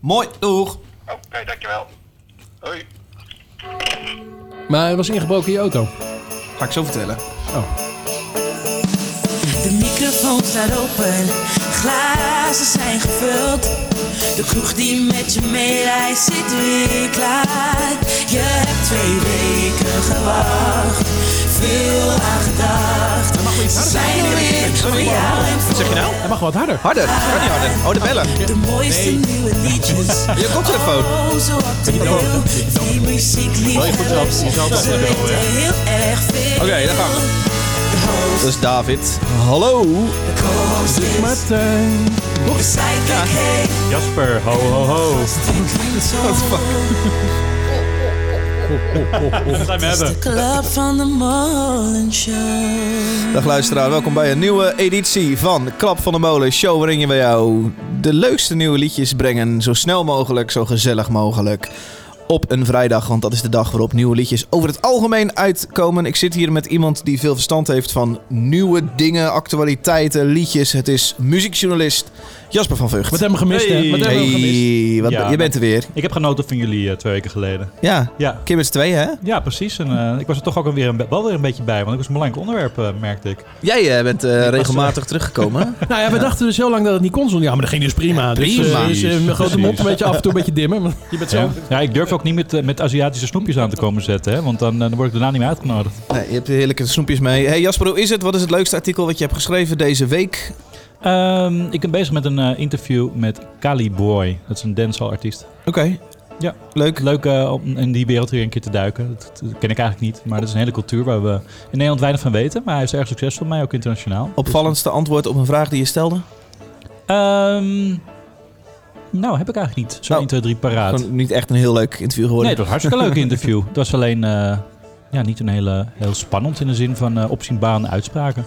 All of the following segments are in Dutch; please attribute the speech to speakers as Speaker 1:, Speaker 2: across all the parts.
Speaker 1: Mooi, doeg.
Speaker 2: Oké, dankjewel. Hoi.
Speaker 3: Maar hij was ingebroken in je auto.
Speaker 1: Ga ik zo vertellen.
Speaker 3: Oh.
Speaker 4: De microfoon staat open, glazen zijn gevuld. De kroeg die met je meereist zit weer klaar. Je hebt twee weken gewacht, veel aan gedacht. Ze zijn er weer voor jou en
Speaker 1: Wat zeg je nou?
Speaker 3: Hij mag wat harder.
Speaker 1: Harder. Kan niet harder. Oh, de bellen.
Speaker 4: de mooiste nieuwe liedjes.
Speaker 1: Je koptelefoon.
Speaker 4: Oh, zo op de wil. Die muziek liefhebbers, ze weten heel erg veel.
Speaker 1: Oké, daar gaan we. Dat is David. Hallo.
Speaker 4: De co-host is
Speaker 3: Martijn.
Speaker 4: Zij kijkt heen,
Speaker 5: Jasper, ho ho ho.
Speaker 4: klinkt zo.
Speaker 5: Dat zijn we hebben.
Speaker 4: De club van de Molen Show.
Speaker 1: Dag luisteraar, welkom bij een nieuwe editie van Klap van de Molen. Show waarin je bij jou de leukste nieuwe liedjes brengen. Zo snel mogelijk, zo gezellig mogelijk. Op een vrijdag, want dat is de dag waarop nieuwe liedjes over het algemeen uitkomen. Ik zit hier met iemand die veel verstand heeft van nieuwe dingen, actualiteiten, liedjes. Het is muziekjournalist Jasper van Vught.
Speaker 3: Wat hebben we gemist, hè? Wat
Speaker 5: Hey.
Speaker 3: hebben we gemist?
Speaker 1: Hey, wat,
Speaker 5: Ja,
Speaker 1: je
Speaker 5: maar-
Speaker 1: bent er weer.
Speaker 5: Ik heb genoten van jullie eh, twee weken geleden.
Speaker 1: Ja,
Speaker 5: Ja,
Speaker 1: Kim is twee, hè?
Speaker 5: ja precies. En, eh, ik was er toch ook weer een, wel weer een beetje bij, want het was een belangrijk onderwerp, eh, merkte ik.
Speaker 1: Jij eh, bent eh, regelmatig teruggekomen.
Speaker 3: Nou ja, we dachten dus heel lang dat het niet kon zonder. Ja, maar dat ging dus prima. Dus,
Speaker 1: Prima.
Speaker 3: eh, dus, eh, mijn grote mond een beetje af en toe een beetje dimmen. want Je bent zo...
Speaker 5: Ja. ja, ik durf ook niet met, eh, met Aziatische snoepjes aan te komen zetten, hè, want dan, eh, dan word ik daarna niet meer uitgenodigd.
Speaker 1: Nee, je hebt heerlijke snoepjes mee. Hey Jasper, hoe is het? Wat is het leukste artikel wat je hebt geschreven deze week?
Speaker 5: Ehm, ik ben bezig met een eh, interview met Cali Boy. Dat is een dancehall artiest.
Speaker 1: Oké.
Speaker 5: Ja.
Speaker 1: Leuk.
Speaker 5: Leuk eh, om in die wereld weer een keer te duiken. Dat, dat ken ik eigenlijk niet, maar dat is een hele cultuur waar we in Nederland weinig van weten. Maar hij is erg succesvol, mij ook internationaal.
Speaker 1: Opvallendste antwoord op een vraag die je stelde?
Speaker 5: Ehm, nou, heb ik eigenlijk niet. Zo
Speaker 1: Nou,
Speaker 5: 1, 2, 3 paraat.
Speaker 1: Gewoon niet echt een heel leuk interview
Speaker 5: Nee,
Speaker 1: geworden.
Speaker 5: het was een hartstikke leuk interview. Het was alleen eh, ja, niet een hele, heel spannend in de zin van eh opzienbarende uitspraken.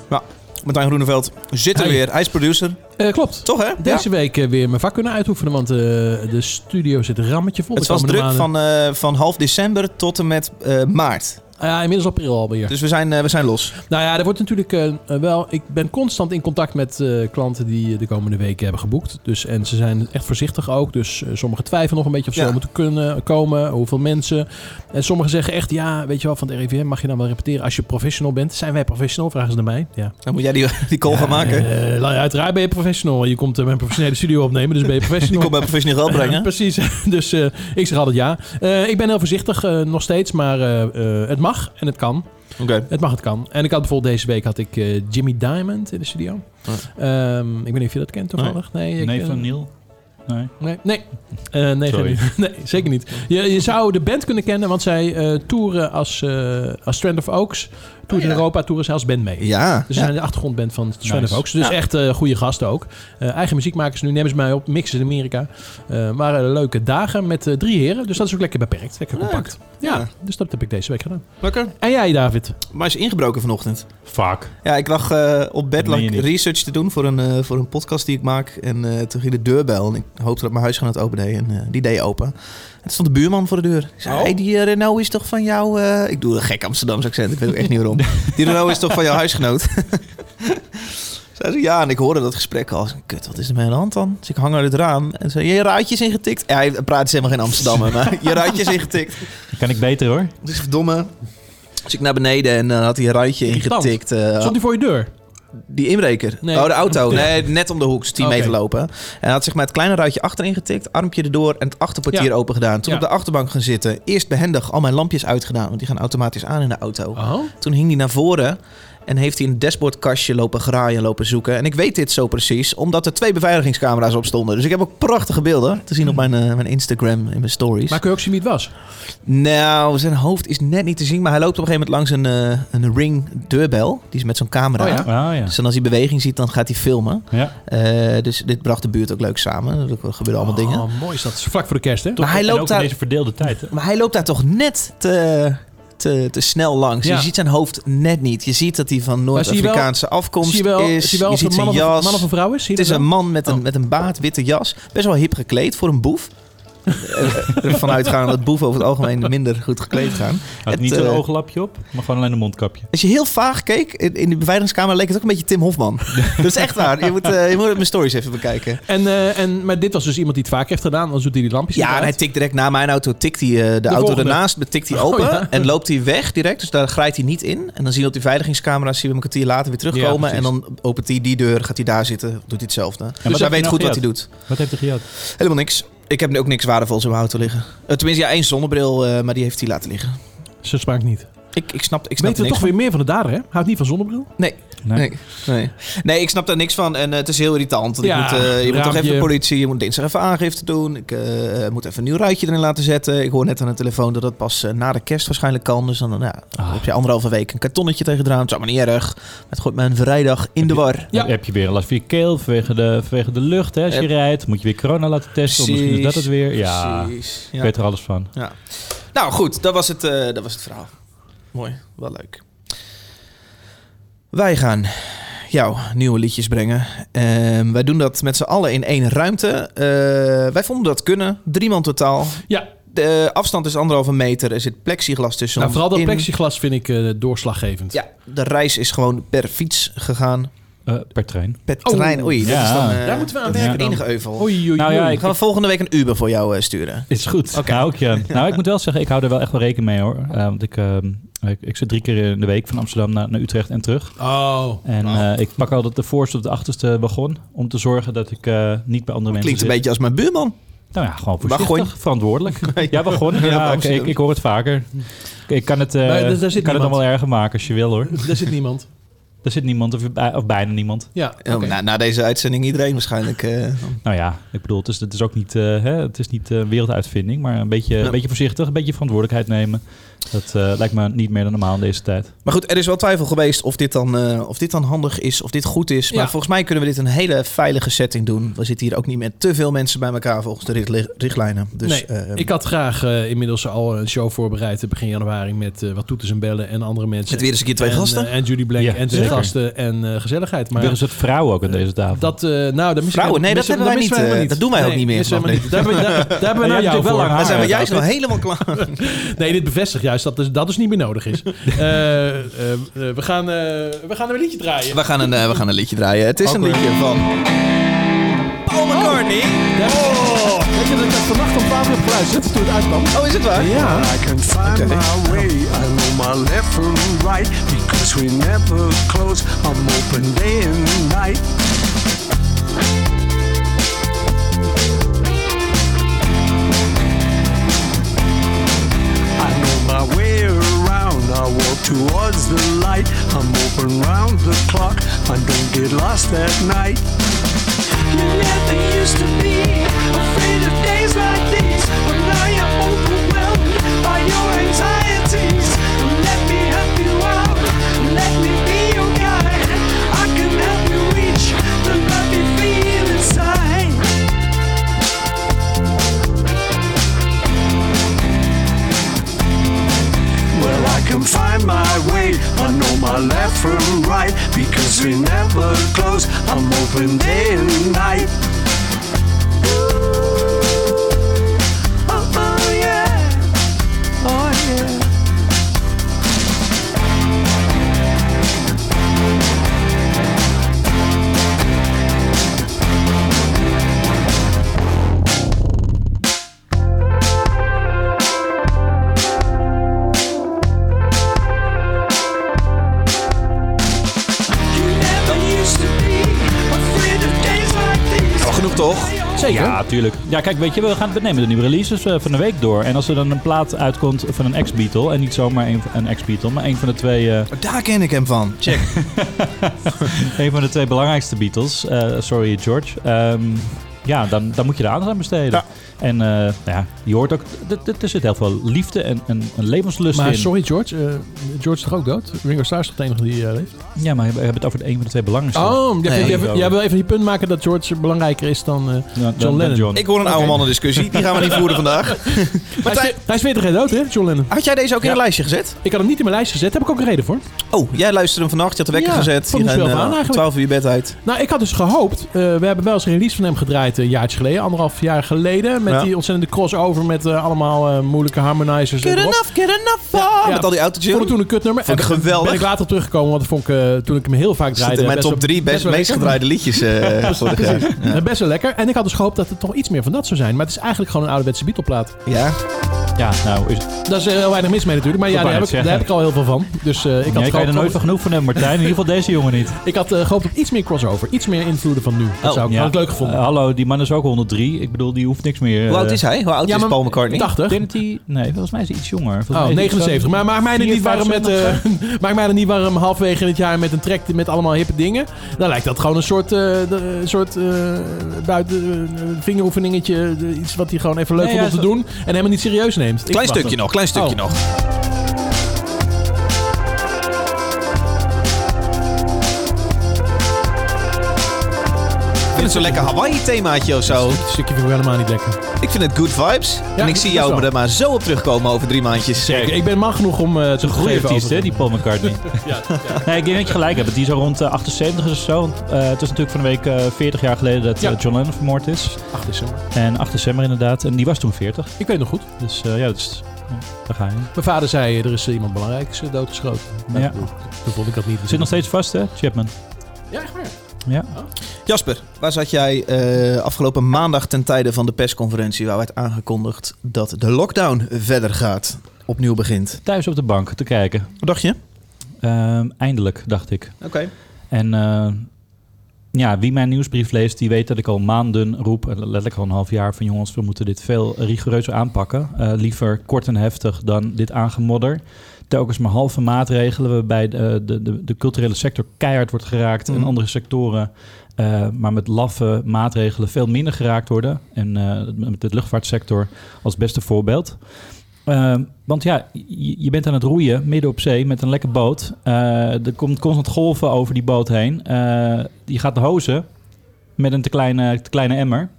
Speaker 1: Martijn Groeneveld zit er
Speaker 3: Hey.
Speaker 1: weer. Hij is producer.
Speaker 3: Eh, klopt.
Speaker 1: Toch hè?
Speaker 3: Deze week eh, weer mijn vak kunnen uitoefenen, want eh, de studio zit rammetje vol.
Speaker 1: Het
Speaker 3: de
Speaker 1: was
Speaker 3: komende
Speaker 1: druk
Speaker 3: maanden.
Speaker 1: van, eh, van half december tot en met eh, maart.
Speaker 3: Ah ja, inmiddels april alweer.
Speaker 1: Dus we zijn, eh, we zijn los.
Speaker 3: Nou ja, er wordt natuurlijk eh, eh, wel. Ik ben constant in contact met eh, klanten die eh, de komende weken hebben geboekt. Dus, en ze zijn echt voorzichtig ook. Dus eh, sommigen twijfelen nog een beetje of ze
Speaker 1: Ja.
Speaker 3: moeten kunnen komen. Hoeveel mensen. En sommigen zeggen echt: ja, weet je wel, van het RIVM mag je dan wel repeteren als je professional bent. Zijn wij professional? Vragen ze naar mij. Ja.
Speaker 1: Dan moet jij die, die call gaan maken.
Speaker 3: Eh, la- uiteraard ben je professional. Je komt eh, met een professionele studio opnemen, dus ben je
Speaker 1: Die
Speaker 3: professional.
Speaker 1: komt bij professioneel geld brengen.
Speaker 3: Precies, dus eh, ik zeg altijd ja. Eh, ik ben heel voorzichtig eh, nog steeds, maar eh, eh, het mag en het kan.
Speaker 1: Oké.
Speaker 3: Het mag, het kan. En ik had bijvoorbeeld deze week had ik eh, Jimmy Diamond in de studio. Ehm, ik weet niet of je dat kent toevallig. Nee, ik,
Speaker 5: Nee,
Speaker 3: eh,
Speaker 5: van Neil. Nee.
Speaker 3: Nee, nee. Eh, nee,
Speaker 5: Sorry.
Speaker 3: geen- nee, zeker niet. Je, je zou de band kunnen kennen, want zij eh toeren als, eh, als Strand of Oaks. Toeren in Europa, toeren zij als band mee.
Speaker 1: Oh, Ja.
Speaker 3: Dus ze zijn de achtergrondband van Strand of
Speaker 5: Nice.
Speaker 3: Oaks. Dus echt eh, goede gasten ook. Eh, eigen muziek maken ze nu, nemen ze mij op, mixen in Amerika. Eh waren leuke dagen met eh, drie heren. Dus dat is ook lekker beperkt, lekker
Speaker 1: Leuk.
Speaker 3: compact. Ja,
Speaker 1: Ja.
Speaker 3: dus dat heb ik deze week gedaan.
Speaker 1: Lekker.
Speaker 3: En jij, David?
Speaker 1: Maar hij is ingebroken vanochtend.
Speaker 5: Fuck.
Speaker 1: Ja, ik lag eh, op bed
Speaker 5: Dat meen
Speaker 1: lag
Speaker 5: je
Speaker 1: ik
Speaker 5: niet.
Speaker 1: research te doen voor een, eh, voor een podcast die ik maak. En eh, toen ging de deurbel en ik hoopte dat mijn huisgenoot open deed. En eh, die deed open. En toen stond de buurman voor de deur. Ik zei,
Speaker 3: Oh.
Speaker 1: hey, die eh, Renault is toch van jou... eh," Ik doe een gek Amsterdamse accent, ik weet ook echt niet waarom. Die Renault is toch van jouw huisgenoot? Zij zei, ja, en ik hoorde dat gesprek al. Ik zei, Kut, wat is er mee aan de hand dan? Dus ik hang uit het raam en zei, je ruitje is ingetikt. Ja, hij praat dus helemaal geen Amsterdammer, maar je ruitje is ingetikt.
Speaker 5: Kan ik beter hoor.
Speaker 1: Dus verdomme. Dus ik naar beneden en dan had hij een ruitje
Speaker 3: Irritant.
Speaker 1: ingetikt. eh,
Speaker 3: Stond hij voor je deur?
Speaker 1: die inbreker.
Speaker 3: Nee.
Speaker 1: Oh, de auto. Nee, net om de hoek. is 10
Speaker 3: Oké.
Speaker 1: meter lopen. En hij had zeg maar het kleine ruitje achterin getikt. Armpje erdoor en het achterportier
Speaker 3: Ja.
Speaker 1: open gedaan. Toen
Speaker 3: Ja.
Speaker 1: op de achterbank gaan zitten. Eerst behendig al mijn lampjes uitgedaan. Want die gaan automatisch aan in de auto.
Speaker 3: Oh.
Speaker 1: Toen hing hij naar voren. En heeft hij een dashboardkastje lopen graaien, lopen zoeken. En ik weet dit zo precies, omdat er twee beveiligingscamera's op stonden. Dus ik heb ook prachtige beelden te zien op mijn, eh, mijn Instagram in mijn stories.
Speaker 3: Hmm. Maar kun je ook zien wie het was?
Speaker 1: Nou, zijn hoofd is net niet te zien. Maar hij loopt op een gegeven moment langs een, eh, een ring deurbel. Die is met zo'n camera.
Speaker 3: Oh ja.
Speaker 5: Ah ja.
Speaker 1: Dus dan als hij beweging ziet, dan gaat hij filmen.
Speaker 5: ja.
Speaker 1: Eh, dus dit bracht de buurt ook leuk samen. Er gebeuren allemaal dingen.
Speaker 3: Oh, mooi is dat. Vlak voor de kerst, hè?
Speaker 1: Maar hij
Speaker 5: En
Speaker 1: loopt
Speaker 5: ook
Speaker 1: daar-
Speaker 5: in deze verdeelde tijd. hè.
Speaker 3: Oh.
Speaker 1: Maar hij loopt daar toch net te, te, te snel langs.
Speaker 3: Ja.
Speaker 1: Je ziet zijn hoofd net niet. Je ziet dat hij van
Speaker 3: Maar zie je wel-
Speaker 1: Noord-Afrikaanse afkomst
Speaker 3: Zie je wel,
Speaker 1: is.
Speaker 3: zie je wel of
Speaker 1: ziet
Speaker 3: het man
Speaker 1: zijn
Speaker 3: of, een-
Speaker 1: jas.
Speaker 3: man of een vrouw is? Zie
Speaker 1: het
Speaker 3: je
Speaker 1: is
Speaker 3: dat
Speaker 1: een
Speaker 3: wel?
Speaker 1: man met een,
Speaker 3: Oh.
Speaker 1: met een baard, witte jas. Best wel hip gekleed voor een boef. eh, ervan uitgaan dat boeven over het algemeen minder goed gekleed gaan.
Speaker 5: Had
Speaker 1: Het,
Speaker 5: niet een
Speaker 1: eh,
Speaker 5: ooglapje op, maar gewoon alleen een mondkapje.
Speaker 1: Als je heel vaag keek, in, in de beveiligingskamer leek het ook een beetje Tim Hofman. dat is echt waar. Je moet, eh, je moet mijn stories even bekijken.
Speaker 3: En, eh, en, maar dit was dus iemand die het vaak heeft gedaan. Dan doet hij die lampjes niet
Speaker 1: Ja, en
Speaker 3: uit.
Speaker 1: hij tikt direct na mijn auto, tikt hij eh, de, auto
Speaker 3: volgende.
Speaker 1: ernaast, tikt hij open
Speaker 3: ja.
Speaker 1: en loopt hij weg direct. Dus daar grijpt hij niet in. En dan zien we op die beveiligingscamera's, zien we hem een kwartier later weer
Speaker 5: Ja,
Speaker 1: terugkomen.
Speaker 5: precies.
Speaker 1: en dan opent hij die deur, gaat hij daar zitten, doet hij hetzelfde.
Speaker 5: wat
Speaker 1: dus hij
Speaker 5: heb je
Speaker 1: weet
Speaker 5: nou
Speaker 1: goed wat hij
Speaker 5: gejat?
Speaker 1: doet.
Speaker 5: Wat heeft hij gejat?
Speaker 1: Helemaal niks. Ik heb nu ook niks waardevols in mijn auto liggen. Eh, tenminste, ja, één zonnebril, eh, maar die heeft hij laten liggen.
Speaker 3: Ze smaakt niet.
Speaker 1: Ik, ik snap, ik snap
Speaker 3: Weten
Speaker 1: er
Speaker 3: we
Speaker 1: niks
Speaker 3: toch weer meer van de dader, hè? Houdt niet van zonnebril.
Speaker 1: Nee.
Speaker 5: Nee.
Speaker 1: Nee. Nee. nee, ik snap daar niks van en eh, het is heel irritant. Want
Speaker 3: Ja,
Speaker 1: ik moet, eh, je moet toch
Speaker 3: raampje.
Speaker 1: even de politie, je moet dinsdag even aangifte doen. Ik eh, moet even een nieuw ruitje erin laten zetten. Ik hoor net aan de telefoon dat dat pas eh, na de kerst waarschijnlijk kan. Dus dan, eh, nou ja,
Speaker 5: Ah.
Speaker 1: dan heb je anderhalve week een kartonnetje tegen het raam. Het is allemaal niet erg. Maar het gooit mijn vrijdag in de war.
Speaker 3: Ja.
Speaker 5: Heb je weer een last van je keel vanwege de, vanwege de lucht hè, als je
Speaker 1: Eh,
Speaker 5: rijdt? Moet je weer corona laten testen? of Misschien is dat het weer. Ja,
Speaker 1: Precies.
Speaker 5: ik
Speaker 1: Ja.
Speaker 5: weet er alles van.
Speaker 1: Nou goed, dat was, het, eh, dat was het verhaal. Mooi, wel leuk. Wij gaan jouw nieuwe liedjes brengen. Ehm, wij doen dat met z'n allen in één ruimte. Eh, wij vonden dat kunnen. Drie man totaal.
Speaker 3: Ja,
Speaker 1: De afstand is anderhalve meter. Er zit plexiglas tussen.
Speaker 3: nou,
Speaker 1: ons
Speaker 3: vooral dat
Speaker 1: in.
Speaker 3: plexiglas vind ik eh, doorslaggevend.
Speaker 1: Ja, de reis is gewoon per fiets gegaan.
Speaker 5: Eh, per trein.
Speaker 1: Per trein. Oei, dat
Speaker 5: Ja.
Speaker 1: is dan, eh,
Speaker 3: Oh. Daar moeten we aan
Speaker 1: dat is
Speaker 3: werken
Speaker 1: het
Speaker 3: dan.
Speaker 1: enige euvel.
Speaker 3: Oei, oei, oei.
Speaker 5: Nou ja,
Speaker 1: Ik ga volgende week een Uber voor jou eh, sturen.
Speaker 5: Is goed. Nou, ik, ja. nou, ik moet wel zeggen, ik hou er wel echt wel rekening mee hoor. Eh, want ik, ehm, ik, ik zit drie keer in de week van Amsterdam naar, naar Utrecht en terug.
Speaker 3: Oh.
Speaker 5: En
Speaker 1: Nou.
Speaker 5: eh, ik pak altijd de voorste of de achterste wagon. Om te zorgen dat ik eh, niet bij andere mensen
Speaker 1: Klinkt een
Speaker 5: zit.
Speaker 1: beetje als mijn buurman.
Speaker 5: Nou ja, gewoon voorzichtig,
Speaker 1: Wagon.
Speaker 5: verantwoordelijk. ja, wagon. Ja,
Speaker 1: Ja,
Speaker 5: oké, ik, ik hoor het vaker. Ik, ik kan het, eh,
Speaker 3: Maar daar- daar zit
Speaker 5: ik kan het
Speaker 3: niemand.
Speaker 5: nog wel erger maken als je wil hoor.
Speaker 3: Daar zit niemand.
Speaker 5: Er zit niemand of, bij- of bijna niemand.
Speaker 3: Ja,
Speaker 1: Ja,
Speaker 3: oké.
Speaker 1: maar Nou, na, na deze uitzending iedereen waarschijnlijk. eh,
Speaker 5: Nou ja, ik bedoel, het is, het is ook niet, eh, hè, het is niet eh, werelduitvinding, maar een beetje,
Speaker 1: Ja.
Speaker 5: een beetje voorzichtig, een beetje verantwoordelijkheid nemen. Dat eh, lijkt me niet meer dan normaal in deze tijd.
Speaker 1: Maar goed, er is wel twijfel geweest of dit dan, eh, of dit dan handig is, of dit goed is. Maar
Speaker 3: Ja.
Speaker 1: volgens mij kunnen we dit in een hele veilige setting doen. We zitten hier ook niet met te veel mensen bij elkaar volgens de richtli- richtlijnen. Dus,
Speaker 3: nee,
Speaker 1: eh,
Speaker 3: ik had graag eh, inmiddels al een show voorbereid eh, begin januari met eh, wat toeters en bellen en andere mensen.
Speaker 1: Met weer eens een keer twee
Speaker 3: en,
Speaker 1: gasten.
Speaker 3: eh, en Judy Blank
Speaker 5: Ja,
Speaker 3: en twee
Speaker 5: zeker.
Speaker 3: gasten en eh, gezelligheid. Maar
Speaker 5: Maar er is het vrouw ook aan deze tafel.
Speaker 3: dat, eh, nou, dat
Speaker 1: Vrouwen, nee, dat hebben wij niet, eh, dat doen wij ook niet meer
Speaker 3: Daar,
Speaker 1: vanaf
Speaker 3: daar, daar hebben we
Speaker 5: jij
Speaker 3: nou
Speaker 5: hebt
Speaker 3: jou
Speaker 5: natuurlijk wel
Speaker 3: voor.
Speaker 5: lang
Speaker 1: daar zijn we
Speaker 5: Ah, ja,
Speaker 1: juist
Speaker 5: dat
Speaker 1: nog helemaal klaar.
Speaker 3: Nee, dit bevestigt juist dat dus, dat dus niet meer nodig is. Eh, eh, eh, we, gaan, eh, we gaan een liedje draaien.
Speaker 1: We gaan, een, eh, we gaan een liedje draaien. Het is een liedje van Paul McCartney.
Speaker 3: Ja. Weet je dat ik dat vannacht om 12 uur heb geluisterd toen het uitkwam?
Speaker 1: Oh, is het waar?
Speaker 3: Ja.
Speaker 6: I can find
Speaker 1: Okay.
Speaker 6: my way. I know my left from right because we never close. I'm open day and night. I know my way around. I walk towards the light. I'm open round the clock. I don't get lost at night.
Speaker 7: You never used to be afraid of days like these, but now you're overwhelmed by your anxieties. Let me help you out. Let me be your guide. I can help you reach the love you feel inside.
Speaker 6: Well, I can find my way. I know my left from right because we never close. I'm open day and night.
Speaker 7: Oh, oh yeah. Oh yeah. You never used to be afraid of days like these.
Speaker 1: Wel genoeg toch?
Speaker 3: Zeker.
Speaker 5: Ja, tuurlijk. Ja, kijk, weet je, we, gaan, we nemen de nieuwe releases eh, van de week door. En als er dan een plaat uitkomt van een ex-Beatle, en niet zomaar een, een ex-Beatle, maar een van de twee... eh,
Speaker 1: Daar ken ik hem van. Check.
Speaker 5: Een van de twee belangrijkste Beatles. eh, sorry, George. Ehm, ja, dan, dan moet je er aandacht aan besteden.
Speaker 1: Ja.
Speaker 5: En eh, nou ja, je hoort ook, d- d- er zit heel veel liefde en, en, en levenslust
Speaker 3: Maar
Speaker 5: in.
Speaker 3: sorry George, eh, George is toch ook dood? Ringo Starr is toch de enige die eh, leeft?
Speaker 5: Ja, maar we hebben het over een van de twee belangrijkste.
Speaker 3: Oh, jij,
Speaker 1: Nee.
Speaker 3: jij- jij wil even die punt maken dat George belangrijker is dan... eh,
Speaker 5: Dan- dan-
Speaker 3: John
Speaker 5: dan
Speaker 3: Lennon.
Speaker 5: John.
Speaker 1: Ik hoor een oude mannen discussie. Die gaan we niet voeren vandaag.
Speaker 3: hij,
Speaker 1: Martijn,
Speaker 3: is, hij is 40 jaar dood, hè, John Lennon?
Speaker 1: had jij deze ook in
Speaker 3: Ja.
Speaker 1: een lijstje gezet?
Speaker 3: Ik had hem niet in mijn lijst gezet, daar heb ik ook een reden voor.
Speaker 1: Oh, jij luisterde hem vannacht. Je had de wekker
Speaker 3: Ja,
Speaker 1: gezet.
Speaker 3: vond
Speaker 1: Je
Speaker 3: ik wel
Speaker 1: bent, eh,
Speaker 3: aan eigenlijk.
Speaker 1: 12 uur je bed uit.
Speaker 3: Nou, ik had dus gehoopt, eh, we hebben wel eens een release van hem gedraaid tijd, een jaartje geleden, anderhalf jaar geleden. Met
Speaker 1: Ja.
Speaker 3: die ontzettende crossover met eh, allemaal eh, moeilijke harmonizers. en
Speaker 1: Get
Speaker 3: erop.
Speaker 1: enough, get enough.
Speaker 3: Ja, ja.
Speaker 1: Ah, Met al die autotune.
Speaker 3: Vond Oh, ik toen een kutnummer.
Speaker 1: Vond ik
Speaker 3: En
Speaker 1: geweldig.
Speaker 3: Ben ik later op teruggekomen, want dat vond ik, eh, toen ik hem heel vaak
Speaker 1: Zit
Speaker 3: draaide...
Speaker 1: in mijn
Speaker 3: best
Speaker 1: top
Speaker 3: wel-
Speaker 1: 3 best,
Speaker 3: wel
Speaker 1: meest
Speaker 3: lekker.
Speaker 1: gedraaide liedjes eh vorig jaar.
Speaker 3: Eh, Best wel lekker. En ik had dus gehoopt dat er toch iets meer van dat zou zijn. Maar het is eigenlijk gewoon een ouderwetse Beatle-plaat.
Speaker 1: Ja.
Speaker 5: Ja, nou, is,
Speaker 3: Daar is eh, heel weinig mis mee natuurlijk. Maar ja,
Speaker 5: Ik
Speaker 3: daar
Speaker 5: wou
Speaker 3: heb, ik,
Speaker 5: net
Speaker 3: daar
Speaker 5: zeggen.
Speaker 3: heb ik al heel veel van. Dus eh, ik had,
Speaker 5: jij kan je er
Speaker 3: gehoopt-
Speaker 5: nooit van genoeg van hebben, Martijn. In ieder geval deze jongen niet.
Speaker 3: ik had eh, gehoopt op iets meer crossover. Iets meer invloeden van nu. Dat zou ik, Nou, had ik leuk gevonden.
Speaker 5: Oh, Eh, hallo, die man is ook 103. Ik bedoel, die hoeft niks meer. eh,
Speaker 1: Hoe oud is hij? Hoe oud
Speaker 3: ja,
Speaker 1: is
Speaker 3: maar-
Speaker 1: Paul McCartney?
Speaker 3: 80.
Speaker 5: Denk dat hij- nee, volgens mij is hij iets jonger. Volgens
Speaker 3: Oh,
Speaker 5: mij is hij
Speaker 3: 79.
Speaker 5: iets-
Speaker 3: Maar maak mij er niet warm met, eh,
Speaker 5: 54
Speaker 3: maak mij er niet warm halfwege in het jaar met een track met allemaal hippe dingen. Dan lijkt dat gewoon een soort, eh, de- een soort eh, buiten eh, vingeroefeningetje. de- iets wat hij gewoon even leuk
Speaker 5: Nee,
Speaker 3: vond om
Speaker 5: ja,
Speaker 3: te
Speaker 5: zo-
Speaker 3: doen. En helemaal niet serieus neemt. Ik
Speaker 1: Klein
Speaker 3: verwacht
Speaker 1: stukje
Speaker 3: hem.
Speaker 1: nog, klein stukje
Speaker 3: Oh.
Speaker 1: nog. Ik vind het zo'n lekker Hawaii-themaatje of zo.
Speaker 3: Dit Oh, stukje vind ik wel helemaal niet lekker.
Speaker 1: Ik vind het good vibes. en ik
Speaker 3: ik-
Speaker 1: zie
Speaker 3: dat
Speaker 1: jou
Speaker 3: wel.
Speaker 1: er maar zo op terugkomen over drie maandjes.
Speaker 5: Zeker.
Speaker 3: Ik, ik ben man genoeg om eh te
Speaker 5: Een goede
Speaker 3: geven
Speaker 5: artiest,
Speaker 3: over-
Speaker 5: hè, die Paul McCartney. Nee, ik denk dat je gelijk hebt. Die is al rond eh, 78 is of zo. Want, eh, het is natuurlijk van de week eh, 40 jaar geleden dat
Speaker 3: Ja.
Speaker 5: eh, John Lennon vermoord is.
Speaker 3: Ach, is hem.
Speaker 5: En 8 december inderdaad. En die was toen 40.
Speaker 3: Ik weet nog goed.
Speaker 5: Dus eh, ja, dat is, ja, daar ga je.
Speaker 3: Mijn vader zei, eh, er is eh, iemand belangrijks eh, doodgeschoten. Maar
Speaker 5: Ja.
Speaker 3: ik bedoel, Toen vond ik dat niet.
Speaker 5: Zit nog steeds vast, hè, Chapman?
Speaker 3: Ja, echt waar.
Speaker 5: Ja.
Speaker 1: Jasper, waar zat jij eh, afgelopen maandag ten tijde van de persconferentie... waar werd aangekondigd dat de lockdown verder gaat, opnieuw begint?
Speaker 5: Thuis op de bank te kijken.
Speaker 1: Wat dacht je?
Speaker 5: Ehm, eindelijk, dacht ik.
Speaker 1: Oké.
Speaker 5: En eh, ja, wie mijn nieuwsbrief leest, die weet dat ik al maanden roep, en letterlijk al een half jaar, van jongens, we moeten dit veel rigoureuzer aanpakken. Eh, liever kort en heftig dan dit aangemodder. Telkens maar halve maatregelen waarbij de, eh, de, de, de culturele sector keihard wordt geraakt en
Speaker 1: Mhm.
Speaker 5: andere sectoren. eh, maar met laffe maatregelen veel minder geraakt worden. En eh, met de luchtvaartsector als beste voorbeeld. Eh, want ja, je, je bent aan het roeien midden op zee met een lekker boot. Eh, er komt constant golven over die boot heen. Eh, je gaat hozen met een te kleine, te kleine emmer.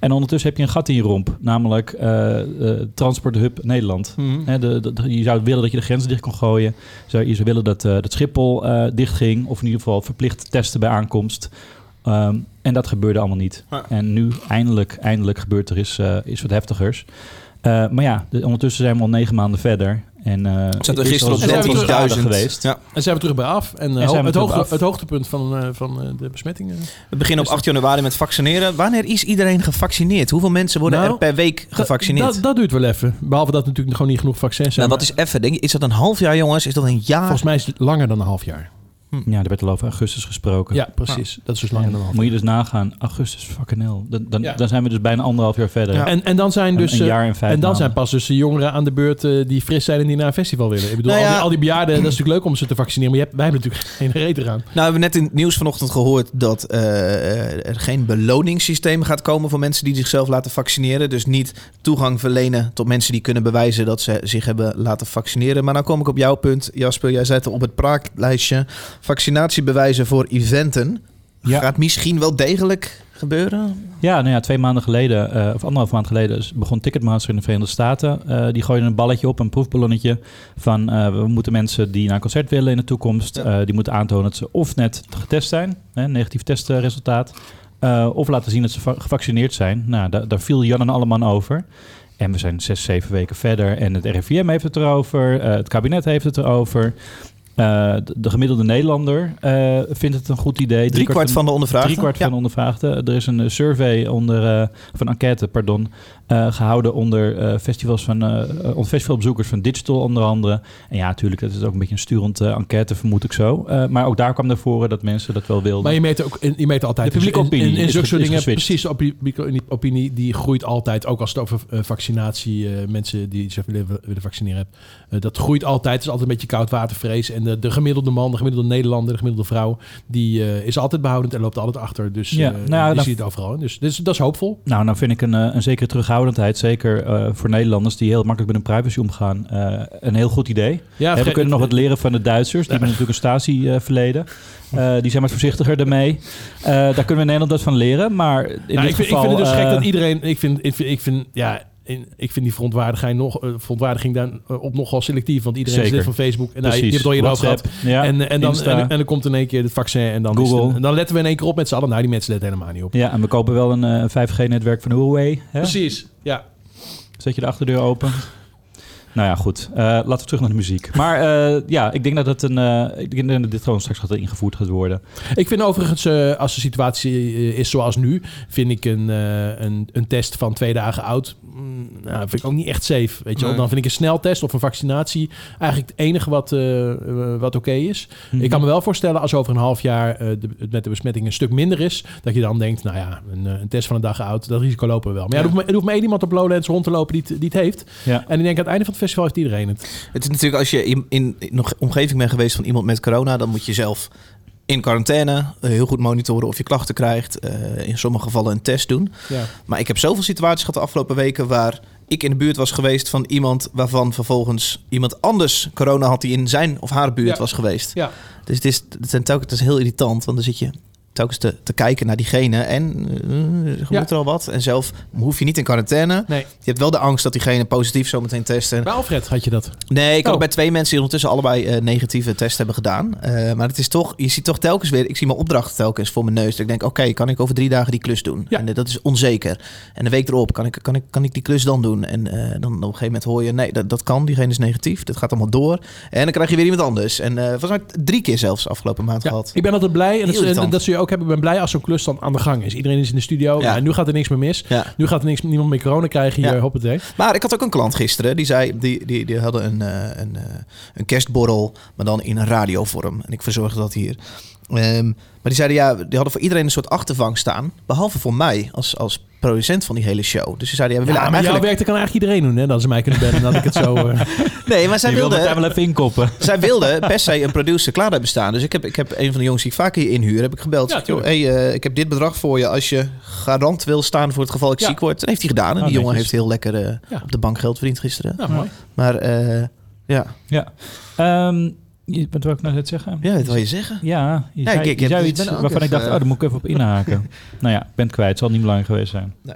Speaker 5: En ondertussen heb je een gat in je romp, namelijk eh eh, Transport Hub Nederland.
Speaker 1: Mhm.
Speaker 5: Hè, de, de- de- je zou willen dat je de grenzen dicht kon gooien. Zou, je zou willen dat, eh dat Schiphol eh dicht ging, of in ieder geval verplicht testen bij aankomst. Ehm, en dat gebeurde allemaal niet.
Speaker 1: Ja.
Speaker 5: En nu eindelijk, eindelijk gebeurt er is, eh is wat heftigers. Eh, maar ja, de- ondertussen zijn we al negen maanden verder. En, eh
Speaker 1: Ik zat er
Speaker 5: is
Speaker 1: gisteren
Speaker 5: al
Speaker 1: op
Speaker 5: zoveel
Speaker 3: zijn we
Speaker 1: 13.000
Speaker 5: schade geweest.
Speaker 1: Ja.
Speaker 3: En zijn we terug bij af. En, eh,
Speaker 5: En zijn we
Speaker 3: het,
Speaker 5: terug bij
Speaker 3: hoogte-
Speaker 5: af.
Speaker 3: het hoogtepunt van, eh, van eh, de besmettingen.
Speaker 1: We beginnen op 8 januari met vaccineren. Wanneer is iedereen gevaccineerd? Hoeveel mensen worden
Speaker 3: Nou,
Speaker 1: er per week gevaccineerd?
Speaker 3: Dat, dat duurt wel even. Behalve dat er natuurlijk gewoon niet genoeg vaccins zijn.
Speaker 1: nou, wat is even? Denk je, is dat een half jaar, jongens? Is dat een jaar?
Speaker 3: Volgens mij is het langer dan een half jaar.
Speaker 5: Ja, er werd al over augustus gesproken.
Speaker 3: Ja, precies. Dat is dus langer dan een half
Speaker 5: Moet je dus nagaan, augustus, fucking hell. Dan, dan,
Speaker 3: Ja.
Speaker 5: dan zijn we dus bijna anderhalf jaar verder.
Speaker 1: Ja.
Speaker 5: Ja.
Speaker 3: jaar. En, en dan zijn dus...
Speaker 5: een,
Speaker 3: eh,
Speaker 5: jaar en vijf
Speaker 3: en dan zijn
Speaker 5: maanden.
Speaker 3: pas dus de jongeren aan de beurt eh, die fris zijn en die naar een festival willen. Ik bedoel,
Speaker 1: Nou
Speaker 3: al,
Speaker 1: ja.
Speaker 3: die, al die bejaarden, dat is natuurlijk leuk om ze te vaccineren. Maar je hebt, wij hebben natuurlijk geen reet eraan.
Speaker 1: Nou, we hebben net in het nieuws vanochtend gehoord dat eh, er geen beloningssysteem gaat komen voor mensen die zichzelf laten vaccineren. Dus niet toegang verlenen tot mensen die kunnen bewijzen dat ze zich hebben laten vaccineren. Maar dan kom ik op jouw punt, Jasper. Jij zette op het praaklijstje vaccinatiebewijzen voor eventen.
Speaker 5: Ja.
Speaker 1: Gaat misschien wel degelijk gebeuren?
Speaker 5: Ja, nou ja, twee maanden geleden, eh, of anderhalf maand geleden, is- begon Ticketmaster in de Verenigde Staten. Eh, die gooide een balletje op, een proefballonnetje. Van eh, we moeten mensen die naar een concert willen in de toekomst,
Speaker 1: Ja.
Speaker 5: eh, die moeten aantonen dat ze of net getest zijn, hè, negatief testresultaat. eh, of laten zien dat ze va- gevaccineerd zijn. Nou, da- daar viel Jan en Alleman over. En we zijn zes, zeven weken verder. En het RIVM heeft het erover. eh, het kabinet heeft het erover. eh, de, de gemiddelde Nederlander eh, vindt het een goed idee.
Speaker 1: Driekwart van de ondervraagden.
Speaker 5: Drie kwart van de ondervraagden. Er is een eh, survey onder, eh, of een enquête, pardon, eh, gehouden onder eh, festivals van, eh, eh, onder festivalbezoekers van Digital onder andere. En ja, natuurlijk, dat is ook een beetje een sturend eh, enquête, vermoed ik zo. Eh, maar ook daar kwam naar voren dat mensen dat wel wilden.
Speaker 3: Maar je meet, ook, je meet altijd...
Speaker 5: De publieke
Speaker 3: in- in-
Speaker 5: opinie
Speaker 3: In,
Speaker 5: is
Speaker 3: zulke
Speaker 5: ge-
Speaker 3: soort
Speaker 5: is
Speaker 3: dingen,
Speaker 5: geswitcht.
Speaker 3: precies, de publieke opinie- opinie die groeit altijd. Ook als het over eh, vaccinatie, eh, mensen die zich willen, willen vaccineren hebt. Eh, dat groeit altijd. Het is altijd een beetje koud watervrees. En de, de gemiddelde man, de gemiddelde Nederlander, de gemiddelde vrouw... die eh, is altijd behoudend en loopt altijd achter. Dus
Speaker 5: Ja,
Speaker 3: ja,
Speaker 5: nou ja,
Speaker 3: je
Speaker 5: dan-
Speaker 3: ziet het overal. Dus, dus dat is hoopvol.
Speaker 5: Nou, dan vind ik een, eh, een zekere terughoudendheid, zeker eh, voor Nederlanders die heel makkelijk met hun privacy omgaan, eh, een heel goed idee.
Speaker 3: Ja,
Speaker 5: Hè, we kunnen nog wat leren van de Duitsers. Die hebben natuurlijk een statieverleden. Eh die zijn wat voorzichtiger daarmee. Eh, daar kunnen we in Nederland wat van leren. Maar in
Speaker 3: Nou,
Speaker 5: dit
Speaker 3: ik, vind,
Speaker 5: geval...
Speaker 3: ik vind het dus
Speaker 5: eh,
Speaker 3: gek dat iedereen... Ik vind, ik vind, ik vind ja, in, ik vind die verontwaardiging, nog, eh, verontwaardiging daar eh, op nogal selectief. Want iedereen is
Speaker 5: Zeker.
Speaker 3: lid van Facebook. En nou, je, je
Speaker 5: Precies.
Speaker 3: hebt het al je hoofd gehad.
Speaker 5: WhatsApp, ja,
Speaker 3: en, eh, en, dan,
Speaker 5: Insta.
Speaker 3: en, en dan komt in één keer het vaccin. En dan, is het-
Speaker 5: Google.
Speaker 3: en dan letten we in één keer op met z'n allen. Nou, die mensen letten helemaal niet op.
Speaker 5: Ja, en we kopen wel een eh, 5G-netwerk van Huawei. Hè?
Speaker 3: Precies, ja.
Speaker 5: Zet je de achterdeur open. Nou ja, goed. Eh, laten we terug naar de muziek. Maar eh, ja, ik denk dat het een. eh, ik denk dat dit gewoon straks gaat ingevoerd gaat worden.
Speaker 3: Ik vind overigens, eh, als de situatie eh, is zoals nu, vind ik een, eh, een, een test van twee dagen oud. mm, nou, vind ik ook niet echt safe. Weet je wel?
Speaker 1: Nee.
Speaker 3: Dan vind ik een sneltest of een vaccinatie eigenlijk het enige wat, eh, eh, wat oké is. Ik kan me wel voorstellen als over een half jaar eh, de- het met de besmetting een stuk minder is, dat je dan denkt, nou ja, een, eh, een test van een dag oud, dat risico lopen we wel. Maar ja, er, hoeft maar, er hoeft maar één iemand op Lowlands rond te lopen die het, die het heeft.
Speaker 5: Ja.
Speaker 3: En ik denk aan het einde van het festival heeft iedereen het.
Speaker 1: Het is natuurlijk als je in, in, in een omgeving bent geweest van iemand met corona, dan moet je zelf in quarantaine eh, heel goed monitoren of je klachten krijgt. eh, in sommige gevallen een test doen.
Speaker 3: Ja.
Speaker 1: Maar ik heb zoveel situaties gehad de afgelopen weken waar ik in de buurt was geweest van iemand waarvan vervolgens iemand anders corona had die in zijn of haar buurt
Speaker 3: Ja.
Speaker 1: was geweest.
Speaker 3: ja.
Speaker 1: Dus het is, het, zijn telkens, het is heel irritant, want dan zit je telkens te, te kijken naar diegene en eh, gebeurt
Speaker 3: Ja.
Speaker 1: er al wat. En zelf hoef je niet in quarantaine.
Speaker 3: Nee.
Speaker 1: Je hebt wel de angst dat diegene positief zometeen test. En
Speaker 3: Bij Alfred had je dat.
Speaker 1: Nee, ik had
Speaker 3: Oh.
Speaker 1: bij twee mensen die ondertussen allebei eh, negatieve test hebben gedaan. Eh, maar het is toch, je ziet toch telkens weer, ik zie mijn opdracht telkens voor mijn neus. Dat ik denk, oké, kan ik over drie dagen die klus doen?
Speaker 3: Ja.
Speaker 1: En eh, dat is onzeker. En de week erop, kan ik, kan ik, kan ik die klus dan doen? En eh, dan op een gegeven moment hoor je, nee, dat, dat kan, diegene is negatief. Dat gaat allemaal door. En dan krijg je weer iemand anders. En eh volgens mij drie keer zelfs afgelopen maand
Speaker 3: Ja,
Speaker 1: gehad.
Speaker 3: ik ben altijd blij, en dat,
Speaker 1: Heel
Speaker 3: en
Speaker 1: irritant.
Speaker 3: dat zul je ook hebben, ik ben blij als zo'n klus dan aan de gang is. Iedereen is in de studio,
Speaker 1: Ja.
Speaker 3: en nu gaat er niks meer mis.
Speaker 1: Ja.
Speaker 3: Nu gaat er niks, niemand meer corona krijgen hier,
Speaker 1: Ja.
Speaker 3: hoppatee.
Speaker 1: Maar ik had ook een klant gisteren. Die zei, die, die, die hadden een, eh, een, eh, een kerstborrel, maar dan in een radiovorm. En ik verzorgde dat hier. Ehm, maar die zeiden, ja, die hadden voor iedereen een soort achtervang staan. Behalve voor mij, als, als producent van die hele show. Dus ze zeiden, ja, we
Speaker 3: Ja, maar
Speaker 1: willen
Speaker 3: jouw
Speaker 1: eigenlijk...
Speaker 3: werk, dat kan eigenlijk iedereen doen, hè? Dat ze mij kunnen bellen, en dat ik het zo... eh,
Speaker 1: Nee, maar zij
Speaker 5: Je wil het daar
Speaker 1: wilden...
Speaker 5: wel even inkoppen.
Speaker 1: Zij wilde per se een producer klaar hebben staan. Dus ik heb, ik heb een van de jongens die ik vaak hier inhuur, heb ik gebeld.
Speaker 3: Ja,
Speaker 1: Zeg, joh,
Speaker 3: tuurlijk.
Speaker 1: hey, eh, ik heb dit bedrag voor je als je garant wil staan voor het geval ik
Speaker 3: Ja.
Speaker 1: ziek word. Dat heeft hij gedaan. En
Speaker 5: Oh,
Speaker 1: die jongen
Speaker 5: netjes.
Speaker 1: heeft heel lekker eh,
Speaker 3: Ja.
Speaker 1: op de bank geld verdiend gisteren.
Speaker 3: nou, mooi.
Speaker 1: Maar eh, ja,
Speaker 5: Ja. Ehm je, wat wil ik nou net zeggen?
Speaker 1: ja, dat wil je zeggen.
Speaker 5: Ja, je
Speaker 1: Ja,
Speaker 5: zei,
Speaker 1: ik- ik heb-
Speaker 5: je
Speaker 1: eh.
Speaker 5: zei
Speaker 1: ik
Speaker 5: iets
Speaker 1: ben ook
Speaker 5: waarvan ik dacht,
Speaker 1: even-
Speaker 5: oh, daar moet ik even op inhaken. nou ja, ik ben het kwijt. Het zal niet belangrijk geweest zijn.
Speaker 1: Een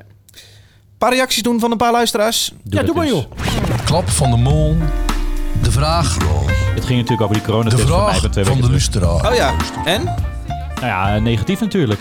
Speaker 1: paar reacties doen van een paar luisteraars.
Speaker 3: ja,
Speaker 5: dat
Speaker 3: doe maar
Speaker 5: eens.
Speaker 3: joh.
Speaker 8: Klap van de mol. De vraagrol.
Speaker 5: Het ging natuurlijk over die
Speaker 8: De
Speaker 5: coronatest van mij
Speaker 8: vraag
Speaker 5: van twee
Speaker 8: van
Speaker 5: weken
Speaker 8: de
Speaker 5: terug.
Speaker 8: luisteraar.
Speaker 1: Oh ja, en?
Speaker 5: Nou ja, negatief natuurlijk.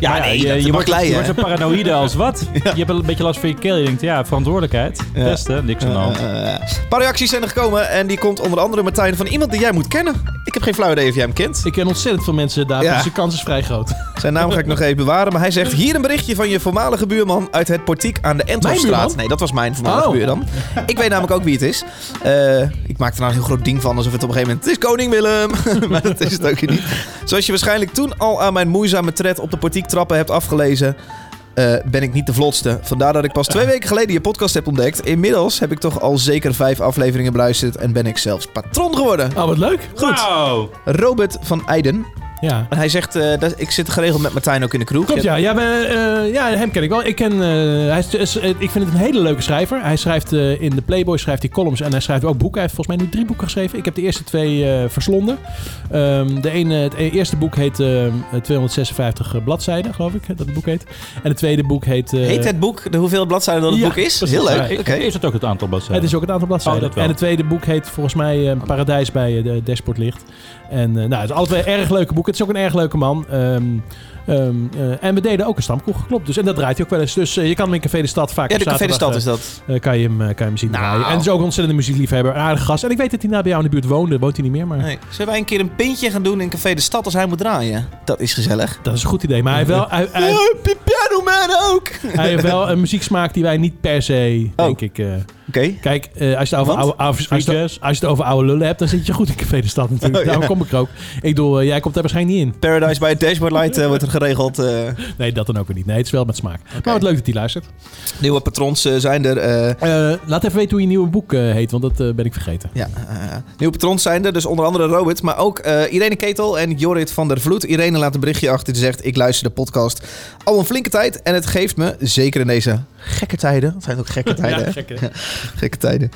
Speaker 1: Ja,
Speaker 5: Maar
Speaker 1: nee,
Speaker 5: je,
Speaker 1: dat
Speaker 5: je,
Speaker 1: mag
Speaker 5: wordt,
Speaker 1: leiden,
Speaker 5: je wordt
Speaker 1: hè?
Speaker 5: zo paranoïde als wat. Je hebt wel een beetje last van je keel. Je denkt, ja, verantwoordelijkheid. Testen, niks aan de hand.
Speaker 1: Eh, een paar reacties zijn er gekomen en die komt onder andere Martijn van iemand die jij moet kennen. Ik heb geen flauw idee of jij hem kent.
Speaker 3: Ik ken ontzettend veel mensen daar,
Speaker 1: Ja.
Speaker 3: dus de kans is vrij groot.
Speaker 1: Zijn naam ga ik nog even bewaren, maar hij zegt hier een berichtje van je voormalige buurman uit het portiek aan de Enthofstraat.
Speaker 3: buurman?
Speaker 1: Nee, dat was mijn voormalige
Speaker 3: Oh.
Speaker 1: buurman. Ik weet namelijk ook wie het is. Eh, ik maak er nou een heel groot ding van alsof het op een gegeven moment... Het is koning Willem! maar dat is het ook weer niet. Zoals je waarschijnlijk toen al aan mijn moeizame tred op de portiektrappen hebt afgelezen... eh, ben ik niet de vlotste. Vandaar dat ik pas twee weken geleden je podcast heb ontdekt. Inmiddels heb ik toch al zeker vijf afleveringen beluisterd... en ben ik zelfs patron geworden.
Speaker 3: Oh, wat leuk.
Speaker 1: Goed. Robert van Eijden.
Speaker 3: Ja.
Speaker 1: En hij zegt... eh, dat, ik zit geregeld met Martijn ook in de kroeg.
Speaker 3: Klopt, ja. Ja, we, eh, ja, hem ken ik wel. Ik, ken, eh, hij is, is- eh, ik vind het een hele leuke schrijver. Hij schrijft eh, in de Playboy schrijft hij columns en hij schrijft ook boeken. Hij heeft volgens mij nu drie boeken geschreven. Ik heb de eerste twee eh, verslonden. Ehm, de ene, het e- eerste boek heet ehm, 256 bladzijden, geloof ik, dat het boek heet. En het tweede boek heet... eh,
Speaker 1: Heet het boek de hoeveel bladzijden dat het
Speaker 3: ja,
Speaker 1: boek is?
Speaker 3: precies.
Speaker 1: Heel leuk.
Speaker 3: Ja,
Speaker 1: Oké.
Speaker 5: Ik- Is het ook het aantal bladzijden?
Speaker 3: het is ook het aantal bladzijden.
Speaker 5: Oh, dat wel.
Speaker 3: en het tweede boek heet volgens mij eh, Paradijs bij eh, de Dashboard Licht. En eh, nou, het is alle twee erg leuke boeken. Het is ook een erg leuke man. Ehm, ehm, eh, en we deden ook een stamkoek, klopt. Dus, en dat draait hij ook wel eens. Dus eh, je kan hem in Café de Stad vaak
Speaker 1: Ja,
Speaker 3: op
Speaker 1: de Café de
Speaker 3: zaterdag,
Speaker 1: Stad
Speaker 3: eh,
Speaker 1: is dat.
Speaker 3: Eh, kan, je hem, eh, kan je hem zien
Speaker 1: Nou.
Speaker 3: draaien. En het is ook een ontzettende muziekliefhebber, een aardige gast. En ik weet dat hij nou bij jou in de buurt woonde. Woont hij niet meer, maar
Speaker 1: Nee. Zullen wij een keer een pintje gaan doen in Café de Stad als hij moet draaien? Dat is gezellig. Eh.
Speaker 3: dat is een goed idee. Maar hij heeft wel, hij, hij,
Speaker 1: Piano Man ook! Oké.
Speaker 3: hij heeft wel een muzieksmaak die wij niet per se, denk
Speaker 1: Oh.
Speaker 3: ik... eh, kijk, eh, als, je het over
Speaker 1: Want?
Speaker 3: oude, oude- als, je het- als je het over oude lullen hebt, dan zit je goed in Café de Stad natuurlijk.
Speaker 1: Oh, ja.
Speaker 3: Daarom kom ik er ook. Ik bedoel, eh, jij komt daar waarschijnlijk niet in.
Speaker 1: Paradise by Dashboard Light eh, wordt er geregeld. eh.
Speaker 3: Nee, dat dan ook weer niet. Nee, het is wel met smaak. Maar wat leuk dat hij luistert.
Speaker 1: nieuwe patrons eh, zijn er. eh,
Speaker 3: Eh, laat even weten hoe je nieuwe boek eh, heet, want dat eh, ben ik vergeten.
Speaker 1: ja, eh, nieuwe patrons zijn er. Dus onder andere Robert. Maar ook eh, Irene Ketel en Jorrit van der Vloed. Irene laat een berichtje achter. Die zegt, ik luister de podcast al een flinke tijd. En het geeft me, zeker in deze gekke tijden. Het zijn ook gekke tijden, hè?
Speaker 3: gek hè?
Speaker 1: Gekke tijden.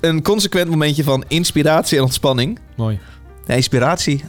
Speaker 1: Een consequent momentje van inspiratie en ontspanning.
Speaker 3: Mooi.
Speaker 1: Ja, inspiratie.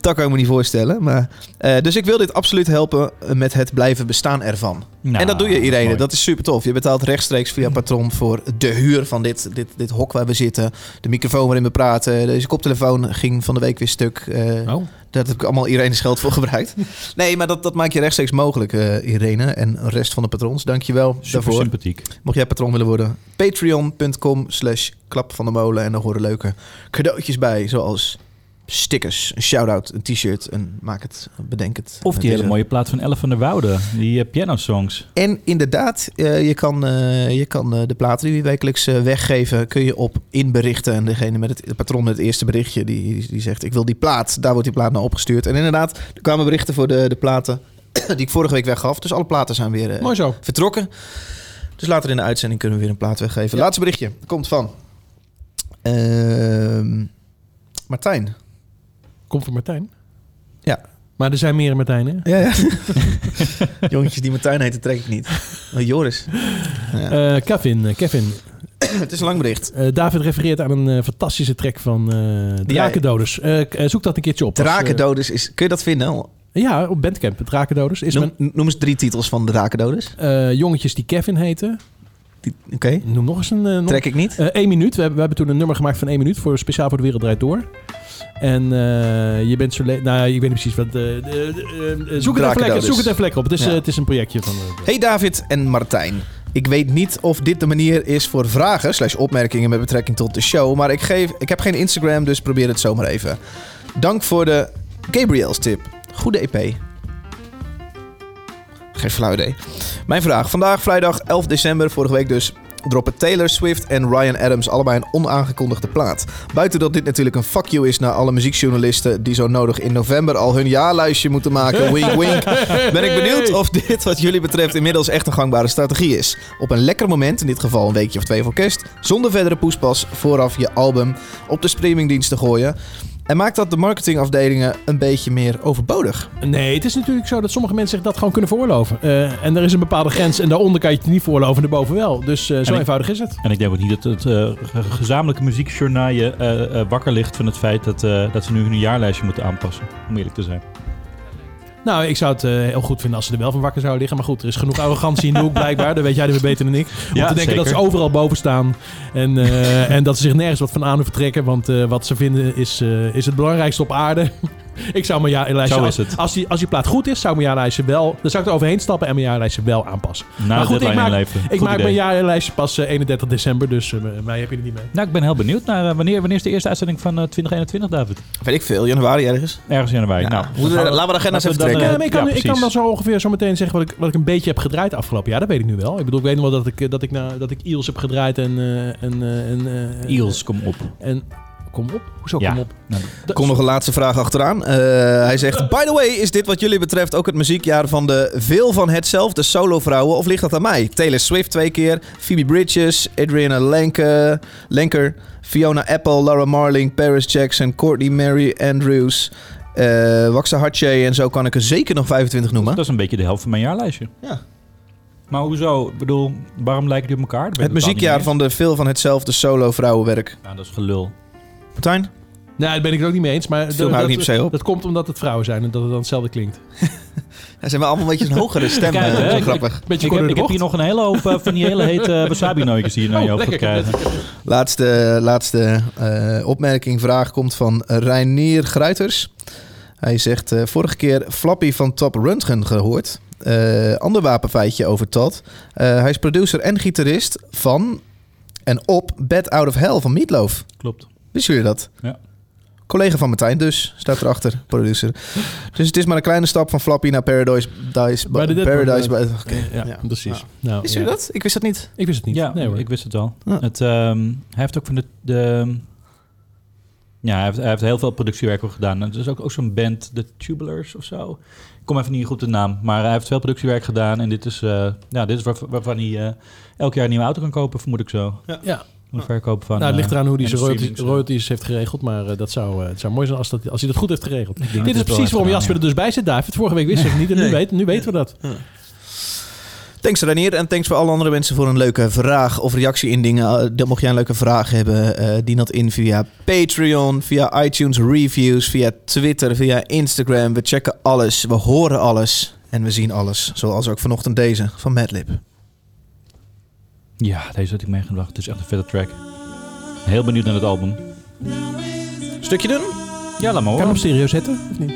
Speaker 1: Dat kan ik me niet voorstellen. Maar, eh, dus ik wil dit absoluut helpen met het blijven bestaan ervan.
Speaker 5: Nou,
Speaker 1: en dat doe je, Irene.
Speaker 5: mooi. Mhm.
Speaker 1: Dat is super tof. Je betaalt rechtstreeks via Patron voor de huur van dit, dit, dit hok waar we zitten. De microfoon waarin we praten. Deze koptelefoon ging van de week weer stuk. Eh,
Speaker 3: Oh,
Speaker 1: Daar heb ik allemaal Irene's geld voor gebruikt. Nee, maar dat, dat maak je rechtstreeks mogelijk, eh, Irene. En de rest van de patrons, dankjewel
Speaker 5: super
Speaker 1: daarvoor.
Speaker 5: sympathiek.
Speaker 1: Mocht jij patroon willen worden, patreon.com slash klap van de molen. En daar horen leuke cadeautjes bij, zoals stickers, een shout-out, een t-shirt. En maak het, bedenk het.
Speaker 5: Of
Speaker 1: Het
Speaker 5: die
Speaker 1: is
Speaker 5: hele
Speaker 1: een-
Speaker 5: mooie plaat van Ellen van der Woude, die eh, piano-songs.
Speaker 1: En inderdaad, eh, je kan, eh, je kan eh, de platen die we wekelijks eh, weggeven, kun je op inberichten. En degene met het de patroon met het eerste berichtje, die, die zegt ik wil die plaat. Daar wordt die plaat naar opgestuurd. En inderdaad, er kwamen berichten voor de, de platen die ik vorige week weggaf. Dus alle platen zijn weer eh,
Speaker 3: mooi zo.
Speaker 1: vertrokken. Dus later in de uitzending kunnen we weer een plaat weggeven. Laatste berichtje komt van ehm, Martijn.
Speaker 3: Komt van Martijn.
Speaker 1: Ja.
Speaker 3: Maar er zijn meer Martijnen.
Speaker 1: Ja, ja. Jongetjes die Martijn heten trek ik niet. Maar Joris. Ja.
Speaker 3: Eh, Kevin, eh, Kevin.
Speaker 1: het is een lang bericht.
Speaker 3: Eh, David refereert aan een eh, fantastische track van eh Drakendoders. Eh, k- eh, zoek dat een keertje op. Als,
Speaker 1: Drakendoders is... Kun je dat vinden?
Speaker 3: eh, ja, op Bandcamp. Drakendoders is
Speaker 1: Noem,
Speaker 3: mijn
Speaker 1: noem eens drie titels van de Drakendoders.
Speaker 3: eh, jongetjes die Kevin heten.
Speaker 1: Die- Oké,
Speaker 3: Noem nog eens een... eh, nog-
Speaker 1: trek ik niet.
Speaker 3: Eh, één minuut. We hebben, we hebben toen een nummer gemaakt van één minuut. Voor, speciaal voor de wereld draait door. En eh, je bent zo... le- Nou, ik weet niet precies wat... eh, eh, eh, eh, zoek, het even lekker,
Speaker 1: Drakendoders.
Speaker 3: zoek het even lekker op. Het is,
Speaker 1: Ja.
Speaker 3: eh, het is een projectje van... eh,
Speaker 1: Hey David en Martijn. Ik weet niet of dit de manier is voor vragen slash opmerkingen met betrekking tot de show, maar ik, geef, ik heb geen Instagram, dus probeer het zomaar even. Dank voor de Gabriels tip. Goede EP. Geen flauw idee. Mijn vraag. Vandaag vrijdag 11 december, vorige week dus, droppen Taylor Swift en Ryan Adams allebei een onaangekondigde plaat. Buiten dat dit natuurlijk een fuck you is naar alle muziekjournalisten die zo nodig in november al hun jaarlijstje moeten maken. Wink wink. Ben ik benieuwd of dit wat jullie betreft inmiddels echt een gangbare strategie is. Op een lekker moment, in dit geval een weekje of twee voor kerst, zonder verdere poespas vooraf je album op de streamingdienst te gooien. En maakt dat de marketingafdelingen een beetje meer overbodig?
Speaker 3: Nee, het is natuurlijk zo dat sommige mensen zich dat gewoon kunnen veroorloven. Eh, en er is een bepaalde grens en daaronder kan je het niet veroorloven en daarboven wel. Dus eh, zo
Speaker 5: ik-
Speaker 3: eenvoudig is het.
Speaker 5: En ik denk ook niet dat het eh, ge- gezamenlijke muziekjournaal je eh, eh, wakker ligt van het feit dat, eh, dat ze nu hun jaarlijstje moeten aanpassen. Om eerlijk te zijn.
Speaker 3: Nou, ik zou het eh, heel goed vinden als ze er wel van wakker zouden liggen. Maar goed, er is genoeg arrogantie in de hoek blijkbaar. Daar weet jij er weer beter dan ik. Om te
Speaker 5: Ja,
Speaker 3: denken dat ze
Speaker 5: zeker.
Speaker 3: overal boven staan. En, eh, en dat ze zich nergens wat van aan hoeven trekken. Want eh, wat ze vinden is, eh, is het belangrijkste op aarde. ik zou mijn jaarlijstje...
Speaker 5: Zo
Speaker 3: als,
Speaker 5: is het.
Speaker 3: Als, die, als die plaat goed is, zou mijn jaarlijstje wel... Dan zou ik er overheen stappen en mijn jaarlijstje wel aanpassen.
Speaker 5: Na de
Speaker 3: ik
Speaker 5: deadline
Speaker 3: maak,
Speaker 5: in leven.
Speaker 3: ik
Speaker 5: Goed
Speaker 3: maak
Speaker 5: idee.
Speaker 3: mijn jaarlijstje pas eh, 31 december. Dus eh, mij heb je er niet mee.
Speaker 5: Nou, ik ben heel benieuwd naar eh, wanneer, wanneer is de eerste uitzending van eh, 2021, David?
Speaker 1: Weet ik veel, januari ergens.
Speaker 5: Ergens in januari. Nou,
Speaker 1: Moeten we- laten we de agenda's even
Speaker 5: laten we dan,
Speaker 1: trekken.
Speaker 3: Ja, maar ik kan,
Speaker 5: Eh, Ja,
Speaker 3: ik kan
Speaker 5: precies.
Speaker 3: wel zo ongeveer zo meteen zeggen wat ik, wat ik een beetje heb gedraaid afgelopen jaar. Dat weet ik nu wel. Ik bedoel, ik weet nog wel dat ik, eh, dat ik, na, dat ik Eels heb gedraaid en... eh, en, eh, en eh,
Speaker 5: Eels, kom
Speaker 1: Oh,
Speaker 5: op.
Speaker 3: En, kom op? Hoezo
Speaker 5: Ja.
Speaker 3: kom op?
Speaker 5: Nou,
Speaker 3: Dat-
Speaker 1: Kom nog een laatste vraag achteraan. Eh, hij zegt: By the way, is dit wat jullie betreft ook het muziekjaar van de veel van hetzelfde solovrouwen? Of ligt dat aan mij? Taylor Swift twee keer, Phoebe Bridges, Adriana Lenke, Lenker, Fiona Apple, Laura Marling, Paris Jackson, Courtney Mary Andrews, eh Waxa Hatche en zo kan ik er zeker nog 25 noemen.
Speaker 5: dat is een beetje de helft van mijn jaarlijstje.
Speaker 1: Ja.
Speaker 5: Maar hoezo? Ik bedoel, waarom lijken die op elkaar? Daar ben
Speaker 1: Het
Speaker 5: ik totaal niet
Speaker 1: muziekjaar
Speaker 5: mee
Speaker 1: van de veel van hetzelfde solovrouwenwerk.
Speaker 5: eens. Nou, dat is gelul.
Speaker 1: Martijn?
Speaker 3: Nou, daar ben ik het ook niet mee eens. Maar
Speaker 1: Viel me
Speaker 5: nou
Speaker 1: ook
Speaker 3: dat,
Speaker 1: niet per se op.
Speaker 3: dat komt omdat het vrouwen zijn en dat het dan hetzelfde klinkt.
Speaker 1: Hij zijn wel allemaal een beetje een hogere stem.
Speaker 5: Kijk,
Speaker 1: eh,
Speaker 5: hè,
Speaker 1: zo
Speaker 5: ik-
Speaker 1: grappig.
Speaker 3: Beetje
Speaker 5: Ik heb,
Speaker 3: korter
Speaker 5: ik
Speaker 3: de
Speaker 5: heb hier
Speaker 3: bocht.
Speaker 5: nog een hele hoop eh, van die hele hete wasabi-nootjes die je naar je
Speaker 3: Oh,
Speaker 5: hoofd gaat
Speaker 3: lekker.
Speaker 5: krijgen.
Speaker 1: Laatste, laatste eh, opmerking, vraag komt van Reinier Gruiters. Hij zegt, eh, vorige keer Flappy van Top Röntgen gehoord. Eh, ander wapenfeitje over Todd. Eh, hij is producer en gitarist van en op Bad Out of Hell van Meatloaf.
Speaker 5: Klopt.
Speaker 1: Wisten jullie dat?
Speaker 5: Ja.
Speaker 1: Collega van Martijn dus, staat erachter, producer. Dus het is maar een kleine stap van Flappy naar Paradise. Dice,
Speaker 3: Bij de Dead
Speaker 1: Paradise.
Speaker 3: Boy.
Speaker 1: By- Oké.
Speaker 3: Ja,
Speaker 1: Ja.
Speaker 3: precies.
Speaker 1: Ja.
Speaker 3: Nou,
Speaker 1: Wisten jullie
Speaker 3: ja.
Speaker 1: dat? Ik wist dat niet.
Speaker 3: Ik wist het niet.
Speaker 5: Ja,
Speaker 3: nee, hoor.
Speaker 5: ik wist het al.
Speaker 1: Ja.
Speaker 5: Het, ehm, hij heeft ook van de... de ja, hij heeft, hij heeft heel veel productiewerk ook gedaan. Het is ook, ook zo'n band, de Tubulars of zo. Ik kom even niet goed op de naam. Maar hij heeft veel productiewerk gedaan. En dit is, eh, ja, dit is waar- waarvan hij eh, elk jaar een nieuwe auto kan kopen, vermoed ik zo.
Speaker 3: Ja.
Speaker 5: Een verkoop van...
Speaker 3: Nou, het ligt
Speaker 5: eh,
Speaker 3: eraan hoe hij
Speaker 5: en de
Speaker 3: zijn royalties,
Speaker 5: streamings, eh.
Speaker 3: royalties heeft geregeld. Maar eh, dat zou, eh, het zou mooi zijn als, dat, als hij dat goed heeft geregeld.
Speaker 5: dat
Speaker 3: Dit
Speaker 5: het
Speaker 3: is
Speaker 5: wel
Speaker 3: precies
Speaker 5: heeft
Speaker 3: waarom
Speaker 5: gedaan,
Speaker 3: Jasper er dus bij zit, David. Vorige week wist ik het niet en nu, weet, nu weten we dat.
Speaker 1: Thanks Ranier en thanks voor alle andere mensen voor een leuke vraag of reactie indingen. Eh, dat mocht jij een leuke vraag hebben, eh dien dat in via Patreon, via iTunes reviews, via Twitter, via Instagram. We checken alles, we horen alles en we zien alles. Zoals ook vanochtend deze van Madlib.
Speaker 5: Ja, deze had ik meegebracht. Het is echt een vette track. Heel benieuwd naar het album.
Speaker 1: Stukje doen?
Speaker 5: Ja, laat maar
Speaker 3: Kan je
Speaker 5: horen.
Speaker 3: hem serieus zetten? Of niet?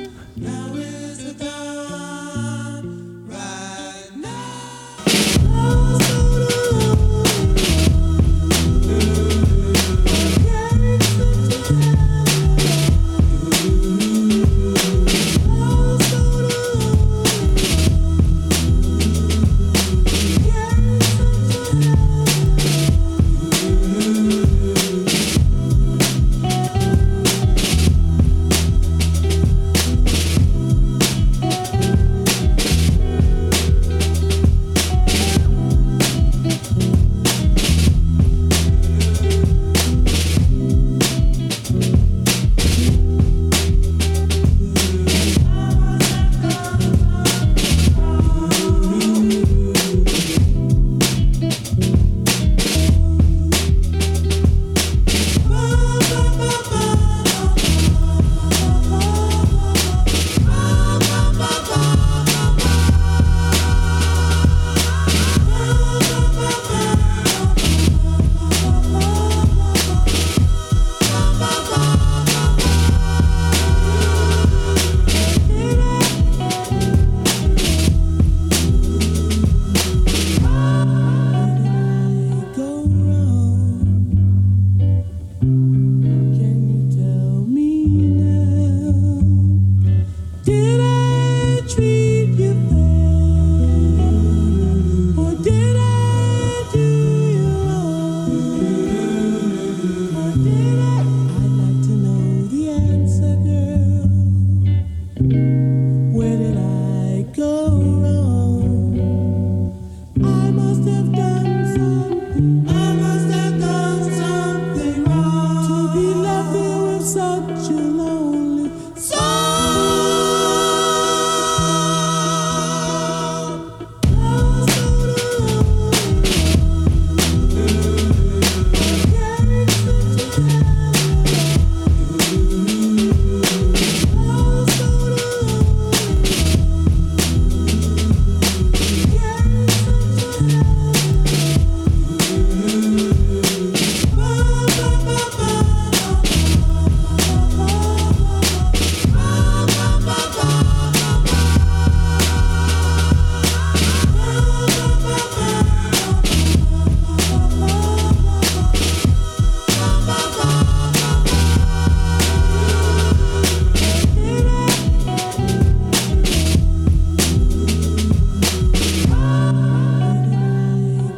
Speaker 7: Where did I go wrong? I must have done something. I must have done something wrong to be left here with such a lonely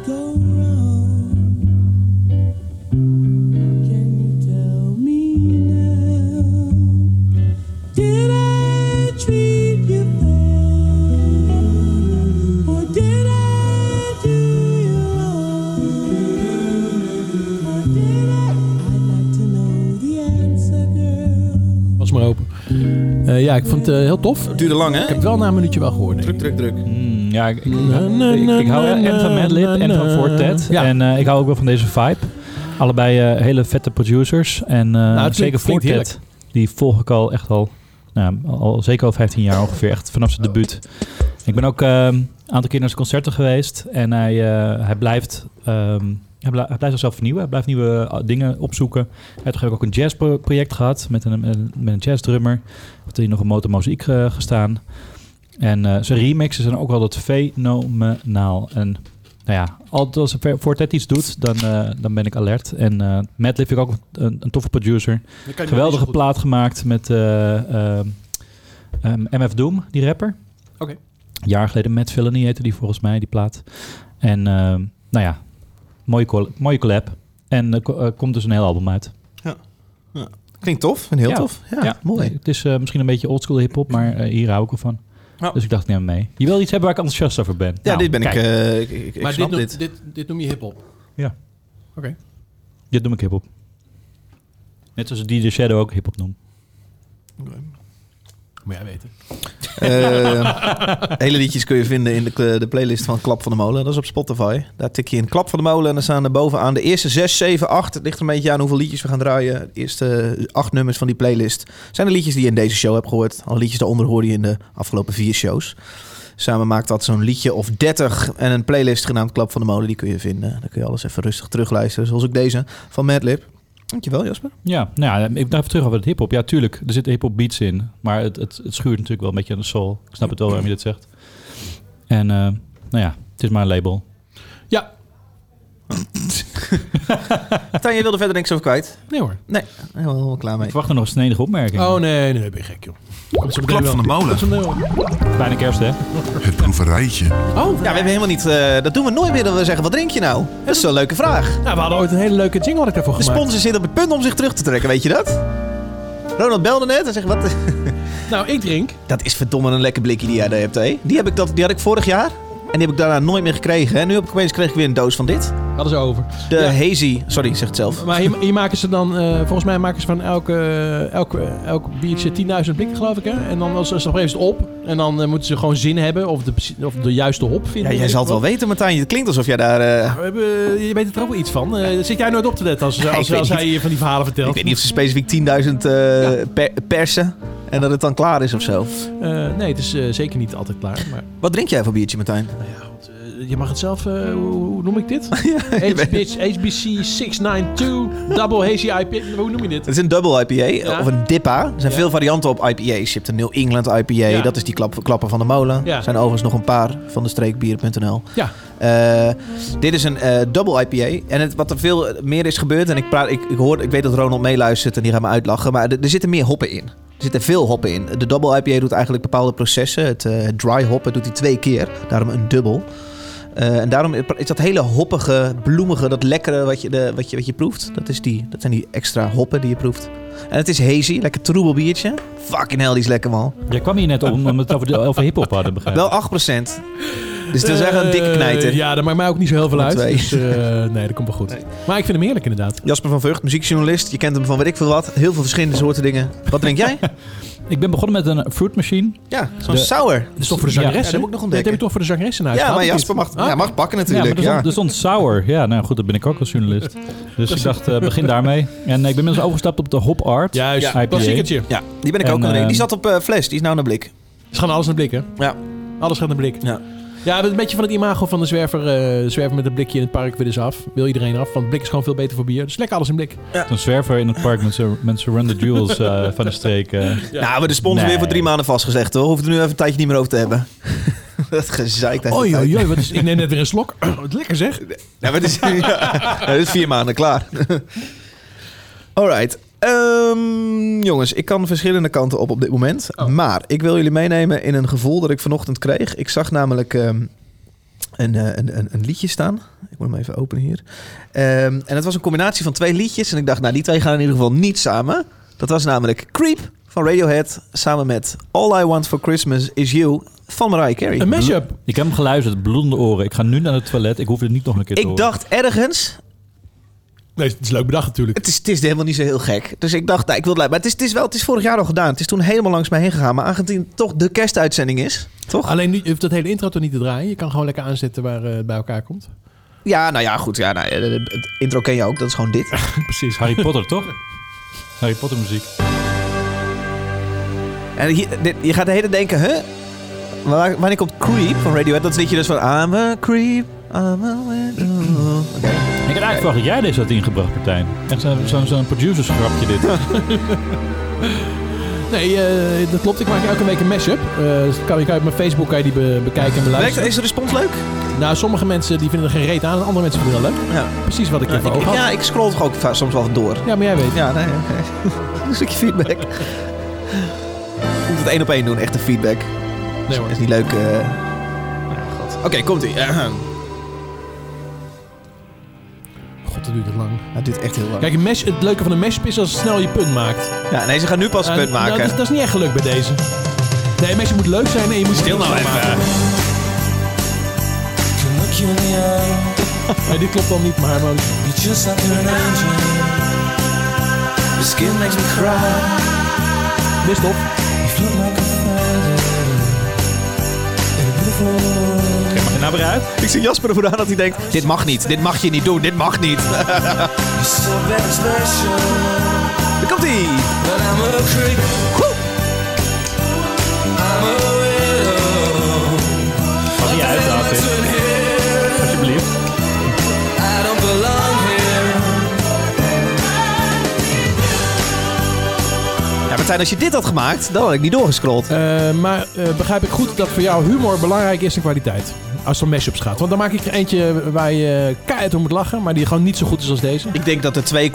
Speaker 7: go wrong? Can you tell me now? Did I treat you fair? Or did I do you wrong? Or did I? I'd like to know the answer, girl.
Speaker 3: Was maar open. Eh, ja, ik vond het eh, heel tof. Ik
Speaker 1: Duurde lang, hè?
Speaker 3: heb het wel na een minuutje wel gehoord. denk ik.
Speaker 1: Druk, druk, druk.
Speaker 5: Mm, ja, ik, ik,
Speaker 3: Na, na,
Speaker 5: ik- ik hou
Speaker 3: na,
Speaker 5: eh, en van
Speaker 3: na,
Speaker 5: Madlib
Speaker 3: na,
Speaker 5: en van
Speaker 3: na.
Speaker 5: Fortet.
Speaker 3: Ja.
Speaker 5: En eh, ik hou ook wel van deze vibe. Allebei eh, hele vette producers. En eh,
Speaker 3: Nou, klinkt-
Speaker 5: zeker
Speaker 3: klinkt
Speaker 5: Fortet. Die volg ik al echt al, nou, al, zeker al 15 jaar ongeveer. Echt vanaf zijn debuut. Ik ben ook eh, een aantal keer naar zijn concerten geweest. En hij, eh, hij blijft... ehm, hij blij- hij blijft zichzelf vernieuwen. Hij blijft nieuwe eh, dingen opzoeken. Hij heeft ook een jazzproject gehad met een, een- met een jazzdrummer. Heeft hij nog een motormozaïek eh, gestaan. En eh, zijn remixen zijn ook altijd fenomenaal. En nou ja, altijd als een Fortet iets doet, dan, eh, dan ben ik alert. En eh Matt Liv vind ik ook een, een toffe producer. Geweldige plaat gemaakt met eh, eh, ehm, MF Doom, die rapper.
Speaker 3: Oké.
Speaker 5: Een jaar geleden Matt Villainy heette die volgens mij, die plaat. En ehm, nou ja, mooie, col- mooie collab. En er ko- eh, komt dus een heel album uit.
Speaker 1: Klinkt tof, en heel
Speaker 5: Ja.
Speaker 1: tof. Ja, mooi.
Speaker 5: Het is eh, misschien een beetje oldschool hip-hop, maar eh, hier hou ik wel van.
Speaker 1: Ja.
Speaker 5: Dus ik dacht, neem hem mee. Je wil iets hebben waar ik enthousiast over ben.
Speaker 1: Ja,
Speaker 5: Nou,
Speaker 1: dit ben ik,
Speaker 5: kijk.
Speaker 1: eh, ik, ik, ik
Speaker 3: maar
Speaker 1: snap dit.
Speaker 3: dit, noem- dit, dit noem je hip-hop.
Speaker 5: Dit noem ik hip-hop. Net zoals DJ Shadow ook hip-hop noemt.
Speaker 3: Moet jij weten.
Speaker 1: Eh, hele liedjes kun je vinden in de, de playlist van Klap van de Molen. Dat is op Spotify. Daar tik je in Klap van de Molen en dan staan er bovenaan de eerste 6, 7, 8. Het ligt een beetje aan hoeveel liedjes we gaan draaien. De eerste acht nummers van die playlist zijn de liedjes die je in deze show hebt gehoord. Alle liedjes daaronder hoorde je in de afgelopen vier shows. Samen maakt dat zo'n liedje of 30 en een playlist genaamd Klap van de Molen. Die kun je vinden. Dan kun je alles even rustig terugluisteren. Zoals ook deze van Madlib. Dankjewel Jasper.
Speaker 5: Ja, nou ja, ik blijf terug over het hip-hop. Ja, tuurlijk, er zitten hip-hop beats in. Maar het, het, het schuurt natuurlijk wel een beetje aan de soul. Ik snap het wel waarom je dit zegt. En eh, nou ja, het is maar een label.
Speaker 3: Ja,
Speaker 1: Tijn, je wilde verder niks over kwijt?
Speaker 3: nee hoor.
Speaker 1: Nee, helemaal klaar mee.
Speaker 5: Ik wacht er nog een snedige opmerking.
Speaker 3: Oh nee, nee, ben je gek joh. Komt zo meteen
Speaker 8: Klap
Speaker 3: wel.
Speaker 8: van de molen.
Speaker 3: Komt zo meteen wel.
Speaker 5: Bijna kerst, hè?
Speaker 9: Het proeverijtje.
Speaker 3: Oh,
Speaker 1: Ja, we hebben helemaal niet. eh, dat doen we nooit meer. Dat we zeggen: wat drink je nou? Dat is zo'n leuke vraag.
Speaker 3: Nou, we hadden ooit een hele leuke jingle had ik daarvoor
Speaker 1: De
Speaker 3: gemaakt.
Speaker 1: sponsor zit op het punt om zich terug te trekken, weet je dat? Ronald belde net en zegt: wat?
Speaker 3: Nou, ik drink.
Speaker 1: Dat is verdomme een lekker blikje die jij daar hebt, hé. Die, heb ik dat, die had ik vorig jaar. En die heb ik daarna nooit meer gekregen. En nu heb ik opeens kreeg ik weer een doos van dit.
Speaker 3: Hadden ze over.
Speaker 1: De
Speaker 3: Ja.
Speaker 1: Hazy. Sorry, zegt het zelf.
Speaker 3: Maar hier, hier maken ze dan, eh, volgens mij maken ze van elke, elke, elk biertje 10.000 blikken, geloof ik. Hè? En dan als, als op even op. En dan eh, moeten ze gewoon zin hebben of de, precies- of de juiste hop
Speaker 1: Ja,
Speaker 3: vinden.
Speaker 1: jij zal het wel weten, Martijn. Het klinkt alsof jij daar. eh,
Speaker 3: We hebben, je weet er ook wel iets van. Eh, zit jij nooit op te letten als,
Speaker 1: ik
Speaker 3: als,
Speaker 1: weet
Speaker 3: als
Speaker 1: niet.
Speaker 3: hij je van die verhalen vertelt?
Speaker 1: ik weet niet of ze specifiek 10.000 eh, per- persen. En dat het dan klaar is of zo.
Speaker 3: Eh, nee, het is eh, zeker niet altijd klaar. Maar
Speaker 1: Wat drink jij voor biertje, Martijn?
Speaker 3: nou ja, goed, eh, je mag het zelf... eh, hoe, hoe noem ik dit? HBC, HBC 692 Double Hazy IP. Hoe noem je dit?
Speaker 1: Het is een double IPA
Speaker 3: Ja.
Speaker 1: eh, of een DIPA. Er zijn
Speaker 3: Ja.
Speaker 1: veel varianten op IPA's. Je hebt een New England IPA,
Speaker 3: Ja.
Speaker 1: dat is die klap, klappen van de molen.
Speaker 3: Ja.
Speaker 1: Er zijn overigens nog een paar van de streekbier.nl.
Speaker 3: Ja,
Speaker 1: Eh, dit is een eh, double IPA. En het, wat er veel meer is gebeurd, en ik, praat, ik, ik, hoor, ik weet dat Ronald meeluistert en die gaat me uitlachen, maar er, er zitten meer hoppen in. Er zitten veel hoppen in. De double IPA doet eigenlijk bepaalde processen. Het eh, dry hoppen doet hij twee keer, daarom een dubbel. Eh, en daarom is dat hele hoppige, bloemige, dat lekkere wat je, de, wat je, wat je proeft. Dat, is die, dat zijn die extra hoppen die je proeft. En het is hazy, lekker troebel biertje. Fucking hell, die is lekker man.
Speaker 5: Jij kwam hier net om, omdat we het over, de- over hip-hop hadden begrepen.
Speaker 1: Wel 8%. Dus het is echt een dikke
Speaker 3: Eh,
Speaker 1: knijter.
Speaker 3: ja, dat maakt mij ook niet zo heel veel
Speaker 1: Nummer
Speaker 3: uit.
Speaker 1: twee.
Speaker 3: Dus eh, nee, dat komt wel goed. Maar ik vind hem heerlijk inderdaad.
Speaker 1: Jasper van Vught, muziekjournalist. Je kent hem van weet ik veel wat. Heel veel verschillende soorten dingen. Wat drink jij?
Speaker 5: Ik ben begonnen met een fruit machine.
Speaker 1: Ja, zo'n
Speaker 5: De-
Speaker 1: sour.
Speaker 3: Dat is toch voor de
Speaker 5: Ja,
Speaker 3: zangeressen?
Speaker 1: ja, dat moet ik nog ontdekken.
Speaker 3: Dat heb je toch voor de zangeressen
Speaker 1: Ja,
Speaker 3: uitgehaald,
Speaker 1: maar
Speaker 3: of
Speaker 1: Jasper
Speaker 3: niet?
Speaker 1: mag,
Speaker 3: Ah,
Speaker 1: ja, mag pakken
Speaker 5: Ja,
Speaker 1: natuurlijk.
Speaker 5: maar
Speaker 1: Ja,
Speaker 5: er stond, dus- er stond sour. Ja, nou goed, dat ben ik ook als journalist. Dus ik dacht, eh, begin daarmee. En eh, ik ben inmiddels overgestapt op de Hop Art.
Speaker 3: Juist,
Speaker 5: IPA.
Speaker 3: klassiekertje.
Speaker 1: Ja, die ben ik
Speaker 5: En,
Speaker 1: ook aan het drinken. Die
Speaker 5: ehm,
Speaker 1: zat op eh, fles, die is nou naar blik.
Speaker 3: Ze gaan alles naar blik, hè?
Speaker 1: Ja.
Speaker 3: Alles gaat naar blik.
Speaker 1: Ja.
Speaker 3: Ja, een beetje van het imago van de zwerver. eh, de zwerver met een blikje in het park willen ze af. Wil iedereen af, want blik is gewoon veel beter voor bier. Dus lekker alles in blik.
Speaker 5: Een zwerver in het park met zijn met zijn Run the Jewels eh, van de streek. eh.
Speaker 1: Nou, we hebben de sponsor
Speaker 5: Nee.
Speaker 1: weer voor drie maanden vastgezegd hoor. Hoeft er nu even een tijdje niet meer over te hebben. dat gezeik. de hele
Speaker 3: Oei,
Speaker 1: tijd.
Speaker 3: oei, oei, wat is, ik neem net weer een slok. wat lekker zeg.
Speaker 1: Ja, maar het is, ja. Ja, het is vier maanden klaar. Alright. Ehm, jongens, ik kan verschillende kanten op op dit moment. Maar ik wil jullie meenemen in een gevoel dat ik vanochtend kreeg. Ik zag namelijk ehm, een, eh, een, een, een liedje staan. Ik moet hem even openen hier. Ehm, en het was een combinatie van twee liedjes. En ik dacht, nou, die twee gaan in ieder geval niet samen. Dat was namelijk Creep van Radiohead samen met All I Want for Christmas Is You van Mariah Carey.
Speaker 3: Een mashup.
Speaker 5: Ik heb hem geluisterd, bloedende oren. Ik ga nu naar het toilet. Ik hoef het niet nog een keer te
Speaker 1: Ik
Speaker 5: horen.
Speaker 1: dacht ergens,
Speaker 3: Nee, het is leuk bedacht natuurlijk.
Speaker 1: Het is, het is helemaal niet zo heel gek. Dus ik dacht, nou, ik wil het Maar het is, het is wel, het is vorig jaar al gedaan. Het is toen helemaal langs mij heen gegaan. Maar aangezien het toch de kerstuitzending is, toch?
Speaker 3: Alleen nu je hoeft dat hele intro toch niet te draaien. Je kan gewoon lekker aanzetten waar eh, het bij elkaar komt.
Speaker 1: Ja, nou ja, goed. Ja, nou, ja, het intro ken je ook. Dat is gewoon dit.
Speaker 5: Precies, Harry Potter toch? Harry Potter muziek.
Speaker 1: En hier, dit, je gaat de hele tijd denken, huh? Waar, wanneer komt Creep van Radiohead? Dat is liedje dus van I'm a creep, I'm a widow. Oké.
Speaker 5: Ik had eigenlijk verwacht dat jij deze had ingebracht, Martijn. Echt zo'n zo, zo'n producersgrapje dit.
Speaker 3: Nee, eh, dat klopt. Ik maak elke week een mashup. Eh, dat kan, je kan je op mijn Facebook kan je die be- bekijken
Speaker 1: Werkt,
Speaker 3: en beluisteren.
Speaker 1: is de respons leuk?
Speaker 3: Nou, sommige mensen die vinden er geen reet aan en andere mensen vinden het wel leuk.
Speaker 1: Ja.
Speaker 3: Precies Oh, wat ik
Speaker 1: Ja,
Speaker 3: hiervoor
Speaker 1: ik,
Speaker 3: had.
Speaker 1: ja, ik scroll toch ook va- soms wel door.
Speaker 3: Ja, maar jij weet.
Speaker 1: Ja, nee, oké. Een stukje feedback. Moet het één op één doen, echte feedback.
Speaker 3: Nee
Speaker 1: Dat
Speaker 3: hoor.
Speaker 1: is niet leuk. eh. Oké, komt ie.
Speaker 3: Eh, hm. God, dat duurt het lang.
Speaker 1: Het duurt echt heel lang.
Speaker 3: Kijk, een mash, het leuke van een mashup is als je snel je punt maakt.
Speaker 1: ja, nee, ze gaan nu pas een
Speaker 3: En nou,
Speaker 1: punt maken.
Speaker 3: Eh, Dat is, dat is niet echt gelukt bij deze. Nee, een mashup moet leuk zijn en je moet... Stil nou even.
Speaker 4: Look you in the eye,
Speaker 3: Nee, dit klopt dan niet, maar... maar
Speaker 4: you're just like an angel. Your skin makes me cry.
Speaker 3: wist op.
Speaker 4: You float like a
Speaker 10: before.
Speaker 5: Oké, mag je nou weer uit?
Speaker 1: Ik zie Jasper ervoor aan dat hij denkt, dit mag niet, dit mag je niet doen, dit mag niet.
Speaker 10: So very special,
Speaker 1: Daar komt hij.
Speaker 10: but I'm a creep. I'm a widow.
Speaker 5: Mag je uit, David?
Speaker 10: Turn here,
Speaker 5: Alsjeblieft.
Speaker 10: I don't belong here.
Speaker 1: Ja, Martijn, als je dit had gemaakt, dan had ik niet doorgescrolld.
Speaker 3: Eh, maar eh, begrijp ik goed dat voor jou humor belangrijk is in kwaliteit? Als het om mashups gaat. Want dan maak ik er eentje waar je keihard om moet lachen, maar die gewoon niet zo goed is als deze.
Speaker 1: Ik denk dat de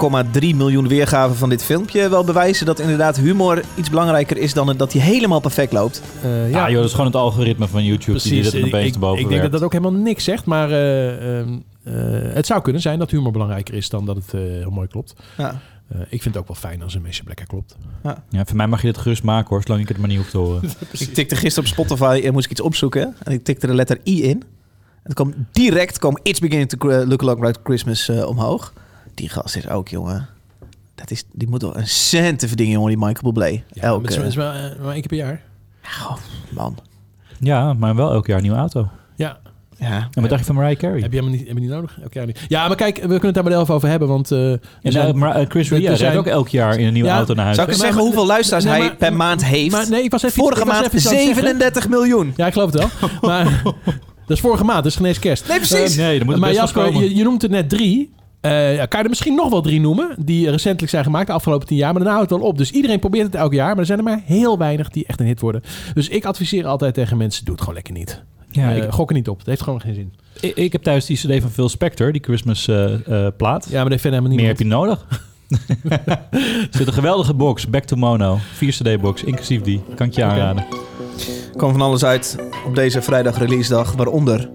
Speaker 1: 2,3 miljoen weergaven van dit filmpje wel bewijzen dat inderdaad humor iets belangrijker is dan het dat hij helemaal perfect loopt.
Speaker 3: Eh,
Speaker 5: Ja, Ah, joh, dat is gewoon het algoritme van YouTube die dit
Speaker 3: Ik,
Speaker 5: opeens te boven
Speaker 3: ik denk dat
Speaker 5: werkt.
Speaker 3: dat ook helemaal niks zegt, maar eh, ehm, eh, het zou kunnen zijn dat humor belangrijker is dan dat het eh, heel mooi klopt.
Speaker 1: Ja.
Speaker 3: Eh, ik vind het ook wel fijn als een mashup lekker klopt.
Speaker 5: Ja, voor mij mag je dit gerust maken hoor, zolang ik het maar niet hoef te horen.
Speaker 1: Ik tikte gisteren op Spotify en moest ik iets opzoeken. En ik tikte de letter I in. En er kwam direct kwam It's Beginning to Cr- Look Like Right Christmas eh, omhoog. Die gast is ook, jongen. Dat is, die moet wel een cent te verdienen, jongen, die Michael Bublé.
Speaker 3: maar
Speaker 1: Elke.
Speaker 3: het is maar, eh, maar één keer per jaar.
Speaker 1: Oh, man.
Speaker 5: Ja, maar wel elk jaar een nieuwe auto.
Speaker 3: Ja,
Speaker 1: Ja.
Speaker 5: En wat dacht je van Mariah Carey?
Speaker 3: heb je helemaal niet, heb je niet nodig? Elk jaar niet. Ja, maar kijk, we kunnen het daar maar even over hebben, want... eh, er
Speaker 5: En
Speaker 3: zijn-
Speaker 5: eh, maar, eh, Chris
Speaker 3: er
Speaker 5: Ria
Speaker 3: zijn-
Speaker 5: rijdt ook elk jaar in een nieuwe
Speaker 3: Ja,
Speaker 5: auto naar huis.
Speaker 1: Zou ik eens
Speaker 3: Maar-
Speaker 1: zeggen
Speaker 3: maar-
Speaker 1: hoeveel luisteraars
Speaker 3: nee,
Speaker 1: hij
Speaker 3: maar-
Speaker 1: per maand heeft?
Speaker 3: Maar nee, ik was even iets-
Speaker 1: Vorige
Speaker 3: ik was
Speaker 1: maand
Speaker 3: even iets aan het zeggen.
Speaker 1: 37 miljoen.
Speaker 3: Ja, ik geloof het wel. Maar dat is vorige maand, dat is geen eens kerst. Eh,
Speaker 1: Nee, precies.
Speaker 5: Nee, dan moet het
Speaker 3: maar
Speaker 5: best
Speaker 3: Jasper,
Speaker 5: wel komen.
Speaker 3: je, je noemt er net drie. Eh, ja, kan je er misschien nog wel drie noemen die recentelijk zijn gemaakt de afgelopen tien jaar. Maar daarna houdt het wel op. Dus iedereen probeert het elk jaar. Maar er zijn er maar heel weinig die echt een hit worden. Dus ik adviseer altijd tegen mensen, doe het gewoon lekker niet.
Speaker 5: Ja,
Speaker 3: Eh,
Speaker 5: ik-
Speaker 3: gok er niet op. Het heeft gewoon geen zin.
Speaker 5: Ik, ik heb thuis die cd van Phil Spector, die Christmas eh, eh, plaat.
Speaker 3: Ja, maar dat vindt helemaal
Speaker 5: Meer
Speaker 3: niet
Speaker 5: heb je nodig. er zit een geweldige box, Back to Mono. 4 cd box, inclusief die. Kan ik je aanraden.
Speaker 1: kwam van alles uit op deze vrijdag releasedag, waaronder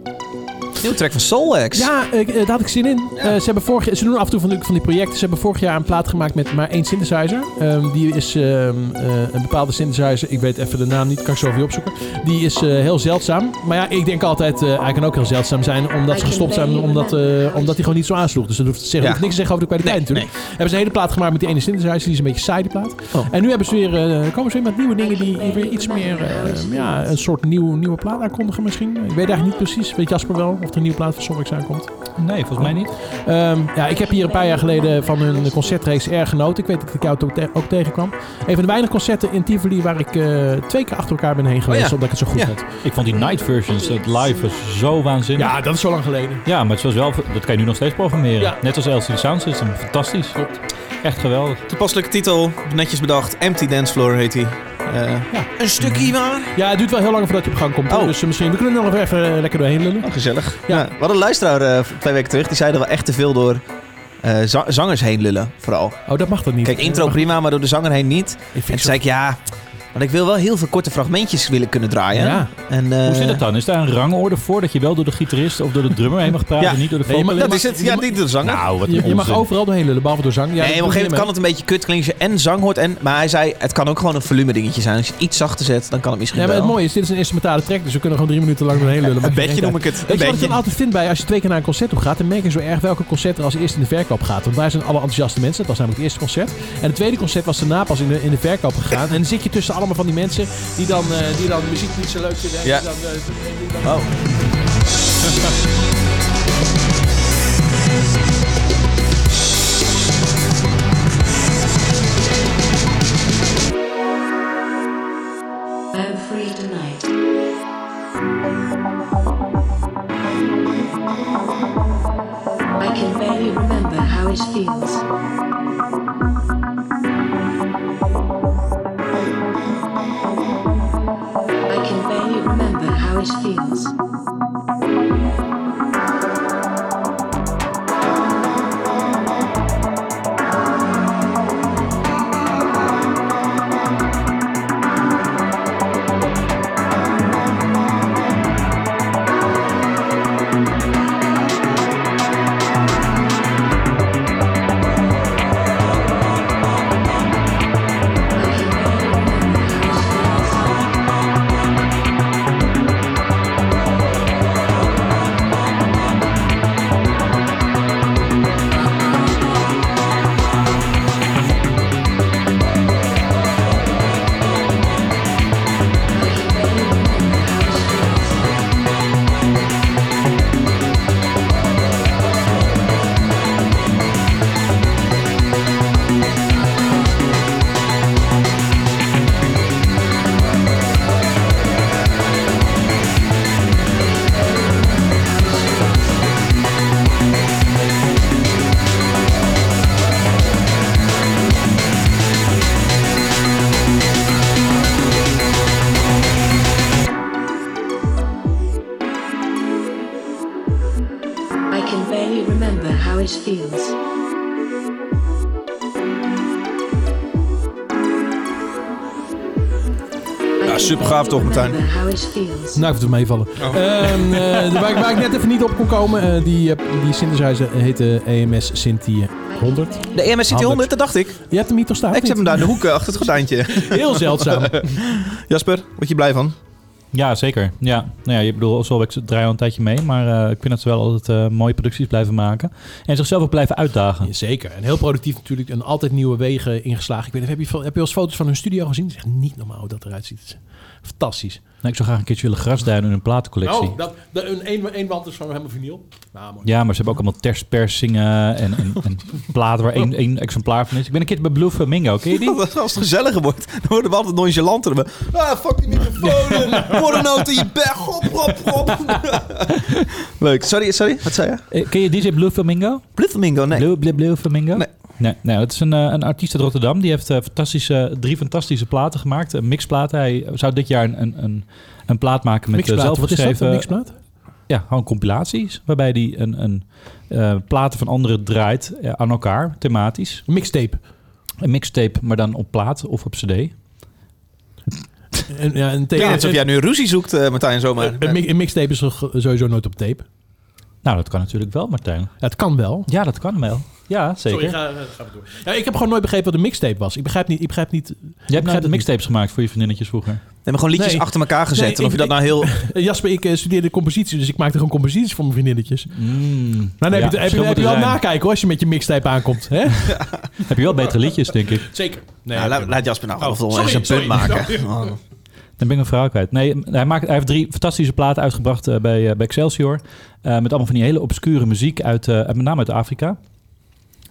Speaker 1: nieuw track van Soulwax.
Speaker 3: Ja, eh, eh, daar had ik zin in. Eh, ze, hebben vorig, ze doen af en toe van die, van die projecten. Ze hebben vorig jaar een plaat gemaakt met maar één synthesizer. Ehm, die is ehm, eh, een bepaalde synthesizer. Ik weet even de naam niet. Kan ik zo even opzoeken. Die is eh, heel zeldzaam. Maar ja, ik denk altijd, eh, hij kan ook heel zeldzaam zijn. Omdat ze gestopt zijn. Omdat, eh, omdat hij gewoon niet zo aansloeg. Dus dat hoeft, te zeggen,
Speaker 1: Ja.
Speaker 3: hoeft niks te zeggen over de kwaliteit
Speaker 1: Nee, Oh.
Speaker 3: natuurlijk. Hebben ze een hele plaat gemaakt met die ene synthesizer. Die is een beetje saai die plaat. En nu hebben ze weer, eh, komen ze weer met nieuwe dingen. Die weer iets meer, eh, ja, een soort nieuw, nieuwe plaat aankondigen misschien. Ik weet eigenlijk niet precies. Weet Jasper wel of er een nieuwe plaat van Sonics aankomt?
Speaker 5: Nee, volgens mij niet.
Speaker 3: Ehm, ja, ik heb hier een paar jaar geleden van hun concertreeks erg genoten. Ik weet dat ik jou ook, te- ook tegenkwam. Een van de weinig concerten in Tivoli waar ik eh, twee keer achter elkaar ben heen geweest,
Speaker 1: Oh ja.
Speaker 3: omdat ik het zo goed
Speaker 1: Ja.
Speaker 3: vond.
Speaker 5: Ik vond die night versions, het live was zo waanzinnig.
Speaker 3: Ja, dat is zo lang geleden.
Speaker 5: Ja, maar het was wel, dat kan je nu nog steeds programmeren.
Speaker 3: Ja.
Speaker 5: Net als LCD Sound System. Fantastisch. Echt geweldig.
Speaker 1: Toepasselijke titel, netjes bedacht. Empty Dance Floor heet Eh, Mhm. hij.
Speaker 3: Ja.
Speaker 1: Een stukje maar.
Speaker 3: Ja, het duurt wel heel lang voordat je op gang komt. hoor.
Speaker 1: Oh.
Speaker 3: Dus eh, misschien, we kunnen er nog even eh, lekker doorheen lullen.
Speaker 1: Oh, gezellig. Ja. we hadden een luisteraar eh, twee weken terug, die zei er wel echt te veel door eh, za- zangers heen lullen, vooral.
Speaker 3: Oh, dat mag dat niet.
Speaker 1: Kijk, intro
Speaker 3: Mag-
Speaker 1: prima, maar door de zanger heen niet.
Speaker 3: Ik
Speaker 1: En
Speaker 3: vind
Speaker 1: toen zei ik, ja, want ik wil wel heel veel korte fragmentjes willen kunnen draaien.
Speaker 3: Ja.
Speaker 1: En, eh,
Speaker 5: Hoe zit het dan? Is daar een rangorde voor dat je wel door de gitarist of door de drummer heen mag praten,
Speaker 1: Ja.
Speaker 5: niet door de
Speaker 3: Nee, je mag-
Speaker 5: vocalist?
Speaker 1: Dat is het, ja, niet door de zanger.
Speaker 5: Nou, wat
Speaker 3: je, je mag
Speaker 5: over.
Speaker 3: overal doorheen lullen, behalve door zang. Ja,
Speaker 1: nee, op een gegeven moment kan het een beetje kut klinken als je en zang hoort. En, maar hij zei, het kan ook gewoon een volume dingetje zijn. Als je het iets zachter zet, dan kan het misschien
Speaker 3: Ja, maar
Speaker 1: wel.
Speaker 3: het mooie is, dit is een instrumentale track, dus we kunnen gewoon drie minuten lang doorheen lullen.
Speaker 1: Een bedje noem ik het. Een
Speaker 3: Weet je wat ik
Speaker 1: bedje.
Speaker 3: dan altijd vind bij als je twee keer naar een concert toe gaat, dan merk je zo erg welke concert er als eerste in de verkoop gaat. Want daar zijn alle enthousiaste mensen. Dat was namelijk het eerste concert. En het tweede concert was daarna pas in de, in de verkoop gegaan. En dan zit je tussen allemaal van die mensen die dan, eh, die dan de muziek niet zo leuk vinden. en
Speaker 1: Ja.
Speaker 3: Die dan, eh, die dan-
Speaker 1: Oh.
Speaker 9: I'm free tonight. I can barely remember how it feels. I can barely remember how it feels. I can barely remember how it feels. I
Speaker 1: Ja, super gaaf toch, Martijn?
Speaker 9: How it feels.
Speaker 3: Nou, ik het meevallen.
Speaker 1: Oh.
Speaker 3: Ehm, eh, waar, ik- waar ik net even niet op kon komen, eh, die, eh, die synthesizer heet eh, EMS Synthi 100.
Speaker 1: De E EMS City 100, dat dacht ik.
Speaker 3: Je hebt hem hier toch staan?
Speaker 1: Ik zet hem daar in de hoek eh, achter het gordijntje.
Speaker 3: Heel zeldzaam.
Speaker 1: Jasper, word je blij van?
Speaker 5: Ja, zeker. Ja. Nou ja, je bedoelt, Solveig draait al een tijdje mee. Maar eh, ik vind dat ze wel altijd eh, mooie producties blijven maken. En zichzelf ook blijven uitdagen.
Speaker 3: Ja, zeker. En heel productief natuurlijk. En altijd nieuwe wegen ingeslagen. Ik weet, niet, heb, je, veel- heb je wel eens foto's van hun studio gezien? Het is echt niet normaal hoe dat eruit ziet. Het is Fantastisch.
Speaker 5: Nou, ik zou graag een keertje willen grasduinen in een platencollectie.
Speaker 3: Oh, dat, een, een, wand is van helemaal vinyl. Nou, mooi.
Speaker 5: Ja, maar ze hebben ook allemaal terspersingen en, en, en platen waar één, één exemplaar van is. Ik ben een keer bij Blue Flamingo, ken je die?
Speaker 1: Als het gezelliger wordt, dan worden we altijd nonchalanter. We- Ah, fuck die microfoon. Voor een noot in je bek. Hop, hop, hop. Leuk. Sorry, sorry. Wat zei je?
Speaker 5: Eh, Ken je DJ Blue Flamingo?
Speaker 1: Blue Flamingo, nee.
Speaker 5: Blue, Blue, Blue Flamingo?
Speaker 1: Nee.
Speaker 5: Nee, nee, dat is een, eh, een artiest uit Rotterdam. Die heeft eh, fantastische, drie fantastische platen gemaakt. Een mixplaten. Hij zou dit jaar een, een, een, een plaat maken met eh,
Speaker 3: Mixplaat, wat is dat? Een
Speaker 5: zelfgeschreven...
Speaker 3: mixplaat?
Speaker 5: ja, gewoon compilaties. Waarbij hij een, een eh, platen van anderen draait eh, aan elkaar, thematisch.
Speaker 3: Een mixtape.
Speaker 5: Een mixtape, maar dan op plaat of op cd.
Speaker 3: En, ja, een, tape-
Speaker 1: Klinkt alsof jij nu ruzie zoekt, eh, Martijn, zomaar.
Speaker 3: een, mi- een mixtape is toch sowieso nooit op tape.
Speaker 5: Nou, dat kan natuurlijk wel, Martijn.
Speaker 3: Ja, het kan wel.
Speaker 5: Ja, dat kan wel. Ja, zeker.
Speaker 3: Ja, ik heb gewoon nooit begrepen wat een mixtape was. Ik begrijp niet. Ik begrijp niet
Speaker 5: Jij hebt
Speaker 3: begrijp
Speaker 5: nou
Speaker 3: het
Speaker 5: mixtapes gemaakt voor je vriendinnetjes vroeger.
Speaker 1: Nee, maar gewoon liedjes
Speaker 3: Nee.
Speaker 1: achter elkaar gezet.
Speaker 3: Nee,
Speaker 1: en of je
Speaker 3: ik-
Speaker 1: dat nou heel...
Speaker 3: Eh, Jasper, ik eh, studeerde compositie, dus ik maakte gewoon composities voor mijn vriendinnetjes. Maar dan heb je,
Speaker 5: Mm. Ja,
Speaker 3: heb je,
Speaker 5: verschil
Speaker 3: heb je
Speaker 5: moet
Speaker 3: wel
Speaker 5: er zijn.
Speaker 3: nakijken hoor, als je met je mixtape aankomt. Hè?
Speaker 5: Heb je wel betere liedjes, denk ik.
Speaker 3: Zeker. Nee, Oh,
Speaker 1: Nou, laat, laat Jasper nou gewoon
Speaker 3: sorry,
Speaker 1: eens een punt
Speaker 3: sorry.
Speaker 1: maken. Oh.
Speaker 5: Dan ben ik mijn verhaal kwijt. Nee, hij, maakt, hij heeft drie fantastische platen uitgebracht eh, bij, eh, bij Excelsior. Eh, met allemaal van die hele obscure muziek, uit, eh, uit- met name uit Afrika.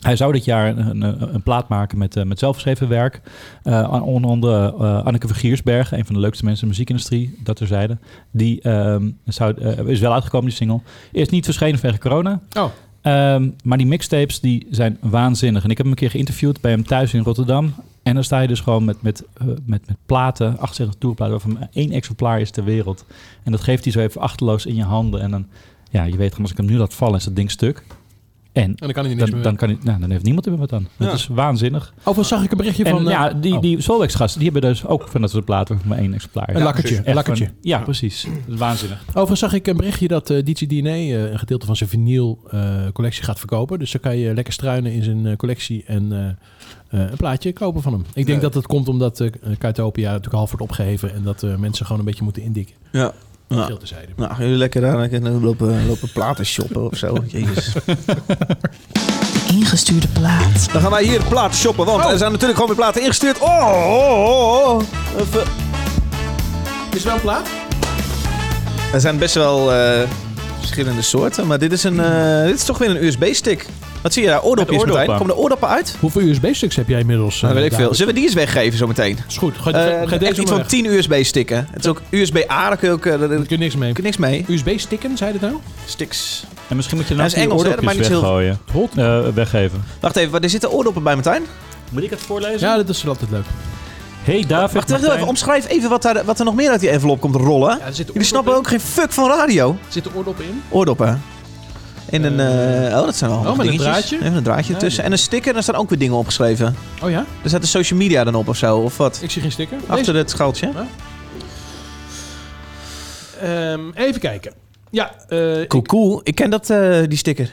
Speaker 5: Hij zou dit jaar een, een, een plaat maken met, eh, met zelfgeschreven werk. Eh, aan- onder andere eh, Anneke Vergiersberg, een van de leukste mensen in de muziekindustrie, dat terzijde. Die ehm, zou, eh, is wel uitgekomen, die single. Is niet verschenen vanwege corona.
Speaker 3: Oh.
Speaker 5: Ehm, maar die mixtapes die zijn waanzinnig. En ik heb hem een keer geïnterviewd bij hem thuis in Rotterdam. En dan sta je dus gewoon met, met, eh, met, met platen, 78 toerplaten, waarvan maar één exemplaar is ter wereld. En dat geeft hij zo even achterloos in je handen. En dan, ja, je weet gewoon, als ik hem nu laat vallen, is dat ding stuk. En
Speaker 3: En dan kan hij niks
Speaker 5: dan,
Speaker 3: meer.
Speaker 5: dan, kan hij, nou, dan heeft niemand er wat aan. Dat
Speaker 1: Ja.
Speaker 5: is waanzinnig.
Speaker 3: Overigens zag ik een berichtje
Speaker 5: En
Speaker 3: van eh,
Speaker 5: ja, die,
Speaker 3: oh,
Speaker 5: die Solwex-gasten, die hebben dus ook van dat soort platen waarvan maar één exemplaar.
Speaker 3: een lakkertje. Een lakkertje.
Speaker 5: Ja, precies. Dat is waanzinnig.
Speaker 3: Overigens zag ik een berichtje dat eh DJ DNA eh, een gedeelte van zijn vinyl eh, collectie gaat verkopen. Dus dan kan je lekker struinen in zijn eh, collectie en eh, eh, een plaatje kopen van hem. Ik denk dat dat komt omdat eh Kaitopia natuurlijk half wordt opgeheven en dat eh, mensen gewoon een beetje moeten indikken.
Speaker 1: Ja.
Speaker 3: Ja.
Speaker 1: Nou,
Speaker 3: Veel te
Speaker 1: nou, gaan jullie lekker aan lekker lopen, lopen platen shoppen of zo. Jezus.
Speaker 4: Ingestuurde plaat.
Speaker 1: Dan gaan wij hier platen shoppen, want
Speaker 3: Oh.
Speaker 1: er zijn natuurlijk gewoon weer platen ingestuurd. Oh, oh, oh. Even.
Speaker 3: Is wel een plaat?
Speaker 1: Er zijn best wel eh, verschillende soorten, maar dit is, een, eh, dit is toch weer een USB-stick. Wat zie je daar? Oordopjes,
Speaker 5: Met
Speaker 1: Martijn.
Speaker 5: oordoppen.
Speaker 1: Komen er oordoppen uit?
Speaker 3: Hoeveel USB-stuks heb jij inmiddels? eh,
Speaker 1: Dat Nou, weet ik
Speaker 3: David?
Speaker 1: veel. Zullen we die eens weggeven zometeen?
Speaker 3: Is goed. Ga,
Speaker 1: Eh
Speaker 3: ga- ga
Speaker 1: echt
Speaker 3: deze
Speaker 1: iets
Speaker 3: maar
Speaker 1: van
Speaker 3: weg.
Speaker 1: 10 USB-sticken. Het is ook USB-A, daar kun je ook eh, daar- daar
Speaker 3: Daar
Speaker 1: kun
Speaker 3: kun je niks mee.
Speaker 1: je niks mee.
Speaker 3: USB-stikken, zei je dat nou?
Speaker 1: Sticks.
Speaker 5: En misschien moet je
Speaker 1: Hij
Speaker 5: nou
Speaker 1: is
Speaker 5: die
Speaker 1: Engels, hè? Dat maakt
Speaker 5: oordopjes
Speaker 1: niet heel-
Speaker 5: weggooien.
Speaker 3: Hot.
Speaker 5: Eh, weggeven.
Speaker 1: Wacht even, wat- er zitten oordoppen bij, Martijn.
Speaker 5: Moet ik het voorlezen?
Speaker 3: Ja, dat is wel altijd leuk.
Speaker 5: Hey David,
Speaker 1: Wacht wacht even,
Speaker 5: Martijn.
Speaker 1: omschrijf even wat, daar, wat er nog meer uit die envelop komt rollen.
Speaker 3: Ja, er zitten
Speaker 1: Jullie snappen ook geen fuck van radio.
Speaker 3: Zitten oordoppen in?
Speaker 1: Oordoppen. En een,
Speaker 3: Eh,
Speaker 1: eh, oh, dat zijn wel
Speaker 3: oh,
Speaker 1: handige
Speaker 3: met een
Speaker 1: dingetjes.
Speaker 3: draadje?
Speaker 1: Even een draadje
Speaker 3: Ja,
Speaker 1: tussen.
Speaker 3: ja.
Speaker 1: En een sticker, daar staan ook weer dingen opgeschreven.
Speaker 3: Oh ja?
Speaker 1: Er staat de social media dan op of zo, of wat?
Speaker 3: Ik zie geen sticker.
Speaker 1: Achter het schaaltje.
Speaker 3: Deze- ehm, even kijken. Ja, eh, ik-
Speaker 1: Cool, Ik ken dat, eh, die sticker.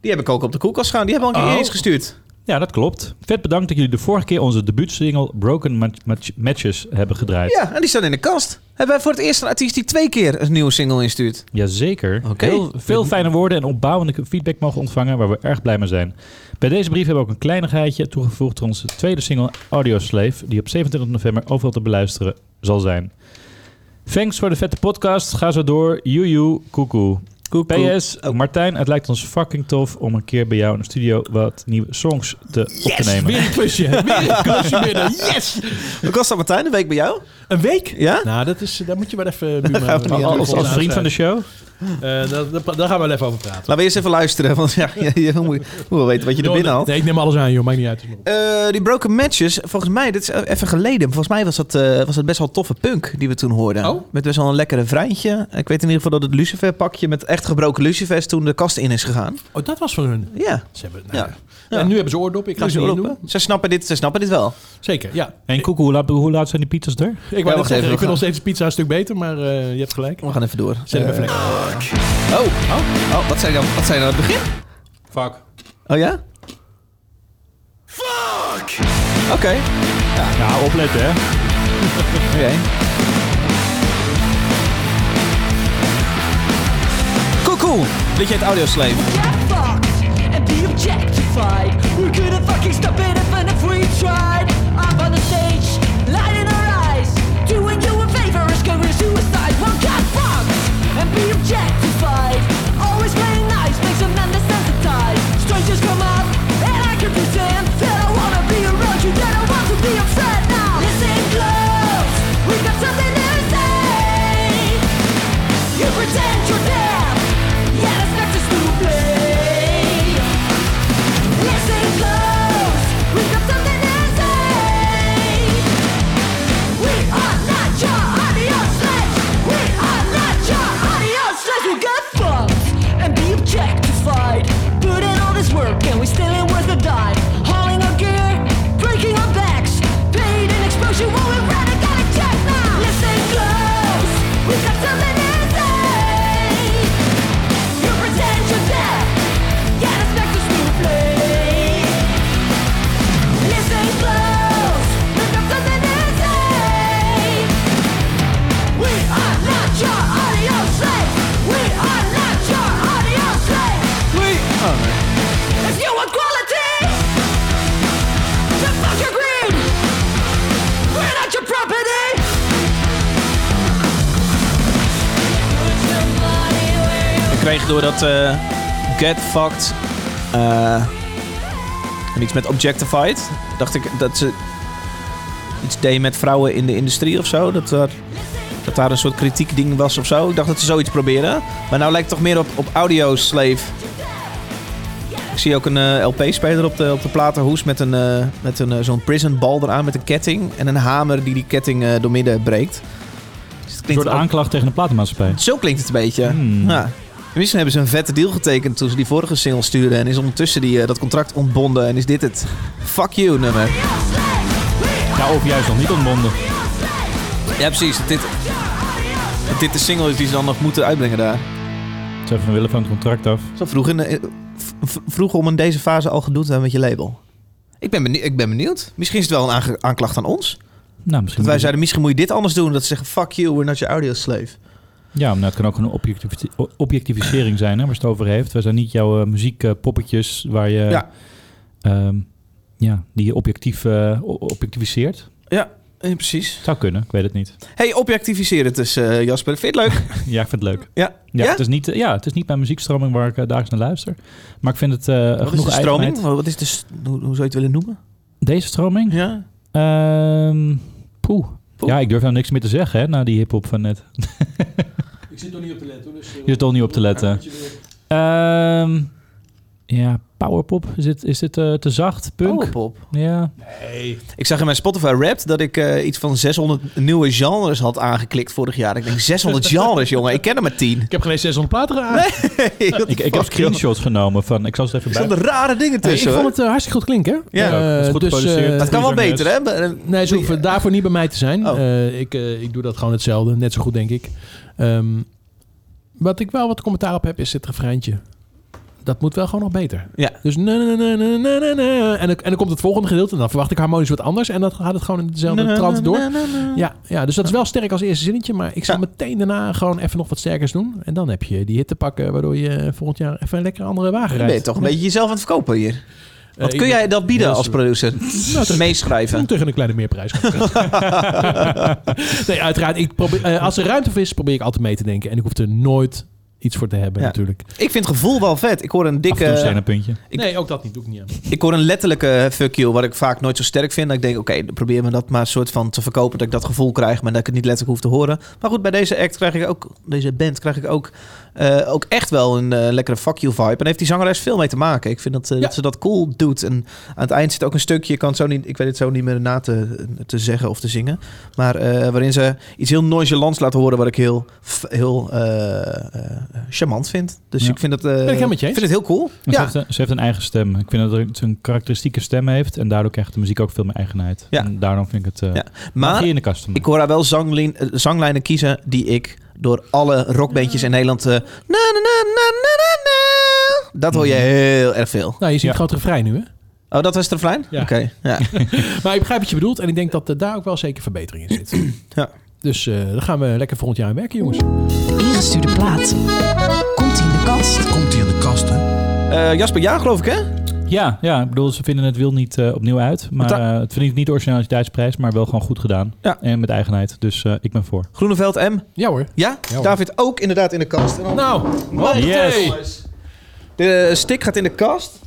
Speaker 1: Die heb ik ook op de koelkast gaan. Die hebben we al een keer
Speaker 3: Oh.
Speaker 1: eens gestuurd.
Speaker 5: Ja, dat klopt. Vet bedankt dat jullie de vorige keer onze debuutsingle Broken Match- Match- Matches hebben gedraaid.
Speaker 1: Ja, en die staan in de kast. Hebben wij voor het eerst een artiest die twee keer een nieuwe single instuurt.
Speaker 5: Jazeker.
Speaker 1: Oké.
Speaker 5: Heel veel fijne woorden en opbouwende feedback mogen ontvangen waar we erg blij mee zijn. Bij deze brief hebben we ook een kleinigheidje toegevoegd tot onze tweede single Audio Slave, die op 27 november overal te beluisteren zal zijn. Thanks voor de vette podcast. Ga zo door. Joejoe, koekoe. PS,
Speaker 1: Oh.
Speaker 5: Martijn, het lijkt ons fucking tof om een keer bij jou in de studio wat nieuwe songs te op te nemen.
Speaker 3: weer een klusje. Weer een klusje binnen. Yes!
Speaker 1: Hoe was dat, Martijn? Een week bij jou?
Speaker 3: Een week?
Speaker 1: Ja?
Speaker 3: Nou, dat is, eh, daar moet je wel even...
Speaker 1: Gaan we niet
Speaker 5: Als, als vriend van de show?
Speaker 3: Eh, daar, daar- daar gaan we wel even over praten.
Speaker 1: Laten we eerst even luisteren, want ja, je, je moet, moet wel weten wat je er
Speaker 3: Joh,
Speaker 1: binnen haalt.
Speaker 3: Nee, ik neem alles aan, joh. Maakt niet uit.
Speaker 1: Eh, die Broken Matches, volgens mij, dit is even geleden. Volgens mij was dat, eh, was dat best wel toffe punk die we toen hoorden.
Speaker 3: Oh.
Speaker 1: Met best wel een lekkere vrijntje. Ik weet in ieder geval dat het Lucifer pakje met echt gebroken lucifers toen de kast in is gegaan.
Speaker 3: Oh, dat was van hun.
Speaker 1: Ja.
Speaker 3: Ze hebben, nou
Speaker 1: Ja.
Speaker 3: En nu hebben ze oordoppen. Ik ga
Speaker 1: Nu
Speaker 3: ze
Speaker 1: ze
Speaker 3: niet
Speaker 1: open.
Speaker 3: doen.
Speaker 1: Ze snappen dit, ze snappen dit wel.
Speaker 3: Zeker, ja.
Speaker 5: En Koekoe, hoe laat, hoe laat zijn die pizzas er?
Speaker 3: Ik wou
Speaker 1: wacht
Speaker 3: net
Speaker 1: even,
Speaker 3: zeggen,
Speaker 1: we
Speaker 3: ik vind
Speaker 1: gaan-
Speaker 3: nog steeds pizza een stuk beter, maar eh, je hebt gelijk.
Speaker 1: We gaan even door. Eh,
Speaker 3: Zet hem even lekker.
Speaker 1: Oh, oh, oh, wat zei je dan? Wat zei je dan aan het begin?
Speaker 3: Fuck.
Speaker 1: Oh ja? Fuck! Oké.
Speaker 5: Nou, opletten hè.
Speaker 1: Oké. Koekoe! Dit je het audioslave.
Speaker 7: and be objectified. We couldn't fucking stop it even if we tried. Up on the stage, light in our eyes, doing you a favor is going to suicide. Well, get fucked and be objectified. Always playing nice makes a man desensitized. Strangers come up and I can pretend that I wanna be around you, that I want to be upset now. Listen close, we got something to say. You pretend you're deaf, yet it's not just to play. Listen close, we got something to say. We are not your audio slaves. We are not your audio slaves. We'll get fucked and be objectified. Put in all this work and we still ain't worth a dime. Hauling our gear, breaking our backs, paid in exposure. Well, we rather got a check now. Listen close, we got something to say. You pretend you're deaf, yet it's back to school play. Listen close, look up to the day. We are not your audio slaves. We are not your audio slaves. We
Speaker 1: Oh,
Speaker 7: are. It's new equality. To fuck your green. We're not your property.
Speaker 1: Ik kreeg door dat eh, Get Fucked eh, en iets met Objectified. Dacht ik dat ze iets deed met vrouwen in de industrie of zo. Dat daar, dat daar een soort kritiek ding was of zo. Ik dacht dat ze zoiets proberen. Maar nou lijkt het toch meer op, op Audio Slave. Ik zie ook een eh, LP-speler op de, op de platenhoes met, een, eh, met een, eh, zo'n prison bal eraan met een ketting. En een hamer die die ketting eh, doormidden breekt. Dus het
Speaker 5: Door de
Speaker 1: ook-
Speaker 5: aanklacht tegen de platenmaatschappij.
Speaker 1: zo klinkt het een beetje.
Speaker 5: Hmm.
Speaker 1: Ja. En Misschien hebben ze een vette deal getekend toen ze die vorige single stuurden. En is ondertussen die, eh, dat contract ontbonden. En is dit het fuck you nummer.
Speaker 5: Nou, of juist nog niet ontbonden.
Speaker 1: Ja, precies. Dat dit, dat dit de single is die ze dan nog moeten uitbrengen daar.
Speaker 5: Ze even willen van het contract af.
Speaker 1: Zo vroeg, in, de- eh, v- v- vroeg om in deze fase al gedoe te hebben met je label. Ik ben, benieu- ik ben benieuwd. Misschien is het wel een aange- aanklacht aan ons.
Speaker 5: Nou, misschien.
Speaker 1: Dat wij zeiden, misschien moet je dit anders doen. Dat ze zeggen, fuck you, we're not your audio slave.
Speaker 5: Ja, maar het kan ook een objectivis- objectivisering zijn, hè, waar ze het over heeft. Wij zijn niet jouw eh, muziekpoppetjes waar je,
Speaker 1: Ja.
Speaker 5: ehm, ja, die je objectief eh, o- objectiviseert.
Speaker 1: Ja, precies.
Speaker 5: Zou kunnen, ik weet het niet.
Speaker 1: Hey, objectiviseer het dus, eh, Jasper. Vind je het leuk?
Speaker 5: Ja, ik vind het leuk.
Speaker 1: Ja.
Speaker 5: Ja,
Speaker 1: Ja?
Speaker 5: Het is niet, eh, ja, het is niet mijn muziekstroming waar ik eh, dagelijks naar luister. Maar ik vind het eh
Speaker 1: Wat is
Speaker 5: genoeg
Speaker 1: de stroming?
Speaker 5: eigenheid.
Speaker 1: Wat is de, s- hoe, hoe zou je het willen noemen?
Speaker 5: Deze stroming?
Speaker 1: Ja.
Speaker 5: Ehm, poeh.
Speaker 1: Poeh.
Speaker 5: Ja, ik durf nou niks meer te zeggen, hè, na die hip-hop van net.
Speaker 3: Ik zit nog niet op te letten. Dus,
Speaker 5: Je zit toch niet op te letten. Ehm, ja, powerpop. Is dit, is dit eh, te zacht? Punk?
Speaker 1: Powerpop.
Speaker 5: Ja.
Speaker 1: Oh, Ik zag in mijn Spotify Wrapped dat ik eh, iets van 600 nieuwe genres had aangeklikt vorig jaar. Ik denk 600 genres, jongen. Ik ken er maar 10.
Speaker 3: Ik heb geen 600 platen aan. Nee,
Speaker 5: Ik, ik heb screenshots genomen van... Ik zal ze even
Speaker 1: Er
Speaker 5: bij...
Speaker 1: stonden rare dingen
Speaker 3: ik
Speaker 1: tussen.
Speaker 3: vond
Speaker 1: hoor.
Speaker 3: het eh, hartstikke goed klinken.
Speaker 1: Ja,
Speaker 3: Eh,
Speaker 5: dat is goed
Speaker 3: dus, eh,
Speaker 5: geproduceerd.
Speaker 1: Het kan wel beter, hè? eh,
Speaker 3: Nee, ze hoeven daarvoor niet bij mij te zijn.
Speaker 1: Oh.
Speaker 3: Eh, ik, eh, ik doe dat gewoon hetzelfde. Net zo goed, denk ik. Ehm, wat ik wel wat commentaar op heb, is dit refreintje. Dat moet wel gewoon nog beter.
Speaker 1: Ja.
Speaker 3: Dus na na na na na na na. En, dan- en dan komt het volgende gedeelte. En dan verwacht ik harmonisch wat anders. En dan gaat het gewoon in dezelfde trant door. Ja, ja, dus dat is wel sterk als eerste zinnetje. Maar ik zal
Speaker 1: Ja.
Speaker 3: meteen daarna gewoon even nog wat sterkers doen. En dan heb je die hit te pakken. Waardoor je eh, volgend jaar even een lekkere andere wagen
Speaker 1: Dan ben je
Speaker 3: rijdt. Eh,
Speaker 1: toch een beetje jezelf aan het verkopen hier.
Speaker 5: Eh,
Speaker 1: Wat
Speaker 3: ik
Speaker 1: kun
Speaker 3: ben-
Speaker 1: jij dat bieden
Speaker 3: heel
Speaker 1: als
Speaker 3: sorry.
Speaker 1: producer?
Speaker 5: Nou,
Speaker 1: Meeschrijven.
Speaker 3: Tegen een kleine meerprijs. nee, uiteraard. Ik probeer, eh, als er ruimte voor is, probeer ik altijd mee te denken. En ik hoef er nooit iets voor te hebben,
Speaker 1: Ja.
Speaker 3: natuurlijk.
Speaker 1: Ik vind het gevoel wel vet. Ik eh, hoor een
Speaker 5: Af en toe zijn
Speaker 1: dikke...
Speaker 5: een puntje.
Speaker 1: Ik-
Speaker 3: nee, ook dat niet. Doe ik niet aan.
Speaker 1: Ik hoor een letterlijke eh, fuck you, wat ik vaak nooit zo sterk vind. Dat ik denk, oké, dan probeer me dat maar een soort van te verkopen. Dat ik dat gevoel krijg, maar dat ik het niet letterlijk hoef te horen. Maar goed, bij deze act krijg ik ook, deze band krijg ik ook eh, ook echt wel een eh, lekkere fuck you vibe. En heeft die zangeres veel mee te maken. Ik vind dat, eh, dat ze dat cool doet. En aan het eind zit ook een stukje, ik, kan het zo niet, ik weet het zo niet meer na te, te zeggen of te zingen. Maar eh, waarin ze iets heel nonchalants laat horen wat ik heel, f- heel eh, eh, charmant vind. Dus
Speaker 5: Ja.
Speaker 1: ik vind dat... eh,
Speaker 5: Ben ik helemaal met je eens.
Speaker 1: vind het heel cool. ja.
Speaker 5: En Ze, heeft een, ze heeft een eigen stem. Ik vind dat ze een karakteristieke stem heeft. En daardoor krijgt de muziek ook veel meer eigenheid.
Speaker 1: Ja.
Speaker 5: En daarom vind ik het eh
Speaker 1: Ja.
Speaker 5: magie
Speaker 1: Maar
Speaker 5: in de customer.
Speaker 1: ik hoor haar wel zanglin- eh, zanglijnen kiezen die ik door alle rockbandjes in Nederland... eh, na, na, na, na, na, na, na. Dat
Speaker 5: Mhm.
Speaker 1: hoor je heel erg veel.
Speaker 3: Nou, je ziet gewoon het refrein nu, hè?
Speaker 1: Oh, dat was het refrein?
Speaker 3: Ja.
Speaker 1: Oké, ja.
Speaker 3: Maar ik begrijp wat je bedoelt. En ik denk dat eh, daar ook wel zeker verbetering in zit.
Speaker 1: Ja.
Speaker 3: Dus eh daar gaan we lekker volgend jaar aan werken, jongens.
Speaker 11: Ingestuurde plaat. Komt in de kast.
Speaker 8: Komt hij in de kast, hè?
Speaker 1: Eh, Jasper, ja geloof ik hè?
Speaker 5: Ja, ja, ik bedoel, ze vinden het wiel niet eh, opnieuw uit. Maar eh, het verdient niet de originaliteitsprijs, maar wel gewoon goed gedaan.
Speaker 1: Ja.
Speaker 5: En met eigenheid. Dus eh, ik ben voor.
Speaker 1: Groeneveld M.
Speaker 3: Ja hoor.
Speaker 1: Ja?
Speaker 3: hoor.
Speaker 1: David ook inderdaad in de kast. En dan-
Speaker 3: Nou,
Speaker 1: Wacht,
Speaker 5: Oh, Yes.
Speaker 1: hey. De stick gaat in de kast.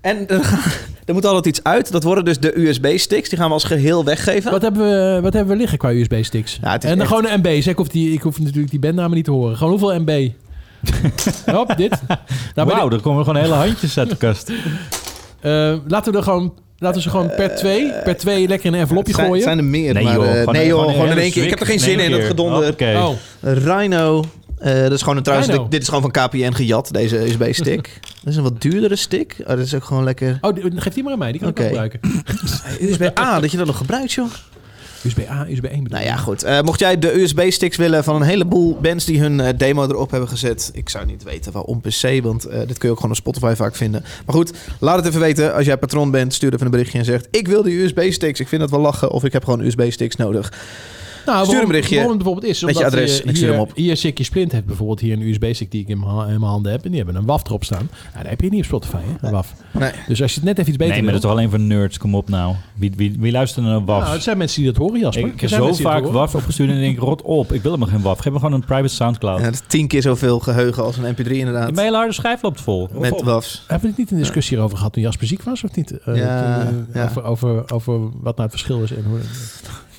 Speaker 1: En er, er moet altijd iets uit. Dat worden dus de USB-sticks. Die gaan we als geheel weggeven.
Speaker 3: wat hebben we, wat hebben we liggen qua USB-sticks?
Speaker 1: Ja, het is
Speaker 3: en dan
Speaker 1: echt-
Speaker 3: gewoon een MB. Zeg, ik, hoef die, ik hoef natuurlijk die bandnamen niet te horen. Gewoon hoeveel MB? Hop, dit. Nou, bij
Speaker 5: Wauw,
Speaker 3: dit-
Speaker 5: er komen gewoon hele handjes uit de kast.
Speaker 3: eh, laten we er gewoon... Laten we ze gewoon per twee, per twee lekker in een envelopje
Speaker 1: Het zijn,
Speaker 3: gooien.
Speaker 1: het zijn er meer.
Speaker 5: Nee,
Speaker 1: maar,
Speaker 5: joh,
Speaker 1: eh,
Speaker 5: gewoon-
Speaker 1: nee, joh,
Speaker 5: gewoon
Speaker 1: gewoon, in
Speaker 5: een hele
Speaker 1: één keer. Ik heb er geen
Speaker 5: zwik
Speaker 1: zin
Speaker 5: in
Speaker 1: in,
Speaker 5: één
Speaker 1: dat
Speaker 5: keer.
Speaker 1: gedonder.
Speaker 5: Hoppakee.
Speaker 3: Oh,
Speaker 1: Rhino. Eh, dat is gewoon een, trouwens,
Speaker 3: Rhino.
Speaker 1: Dit, dit is gewoon van KPN gejat, deze USB-stick. dat is een wat duurdere stick. Oh, dat is ook gewoon lekker...
Speaker 3: oh die- geef die maar aan mij. Die kan
Speaker 1: Oké.
Speaker 3: ik ook gebruiken.
Speaker 1: USB-A, Ah, dat je dat nog gebruikt, joh.
Speaker 3: USB-A, USB-1 bedoel
Speaker 1: Nou
Speaker 3: ik.
Speaker 1: ja, goed. Eh, mocht jij de USB-sticks willen van een heleboel bands die hun eh, demo erop hebben gezet. Ik zou niet weten waarom per se, want eh, dit kun je ook gewoon op Spotify vaak vinden. Maar goed, laat het even weten. Als jij patroon bent, stuur even een berichtje en zegt... Ik wil die USB-sticks, ik vind dat wel lachen. Of ik heb gewoon USB-sticks nodig.
Speaker 3: Nou,
Speaker 1: Stuur een berichtje
Speaker 3: Waarom het bijvoorbeeld is.
Speaker 1: met je
Speaker 3: omdat
Speaker 1: adres
Speaker 3: je
Speaker 1: en ik stuur
Speaker 3: hier,
Speaker 1: hem op.
Speaker 3: Hier Sikje Splint heeft bijvoorbeeld hier een USB-stick die ik in mijn ha- in mijn handen heb. En die hebben een WAF erop staan. Nou, daar heb je niet op Spotify, hè? Een WAF.
Speaker 1: Nee.
Speaker 3: Dus als je het net even iets beter
Speaker 5: nee, maar
Speaker 3: wilt-
Speaker 5: dat is toch alleen voor nerds? Kom op nou. Wie, wie, wie luistert naar een WAF?
Speaker 3: Nou, het zijn mensen die dat horen, Jasper.
Speaker 5: ik
Speaker 3: Er
Speaker 5: heb
Speaker 3: zijn
Speaker 5: zo
Speaker 3: mensen die dat
Speaker 5: vaak
Speaker 3: horen.
Speaker 5: WAF opgestuurd en denk ik, rot op. Ik wil helemaal geen WAF. Geef me gewoon een private Soundcloud.
Speaker 1: Ja, dat is tien keer zoveel geheugen als een MP3
Speaker 5: De
Speaker 1: inderdaad.
Speaker 5: mailharde schijf loopt vol. Rot
Speaker 1: Met
Speaker 5: op.
Speaker 1: WAFs.
Speaker 3: Hebben we het niet een discussie hierover gehad toen Jasper ziek was, of niet? Eh,
Speaker 1: Ja,
Speaker 3: toen, eh,
Speaker 1: ja.
Speaker 3: Over, over, over wat nou het verschil is en hoe...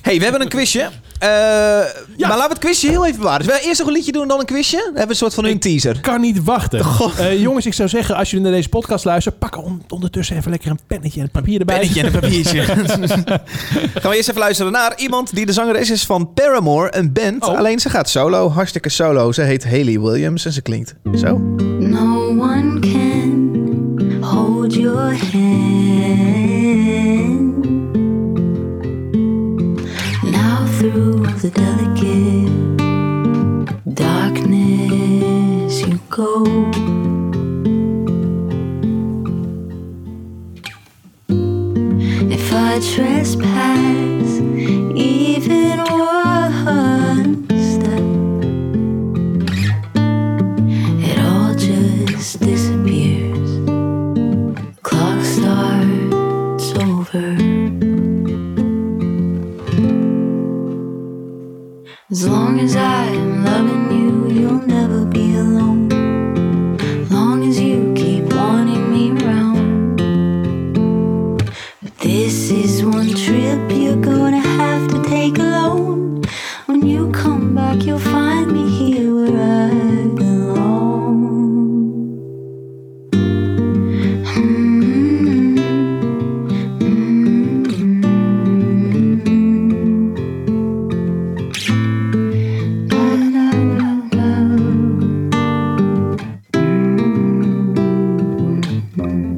Speaker 1: hey, we hebben een quizje. Eh, Maar laten we het quizje heel even bewaren. Zullen we eerst nog een liedje doen en dan een quizje? Dan hebben we een soort van een teaser.
Speaker 3: Kan niet wachten. Eh, jongens, ik zou zeggen, als jullie naar deze podcast luisteren, pak on- ondertussen even lekker een pennetje en een papier erbij.
Speaker 1: Pennetje en een papiertje. Gaan we eerst even luisteren naar iemand die de zangeres is van Paramore, een band.
Speaker 3: Oh.
Speaker 1: Alleen ze gaat solo, hartstikke solo. Ze heet Haley Williams en ze klinkt zo.
Speaker 9: No one can hold your hand. Now through the delicate darkness you go. If I trespass even one step. It all just disappears. Clock starts over. As long as I am loving you, you'll never be alone. Long as you keep wanting me around. But this is one trip you're gonna have to take alone. When you come back, you'll find me here where I belong. Mm, mm, mm. La, la, la, la. Mm, mm, mm.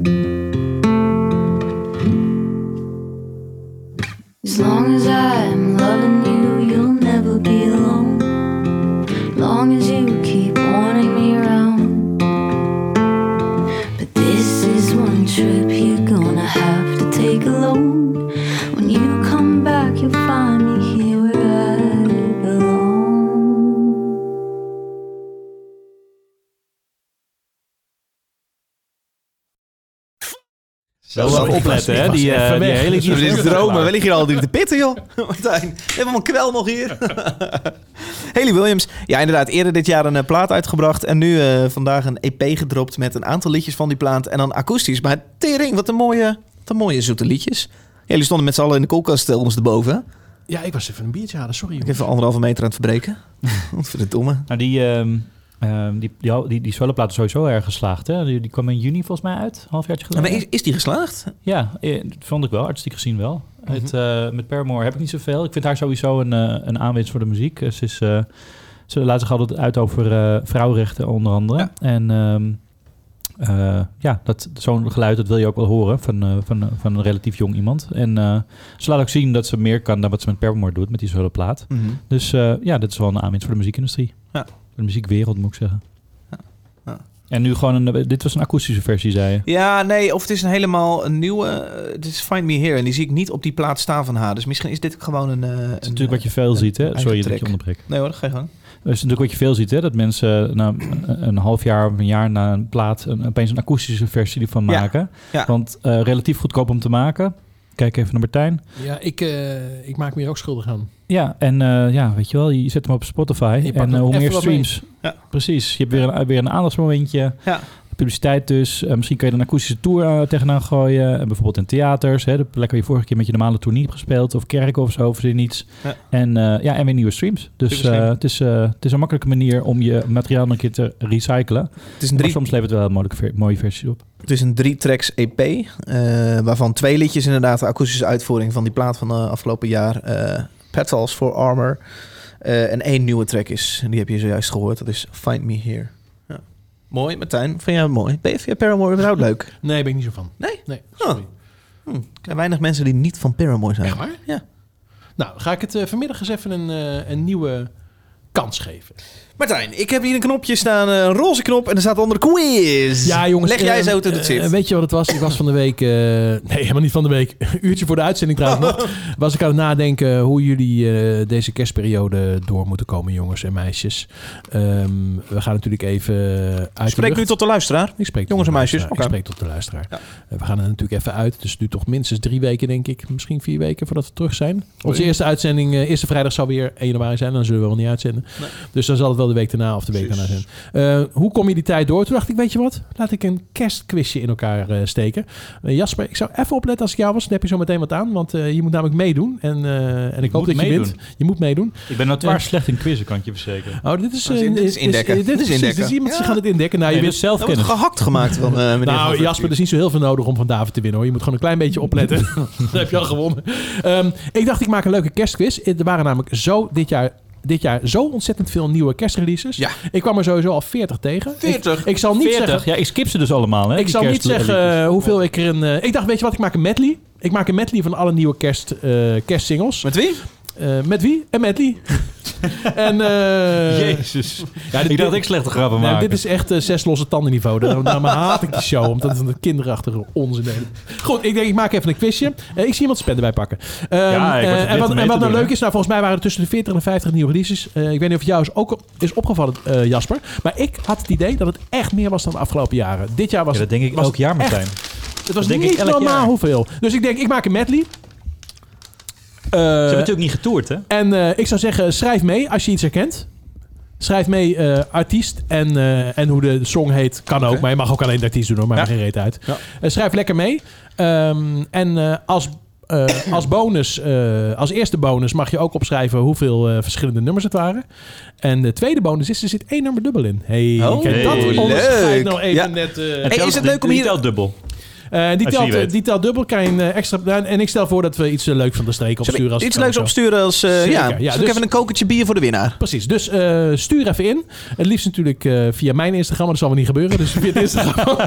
Speaker 9: As long as I'm loving you, you'll never be alone. Long as you keep wanting me around. But this is one trip you're gonna have to take alone. When you come back, you'll find me here where I belong.
Speaker 5: Zo wel opletten, hè? Die, eh, die hele
Speaker 1: Dit is dromen. We liggen hier al die te pitten, joh. Martijn, we hebben allemaal kwel nog hier. Haley Williams. Ja, inderdaad. Eerder dit jaar een eh, plaat uitgebracht. En nu eh, vandaag een EP gedropt met een aantal liedjes van die plaat. En dan akoestisch. Maar tering, wat een mooie, wat een mooie zoete liedjes. Ja, Jullie stonden met z'n allen in de koelkast eh, ons erboven. hè?
Speaker 3: Ja, ik was even een biertje halen, sorry.
Speaker 1: Ik
Speaker 3: jongens.
Speaker 1: heb even anderhalve meter aan het verbreken. Wat verdomme.
Speaker 5: Nou, die, ehm, Ehm, die, die, die, die soloplaat is sowieso erg geslaagd. Hè? Die, die kwam in juni volgens mij uit, een halfjaartje geleden.
Speaker 1: Ah, Maar is- is die geslaagd?
Speaker 5: Ja, eh, dat vond ik wel, artistiek gezien wel.
Speaker 1: Mhm.
Speaker 5: Het, eh, met Paramore heb ik niet zoveel. Ik vind haar sowieso een, eh, een aanwinst voor de muziek. Eh, Ze, is, eh, ze laat zich altijd uit over eh, vrouwenrechten onder andere. En ehm, eh, ja, dat, zo'n geluid dat wil je ook wel horen van, eh, van, eh, van een relatief jong iemand. En eh, ze laat ook zien dat ze meer kan dan wat ze met Paramore doet, met die soloplaat.
Speaker 1: Mhm.
Speaker 5: Dus eh, ja, dat is wel een aanwinst voor de muziekindustrie.
Speaker 1: Ja.
Speaker 5: Voor de muziekwereld moet ik zeggen.
Speaker 1: Ja.
Speaker 5: En nu gewoon een, dit was een akoestische versie, zei je.
Speaker 1: Ja, nee, of het is een helemaal een nieuwe. eh, Het is Find Me Here. En die zie ik niet op die plaat staan van haar. Dus misschien is dit gewoon een. eh,
Speaker 5: Dat is natuurlijk wat je veel ziet, hè?
Speaker 1: eigen
Speaker 5: Sorry dat ik je
Speaker 1: track.
Speaker 5: onderbreek.
Speaker 1: Nee hoor, ga je gang.
Speaker 5: Dat is natuurlijk wat je veel ziet, hè? Dat mensen na een half jaar of een jaar na een plaat een, opeens een akoestische versie ervan
Speaker 1: Ja,
Speaker 5: maken.
Speaker 1: ja.
Speaker 5: Want eh, relatief goedkoop om te maken. Kijk even naar Martijn.
Speaker 3: Ja, ik, eh, ik maak me hier ook schuldig aan.
Speaker 5: Ja, en eh, ja, weet je wel, je zet hem op Spotify.
Speaker 3: Je pakt
Speaker 5: en eh,
Speaker 3: hem
Speaker 5: hoe
Speaker 3: even
Speaker 5: meer
Speaker 3: wat
Speaker 5: streams. Precies. Je hebt weer een, weer een aandachtsmomentje.
Speaker 1: Ja.
Speaker 5: Publiciteit dus. Eh, misschien kan je er een akoestische tour eh, tegenaan gooien. Eh, bijvoorbeeld in theaters. Hè, de plek waar je vorige keer met je normale tour niet hebt gespeeld. Of kerken of zo, verzin iets.
Speaker 1: Ja.
Speaker 5: En, eh, ja, en weer nieuwe streams. Dus
Speaker 1: Super slim.
Speaker 5: eh, het, is, eh, het is een makkelijke manier om je materiaal nog een keer te recyclen.
Speaker 1: is een
Speaker 5: Maar
Speaker 1: drie-
Speaker 5: soms levert het wel een mooie, mooie versie op.
Speaker 1: Het is een drie tracks EP, eh, waarvan twee liedjes inderdaad de akoestische uitvoering van die plaat van eh, afgelopen jaar. eh Petals for Armor. eh, en één nieuwe track is, en die heb je zojuist gehoord, dat is Find Me Here. Ja. Mooi, Martijn. Vind jij het mooi? Ben je via Paramore überhaupt leuk?
Speaker 3: Nee, ben ik niet zo van.
Speaker 1: Nee?
Speaker 3: Nee, Oh.
Speaker 1: Huh. Hm, Er zijn weinig mensen die niet van Paramore zijn.
Speaker 3: Echt waar?
Speaker 1: Ja.
Speaker 3: Nou, ga ik het eh, vanmiddag eens even een, eh, een nieuwe kans geven.
Speaker 1: Martijn, ik heb hier een knopje staan, eh, een roze knop, en er staat onder quiz.
Speaker 3: Ja, jongens.
Speaker 1: Dus Leg jij
Speaker 3: eh,
Speaker 1: zo hoe het
Speaker 3: eh,
Speaker 1: zit.
Speaker 3: weet je wat het was? Ik was van de week... eh, nee, helemaal niet van de week. Een uurtje voor de uitzending trouwens
Speaker 1: Oh.
Speaker 3: nog. Was ik aan het nadenken hoe jullie eh, deze kerstperiode door moeten komen, jongens en meisjes. Ehm, we gaan natuurlijk even uit de
Speaker 1: Spreek
Speaker 3: lucht.
Speaker 1: nu tot de luisteraar.
Speaker 3: Ik spreek
Speaker 1: Jongens
Speaker 3: tot
Speaker 1: en
Speaker 3: de
Speaker 1: meisjes,
Speaker 3: luisteraar.
Speaker 1: oké.
Speaker 3: Ik spreek tot de luisteraar. Eh, We gaan er natuurlijk even uit. Dus het duurt toch minstens drie weken, denk ik. Misschien vier weken voordat we terug zijn.
Speaker 5: Oh,
Speaker 3: Onze eerste uitzending, eh, eerste vrijdag zal weer 1 januari zijn. Dan zullen we wel niet uitzenden. Dus dan zal het wel de week daarna of de week daarna zijn. Eh, hoe kom je die tijd door? Toen dacht ik, weet je wat? Laat ik een kerstquizje in elkaar eh, steken. Eh, Jasper, ik zou even opletten als ik jou was. Dan heb je zo meteen wat aan. Want eh, je moet namelijk meedoen. En, eh, en ik hoop
Speaker 5: moet
Speaker 3: dat je
Speaker 5: meedoen.
Speaker 3: wint. Je moet meedoen.
Speaker 5: Ik ben notoire
Speaker 3: Eh,
Speaker 5: slecht in quizzen, kan ik je verzekeren.
Speaker 3: Oh, dit is,
Speaker 5: Dat is
Speaker 3: eh,
Speaker 5: in- dit is indekken.
Speaker 3: Dit is,
Speaker 5: Dit is
Speaker 3: precies,
Speaker 5: indekken.
Speaker 3: dit is iemand die
Speaker 5: Ja.
Speaker 3: gaat het indenken. Nou,
Speaker 5: Nee,
Speaker 3: je
Speaker 5: dit
Speaker 3: bent
Speaker 5: is zelfkennis.
Speaker 1: Er wordt gehakt gemaakt van, eh, meneer Van
Speaker 3: Nou,
Speaker 1: Vliet.
Speaker 3: Jasper, er is niet zo heel veel nodig om van David te winnen hoor. Je moet gewoon een klein beetje opletten. Dan heb je al gewonnen. Ehm, ik dacht, ik maak een leuke kerstquiz. Er waren namelijk zo dit jaar. Dit jaar zo ontzettend veel nieuwe kerstreleases. Ik kwam er sowieso al 40 tegen.
Speaker 5: 40?
Speaker 3: Ik, ik zal niet
Speaker 5: 40.
Speaker 3: zeggen.
Speaker 5: Ja, ik skip ze dus allemaal, hè?
Speaker 3: Ik
Speaker 5: die
Speaker 3: zal niet
Speaker 5: kerstliedjes.
Speaker 3: zeggen eh, hoeveel ik er in. eh, ik dacht, weet je wat, ik maak een medley. Ik maak een medley van alle nieuwe kerst, eh, kerstsingles. Eh,
Speaker 1: Met wie?
Speaker 3: met wie? En medley. en. eh,
Speaker 5: Jezus.
Speaker 3: ja, dit-
Speaker 5: ik dacht dat ik slechte grappen
Speaker 3: nou,
Speaker 5: maak.
Speaker 3: dit is echt eh, zes losse tanden niveau. Daarom, daarom haat ik die show. Omdat het een kinderachtige onzin is. Goed, ik denk ik maak even een quizje. Eh, ik zie iemand spenden bij pakken. Ehm,
Speaker 5: Ja, ik word
Speaker 3: eh,
Speaker 5: verplicht
Speaker 3: en wat,
Speaker 5: om mee
Speaker 3: en wat nou
Speaker 5: te doen,
Speaker 3: leuk
Speaker 5: hè?
Speaker 3: is, nou volgens mij waren er tussen de 40 en de 50 nieuwe releases. Eh, ik weet niet of jou is ook op- is opgevallen, eh, Jasper. Maar ik had het idee dat het echt meer was dan de afgelopen jaren. Dit jaar was
Speaker 5: Ja, dat denk ik
Speaker 3: was
Speaker 5: elk jaar,
Speaker 3: echt-
Speaker 5: Martijn.
Speaker 3: Het was
Speaker 5: Dat denk ik
Speaker 3: niet
Speaker 5: elk
Speaker 3: normaal
Speaker 5: jaar.
Speaker 3: hoeveel. Dus ik denk, ik maak een medley.
Speaker 5: Ze hebben natuurlijk niet getoerd, hè?
Speaker 3: En eh, ik zou zeggen, schrijf mee als je iets herkent. Schrijf mee eh, artiest en, eh, en hoe de song heet. Kan ook, maar je mag ook alleen de artiest doen hoor, maar geen reet uit. Eh, schrijf lekker mee. Ehm, en eh, als, eh, als bonus, eh, als eerste bonus mag je ook opschrijven hoeveel eh, verschillende nummers het waren. En de tweede bonus is, er zit één nummer dubbel in. Hey,
Speaker 1: Oh,
Speaker 3: kijk, dat
Speaker 1: leuk.
Speaker 3: onderscheid nou even
Speaker 1: Ja.
Speaker 3: net. eh,
Speaker 1: Hey, is het leuk om hier...
Speaker 5: dubbel.
Speaker 3: eh, die,
Speaker 1: Als je
Speaker 3: telt,
Speaker 1: die weet.
Speaker 3: die telt dubbel, krijg je een eh, extra... En ik stel voor dat we iets eh, leuks van de streek
Speaker 1: Zal ik
Speaker 3: opsturen. Als het
Speaker 1: iets
Speaker 3: kan
Speaker 1: leuks
Speaker 3: of zo.
Speaker 1: opsturen als... eh,
Speaker 3: Zeker,
Speaker 1: ja,
Speaker 3: ja,
Speaker 1: Zal ik
Speaker 3: dus-
Speaker 1: even een kokertje bier voor de winnaar.
Speaker 3: Precies, dus eh, stuur even in. Het liefst natuurlijk eh, via mijn Instagram, maar dat zal wel niet gebeuren. Dus via het Instagram.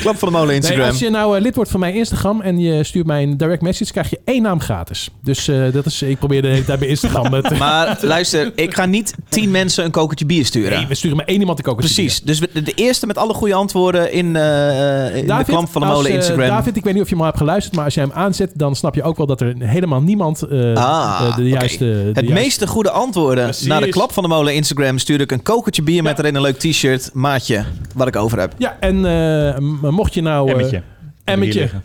Speaker 1: Klap van de molen Instagram.
Speaker 3: Nee, als je nou eh, lid wordt van mijn Instagram en je stuurt mij een direct message, krijg je één naam gratis. Dus eh, dat is, ik probeer de hele tijd bij Instagram. eh, het-
Speaker 1: Maar luister, ik ga niet tien mensen een kokertje bier sturen.
Speaker 3: Nee, we sturen maar één iemand een kokertje
Speaker 1: Precies. Dus we- de, de eerste met alle goede antwoorden in, eh, in de klamp van de
Speaker 3: als,
Speaker 1: molen
Speaker 3: eh,
Speaker 1: Instagram.
Speaker 3: David, ik weet niet of je hem al hebt geluisterd, maar als jij hem aanzet, dan snap je ook wel dat er helemaal niemand eh,
Speaker 1: Ah,
Speaker 3: eh, de
Speaker 1: oké.
Speaker 3: juiste... de
Speaker 1: Het
Speaker 3: juiste-
Speaker 1: meeste goede antwoorden naar de klap van de molen Instagram stuur ik een kokertje bier met erin een leuk t-shirt, maatje, wat ik over heb.
Speaker 3: Ja, en eh, m- mocht je nou... eh,
Speaker 1: Emmetje.
Speaker 3: Emmetje.
Speaker 1: Hebben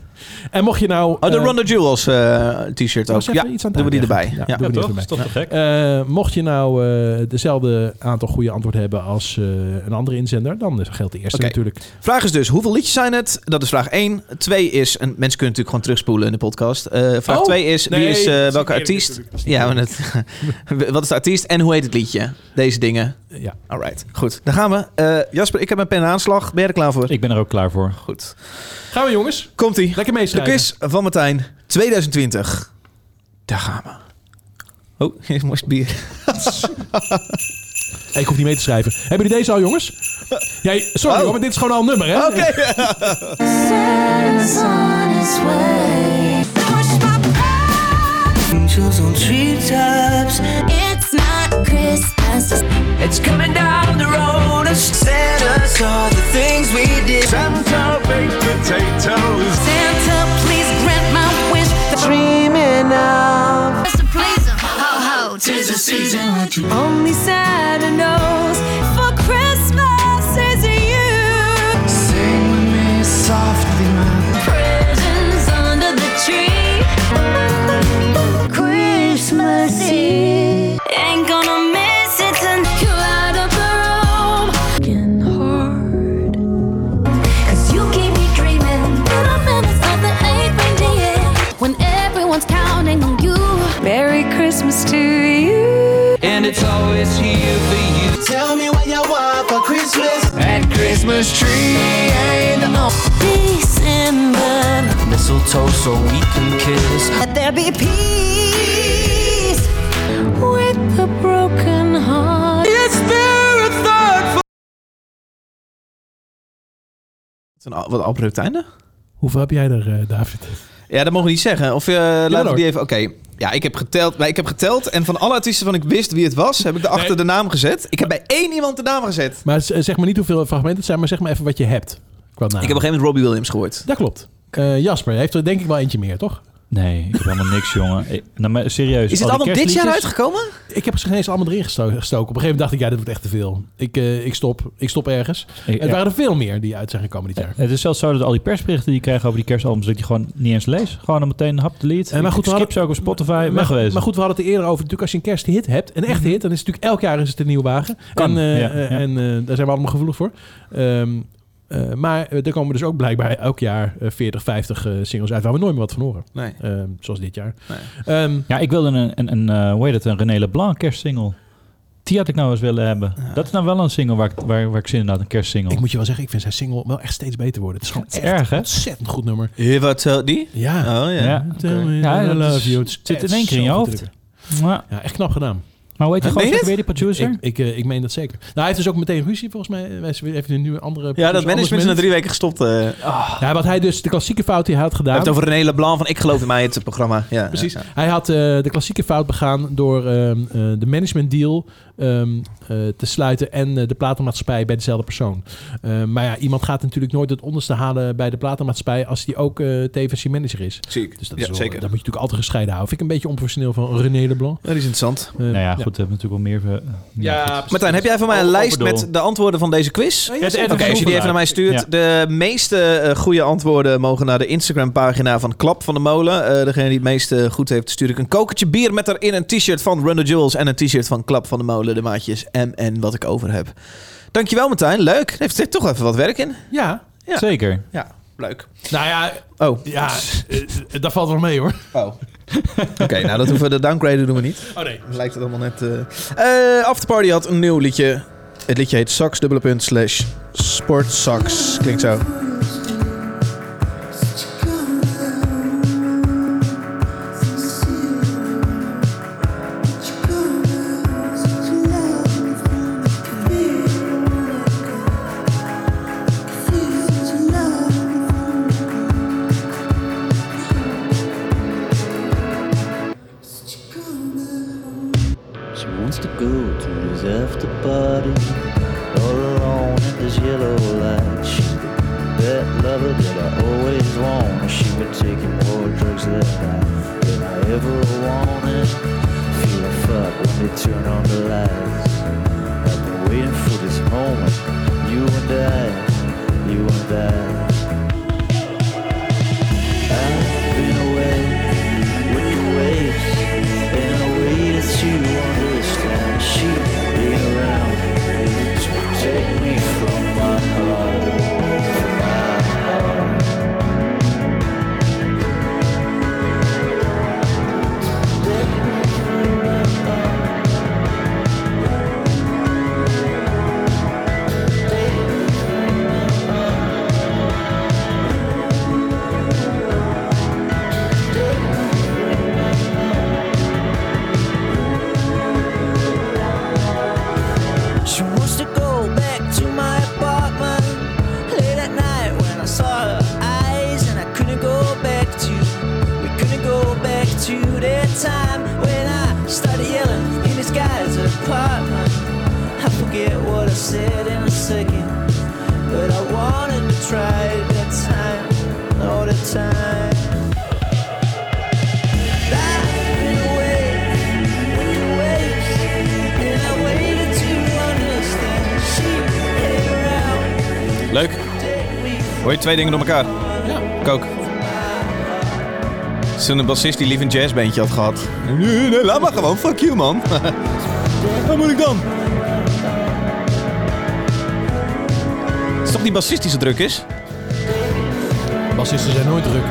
Speaker 3: En mocht je nou...
Speaker 1: Oh, de
Speaker 3: eh,
Speaker 1: Run the Jewels eh, t-shirt ook.
Speaker 3: was
Speaker 1: Ja,
Speaker 3: even iets aan het
Speaker 1: doen we die erbij.
Speaker 3: uitleggen.
Speaker 1: Ja,
Speaker 3: doen we die erbij.
Speaker 5: Nou,
Speaker 3: Eh, mocht je nou eh, dezelfde aantal goede antwoorden hebben als eh, een andere inzender, dan geldt de eerste
Speaker 1: Oké.
Speaker 3: natuurlijk.
Speaker 1: Vraag is dus, hoeveel liedjes zijn het? Dat is vraag 1. 2 is, en mensen kunnen natuurlijk gewoon terugspoelen in de podcast. Eh, vraag
Speaker 3: Oh,
Speaker 1: 2 is, wie
Speaker 3: nee,
Speaker 1: is eh,
Speaker 3: dat is
Speaker 1: welke
Speaker 3: niet eerlijk
Speaker 1: artiest? Ja, maar het, wat is de artiest en hoe heet het liedje? Deze dingen.
Speaker 3: Eh, Ja.
Speaker 1: Alright, goed. Dan gaan we. Eh, Jasper, ik heb mijn pen aanslag. Ben je er klaar voor?
Speaker 5: Ik ben er ook klaar voor.
Speaker 1: Goed.
Speaker 3: Gaan we jongens.
Speaker 1: Komt-ie.
Speaker 3: Lekker
Speaker 1: De
Speaker 3: meeschrijven.
Speaker 1: quiz van Martijn 2020. Daar gaan we. Oh, hier moest bier.
Speaker 3: Hey, ik hoef niet mee te schrijven. Hebben jullie deze al jongens? Ja, sorry hoor, maar dit is gewoon al een nummer hè? Eh,
Speaker 1: Oké.
Speaker 9: Saturn's on its way.
Speaker 4: Angels on treetops.
Speaker 9: It's not Christmas.
Speaker 4: It's coming down the road. And Santa saw the things we did. Santa baked potatoes. Santa, please grant my wish. Dreaming of.
Speaker 9: Just to please 'em. Ho ho, tis the season.
Speaker 4: Only Santa knows. For Christmas is you. Sing with me softly, my
Speaker 9: Presents under the tree. Christmas Eve. Ain't gonna miss it and you light up the room. Working hard. Cause you keep me dreaming. And I'm in the sun that ain't been the end. When everyone's counting on you. Merry Christmas to you.
Speaker 7: And it's always here for you.
Speaker 10: Tell me what you want for Christmas.
Speaker 7: That Christmas tree ain't on.
Speaker 4: December.
Speaker 7: Mistletoe so we can kiss.
Speaker 4: Let there be peace.
Speaker 9: With a broken heart.
Speaker 4: Is there a thought for
Speaker 1: Wat een- Wat een abrupt einde.
Speaker 3: Hoeveel heb jij er, eh, David?
Speaker 1: Ja, dat mogen we niet zeggen. Of eh laten
Speaker 3: hoor.
Speaker 1: we die even... Oké, ja, ik heb geteld. Maar ik heb geteld en van alle artiesten van ik wist wie het was, heb ik erachter de naam gezet. Ik heb bij één iemand de naam gezet.
Speaker 3: Maar z- zeg maar niet hoeveel fragmenten het zijn, maar zeg maar even wat je hebt. Qua naam.
Speaker 1: Ik heb op een gegeven moment Robbie Williams gehoord.
Speaker 3: Dat klopt. Eh, Jasper heeft er denk ik wel eentje meer, toch?
Speaker 5: Nee, ik heb helemaal niks, jongen. Eh, Nou, maar serieus.
Speaker 1: Is het
Speaker 5: al die
Speaker 1: allemaal dit jaar
Speaker 5: kerstliedjes-
Speaker 1: uitgekomen?
Speaker 3: Ik heb ze ineens allemaal erin gesto- gestoken. Op een gegeven moment dacht ik, ja, dit wordt echt te veel. Ik, eh, ik stop. Ik stop ergens.
Speaker 5: Ik-
Speaker 3: het waren er veel meer die uit zijn gekomen dit jaar.
Speaker 5: Het is zelfs zo dat al die persberichten die ik krijg over die kerstalbums, dat ik die gewoon niet eens lees. Gewoon dan meteen een hap delete.
Speaker 3: Eh, maar
Speaker 5: Ik-
Speaker 3: goed,
Speaker 5: ik
Speaker 3: we
Speaker 5: skip ze ook op Spotify,
Speaker 3: Maar,
Speaker 5: wegwezen.
Speaker 3: maar goed, we hadden het er eerder over. Natuurlijk, als je een kersthit hebt, een echte hit, dan is het natuurlijk elk jaar is het een nieuwe wagen.
Speaker 5: Mhm. Kan,
Speaker 3: en eh,
Speaker 5: ja,
Speaker 3: eh,
Speaker 5: ja.
Speaker 3: en eh, daar zijn we allemaal gevoelig voor. Ehm, eh, maar eh, er komen dus ook blijkbaar elk jaar eh, 40, 50 eh, singles uit waar we nooit meer wat van horen.
Speaker 1: Nee.
Speaker 3: Ehm, zoals dit jaar. Ehm,
Speaker 5: Ja, ik wilde een, een, een eh, hoe heet het, een René Leblanc kerstsingle. Die had ik nou eens willen hebben. Dat is nou wel een single waar ik, waar, waar ik zin in had, een kerstsingle.
Speaker 3: Ik moet je wel zeggen, ik vind zijn single wel echt steeds beter worden. Het is gewoon
Speaker 5: is
Speaker 3: echt
Speaker 5: erg, hè?
Speaker 3: een ontzettend goed nummer.
Speaker 1: Hier, wat eh, die?
Speaker 3: Ja.
Speaker 1: Oh ja.
Speaker 5: Ja.
Speaker 3: Tell me
Speaker 5: Ja,
Speaker 3: that I
Speaker 5: dat
Speaker 3: love
Speaker 5: is-
Speaker 3: you. Het is
Speaker 5: zit in
Speaker 3: echt
Speaker 5: één keer in je
Speaker 3: zo goed
Speaker 5: hoofd.
Speaker 3: drukken.
Speaker 5: Maar,
Speaker 3: Ja, echt knap gedaan.
Speaker 5: maar hoe heet die
Speaker 1: Meen je
Speaker 5: gozer ook
Speaker 1: het?
Speaker 5: weer, die producer?
Speaker 3: Ik, ik, eh, ik meen dat zeker. Nou, hij heeft dus ook meteen ruzie volgens mij. Hij is weer even een nieuwe andere...
Speaker 1: Ja, dat
Speaker 3: producer, anders
Speaker 1: management is na drie weken gestopt. eh.
Speaker 3: manager. Ja, wat hij dus, de klassieke fout die hij had
Speaker 1: We
Speaker 3: gedaan...
Speaker 1: hebben het over René Leblanc van Ik geloof in mij, het programma. Ja,
Speaker 3: Precies.
Speaker 1: ja, ja.
Speaker 3: Hij had eh, de klassieke fout begaan door ehm, eh, de management deal ehm, eh, te sluiten en eh, de platenmaatschappij bij dezelfde persoon. Eh, maar ja, iemand gaat natuurlijk nooit het onderste halen bij de platenmaatschappij als die ook eh tevens je manager is.
Speaker 1: Zie ik.
Speaker 3: Dus dat,
Speaker 1: ja,
Speaker 3: is wel-
Speaker 1: zeker.
Speaker 3: dat moet je natuurlijk altijd gescheiden houden. Vind ik een beetje onprofessioneel van René Leblanc.
Speaker 1: eh, Dat is interessant.
Speaker 3: Eh,
Speaker 5: nou ja, goed, we hebben natuurlijk wel meer... eh,
Speaker 3: Ja,
Speaker 1: Martijn, heb jij voor mij een
Speaker 5: Oh,
Speaker 1: lijst
Speaker 5: overdoel.
Speaker 1: met de antwoorden van deze quiz?
Speaker 3: ja, zeker.
Speaker 1: Oké, als je die even naar mij stuurt.
Speaker 5: Ja.
Speaker 1: De meeste eh, goede antwoorden mogen naar de Instagram-pagina van Klap van de Molen. Eh, degene die het meeste goed heeft, stuur ik een kokertje bier met erin een t-shirt van Run the Jewels en een t-shirt van Klap van de Molen, de maatjes M en wat ik over heb. Dankjewel Martijn, leuk. Heeft er toch even wat werk in?
Speaker 3: Ja.
Speaker 1: Ja.
Speaker 5: Zeker.
Speaker 1: Ja, leuk.
Speaker 3: Nou ja,
Speaker 1: Oh,
Speaker 3: ja eh, eh, dat valt wel mee hoor.
Speaker 1: oh. Oké, nou dat hoeven we, de downgraden doen we niet.
Speaker 3: Oh nee.
Speaker 1: Dan lijkt het allemaal net... eh Eh, Afterparty had een nieuw liedje. Het liedje heet Sax, dubbele punt, slash Sport Sax. Klinkt zo.
Speaker 12: She wants to go to his after party all alone at this yellow light. She that lover that I always wanted. She been taking more drugs than I, than I ever wanted. Feeling fucked when they turn on the lights. I've been waiting for this moment. You and I, you and I. I
Speaker 13: tried that time, all the time. Lying awake, when you wake, and I waited to understand. She came around,
Speaker 1: Leuk. Hoor je twee dingen door elkaar? Ja. Kook. Zo'n bassist die lief een jazzbandje had gehad. Nee, nee, laat maar gewoon. Fuck you, man. Wat moet ik dan? Het is toch die bassist die zo druk is?
Speaker 3: Bassisten zijn nooit druk.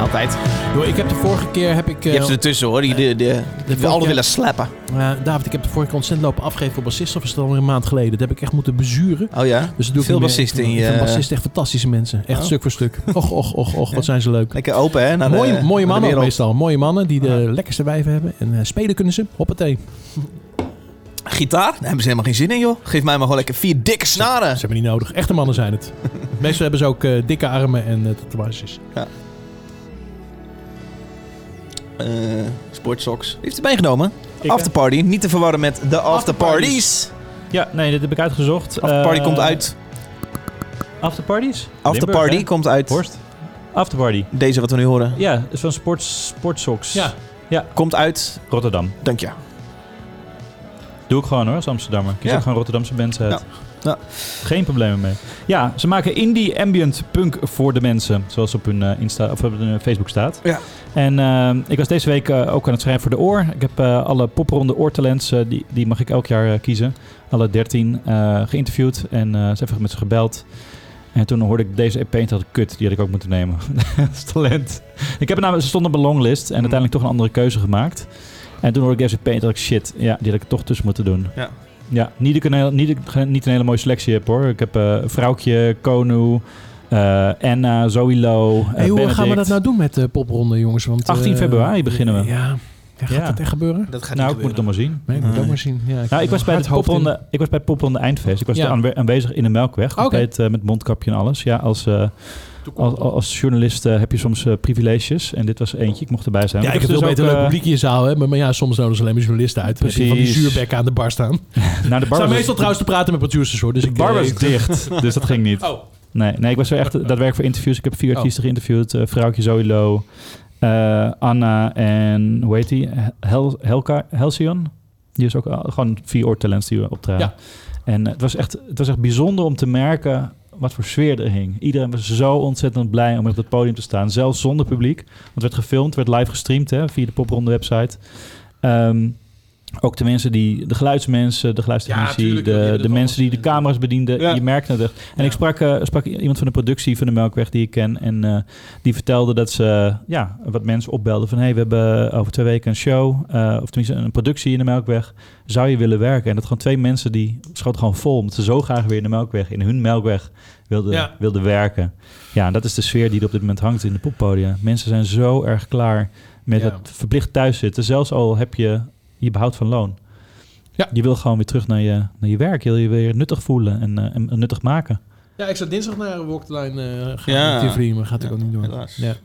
Speaker 1: Altijd.
Speaker 3: Yo, ik heb de vorige keer... Heb ik,
Speaker 1: Je
Speaker 3: eh,
Speaker 1: hebt ze ertussen, hoor. Die, de, de, die
Speaker 3: vorige
Speaker 1: alle
Speaker 3: keer-
Speaker 1: willen slappen.
Speaker 3: Eh, David, ik heb de vorige keer ontzettend lopen afgeven voor bassisten. Of is het alweer een maand geleden? Dat heb ik echt moeten bezuren.
Speaker 1: Oh ja?
Speaker 3: Dus dat doe ik
Speaker 1: Veel
Speaker 3: niet meer.
Speaker 1: bassisten in
Speaker 3: Ik
Speaker 1: je-
Speaker 3: vind bassisten echt fantastische mensen. Echt
Speaker 1: Oh.
Speaker 3: stuk voor stuk. Och, och, och, och. Wat zijn ze leuk.
Speaker 1: Lekker open, hè? Naar de-
Speaker 3: mooie,
Speaker 1: naar
Speaker 3: mooie
Speaker 1: de
Speaker 3: mannen ook
Speaker 1: wereld. Ah.
Speaker 3: meestal. Mooie mannen die de lekkerste wijven hebben. En eh, spelen kunnen ze. Hoppatee.
Speaker 1: Gitaar? Daar hebben ze helemaal geen zin in, joh. Geef mij maar gewoon lekker vier dikke snaren. Ze
Speaker 3: hebben niet nodig. Echte mannen zijn het. Meestal hebben ze ook eh, dikke armen en eh, tatoeages.
Speaker 1: Ja. Eh sportsocks. Heeft het meegenomen?
Speaker 5: eh.
Speaker 1: Afterparty. Niet te verwarren met de afterparties.
Speaker 5: Ja, nee, dit heb ik uitgezocht.
Speaker 1: Afterparty
Speaker 5: Eh,
Speaker 1: komt uit.
Speaker 5: Afterparties?
Speaker 1: Afterparty
Speaker 5: Limburg, hè?
Speaker 1: komt uit. Horst.
Speaker 5: Afterparty.
Speaker 1: Deze wat we nu horen.
Speaker 5: Ja, is van sports, sportsocks.
Speaker 1: Ja.
Speaker 5: ja.
Speaker 1: Komt uit...
Speaker 5: Rotterdam.
Speaker 1: Dank je.
Speaker 5: Doe ik gewoon hoor, als Amsterdammer. Kies
Speaker 1: Ja.
Speaker 5: ook gewoon Rotterdamse bands uit.
Speaker 1: Ja.
Speaker 5: Geen problemen mee. Ja, ze maken indie ambient punk voor de mensen. Zoals op hun, eh, Insta, of op hun eh, Facebook staat.
Speaker 1: Ja.
Speaker 5: En eh, ik was deze week eh, ook aan het schrijven voor de oor. Ik heb eh, alle popronde oortalents, eh, die, die mag ik elk jaar eh, kiezen. Alle 13 eh, geïnterviewd en eh ze hebben met ze gebeld. En toen hoorde ik deze EP en toen dacht ik, kut, die had ik ook moeten nemen. dat is talent. Ik heb er namelijk, ze stonden op een longlist en uiteindelijk toch een andere keuze gemaakt. En toen hoorde ik deze EP en toen dacht ik, shit, ja, die had ik er toch tussen moeten doen.
Speaker 1: Ja.
Speaker 5: Ja, niet een, heel- niet, een- niet een hele mooie selectie heb hoor. Ik heb eh Vrouwtje, Konu, eh Anna, Zoilo, eh, Low.
Speaker 3: Hey, hoe gaan we dat nou doen met de popronde, jongens? Want, eh,
Speaker 5: 18 februari beginnen we.
Speaker 3: Ja. Ja, gaat dat echt gebeuren?
Speaker 1: Dat
Speaker 5: nou, ik moet het dan maar zien.
Speaker 3: Nee, ik moet het ook maar zien. Ja, ik heb
Speaker 5: nou, ik, was
Speaker 3: nog
Speaker 5: bij de
Speaker 3: hard hoofd in.
Speaker 5: popronde, ik was bij het popronde Eindfeest. Ik was
Speaker 3: Ja. Ah,
Speaker 5: er aanwe- aanwezig in de Melkweg. Compleet eh, met mondkapje en alles. Ja, als, eh, als, als journalist eh, heb je soms eh, privileges. En dit was eentje. Ik mocht erbij zijn.
Speaker 3: Ja, ik
Speaker 5: Maar
Speaker 3: heb
Speaker 5: was
Speaker 3: veel
Speaker 5: dus
Speaker 3: beter
Speaker 5: ook,
Speaker 3: leuk
Speaker 5: eh,
Speaker 3: publiek in je zaal hebben. Maar ja, soms nodig ze alleen maar journalisten uit. Dan heb je Van die
Speaker 5: Precies.
Speaker 3: zuurbekken aan de bar staan.
Speaker 5: Nou, de bar
Speaker 3: Zijn
Speaker 5: was-
Speaker 3: meestal trouwens te praten met producers hoor. Dus
Speaker 5: De
Speaker 3: ik,
Speaker 5: bar
Speaker 3: eh,
Speaker 5: was
Speaker 3: ik-
Speaker 5: dicht, dus dat ging niet. Nee, nee, ik was er echt, dat werk voor interviews. Ik heb vier
Speaker 3: Oh.
Speaker 5: artiesten geïnterviewd. eh Vrouwtje Zoilo, eh, Anna en, hoe heet die? Hel, Helka, Helsion? Die is ook al- gewoon vier oortalents die we optraden.
Speaker 3: Ja.
Speaker 5: En eh, het was, echt, het was echt bijzonder om te merken wat voor sfeer er hing. Iedereen was zo ontzettend blij om op het podium te staan. Zelfs zonder publiek. Want het werd gefilmd, werd live gestreamd hè, via de popronde website. Ehm, ook de mensen die, de geluidsmensen, de geluidstechnici, de, de mensen die de camera's bedienden. Je merkte het echt. En ik sprak, eh, sprak iemand van de productie van de Melkweg die ik ken. En eh, die vertelde dat ze eh, ja, wat mensen opbelden van... hé, hey, we hebben over twee weken een show, eh, of tenminste een productie in de Melkweg. Zou je willen werken? En dat gewoon twee mensen die schoten gewoon vol... omdat ze zo graag weer in de Melkweg, in hun Melkweg wilden,
Speaker 3: Ja.
Speaker 5: wilden werken. Ja, en dat is de sfeer die er op dit moment hangt in de poppodia. Mensen zijn zo erg klaar met
Speaker 3: Ja.
Speaker 5: het verplicht thuis zitten. Zelfs al heb je je behoud van loon.
Speaker 3: Ja.
Speaker 5: Je wil gewoon weer terug naar je, naar je werk. Je wil je weer nuttig voelen en, eh, en nuttig maken.
Speaker 3: Ja, ik zou dinsdag naar een Walkline eh gaan
Speaker 5: Ja.
Speaker 3: ja. Tivoli, maar gaat ik ook niet doen. Ja.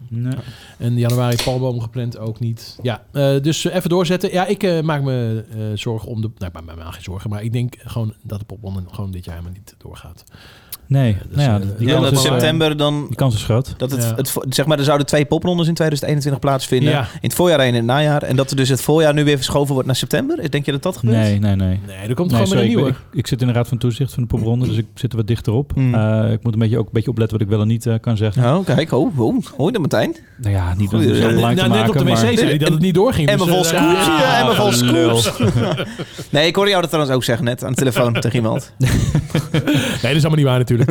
Speaker 3: En januari Palboom gepland ook niet. Ja, eh, dus eh, even doorzetten. Ja, ik eh, maak me eh, zorgen om de... Nou, ik maak me helemaal geen zorgen, maar ik denk gewoon dat de popronde gewoon dit jaar helemaal niet doorgaat.
Speaker 5: Nee,
Speaker 3: dus,
Speaker 5: nou ja,
Speaker 3: eh,
Speaker 5: die
Speaker 3: ja,
Speaker 5: kans
Speaker 3: dat
Speaker 5: is, eh,
Speaker 1: september dan...
Speaker 5: Die kans is groot.
Speaker 1: Dat het,
Speaker 3: Ja.
Speaker 1: het, vo- zeg maar, er zouden twee poprondes in 2021 plaatsvinden.
Speaker 3: Ja.
Speaker 1: In het voorjaar en in het najaar. En dat er dus het voorjaar nu weer verschoven wordt naar september. Denk je dat dat gebeurt?
Speaker 5: Nee, nee, nee.
Speaker 3: Nee, er komt gewoon weer een
Speaker 5: sorry, ik ben-
Speaker 3: nieuwe.
Speaker 5: Ik, ik zit in de raad van toezicht van de popronde, dus ik zit er wat dichterop. Eh, ik moet een beetje, ook een beetje opletten wat ik wel en niet eh, kan zeggen.
Speaker 1: Oh, kijk. Oh, oh. Hoor je dat, Martijn?
Speaker 5: Nou ja, niet om
Speaker 1: Goeie, eh,
Speaker 5: zo
Speaker 1: nou,
Speaker 5: belangrijk te
Speaker 1: net
Speaker 5: maken.
Speaker 1: op de
Speaker 5: maar-
Speaker 1: wc zei hij dat het niet doorging,
Speaker 5: Emma
Speaker 1: dus, eh,
Speaker 5: Volscoop,
Speaker 1: ah,
Speaker 5: zie je? Emma
Speaker 1: wat een
Speaker 5: Volscoop.
Speaker 1: Nee, ik hoorde jou dat trouwens ook zeggen net aan de telefoon tegen iemand. Nee,
Speaker 3: dat is allemaal niet waar natuurlijk. Nee,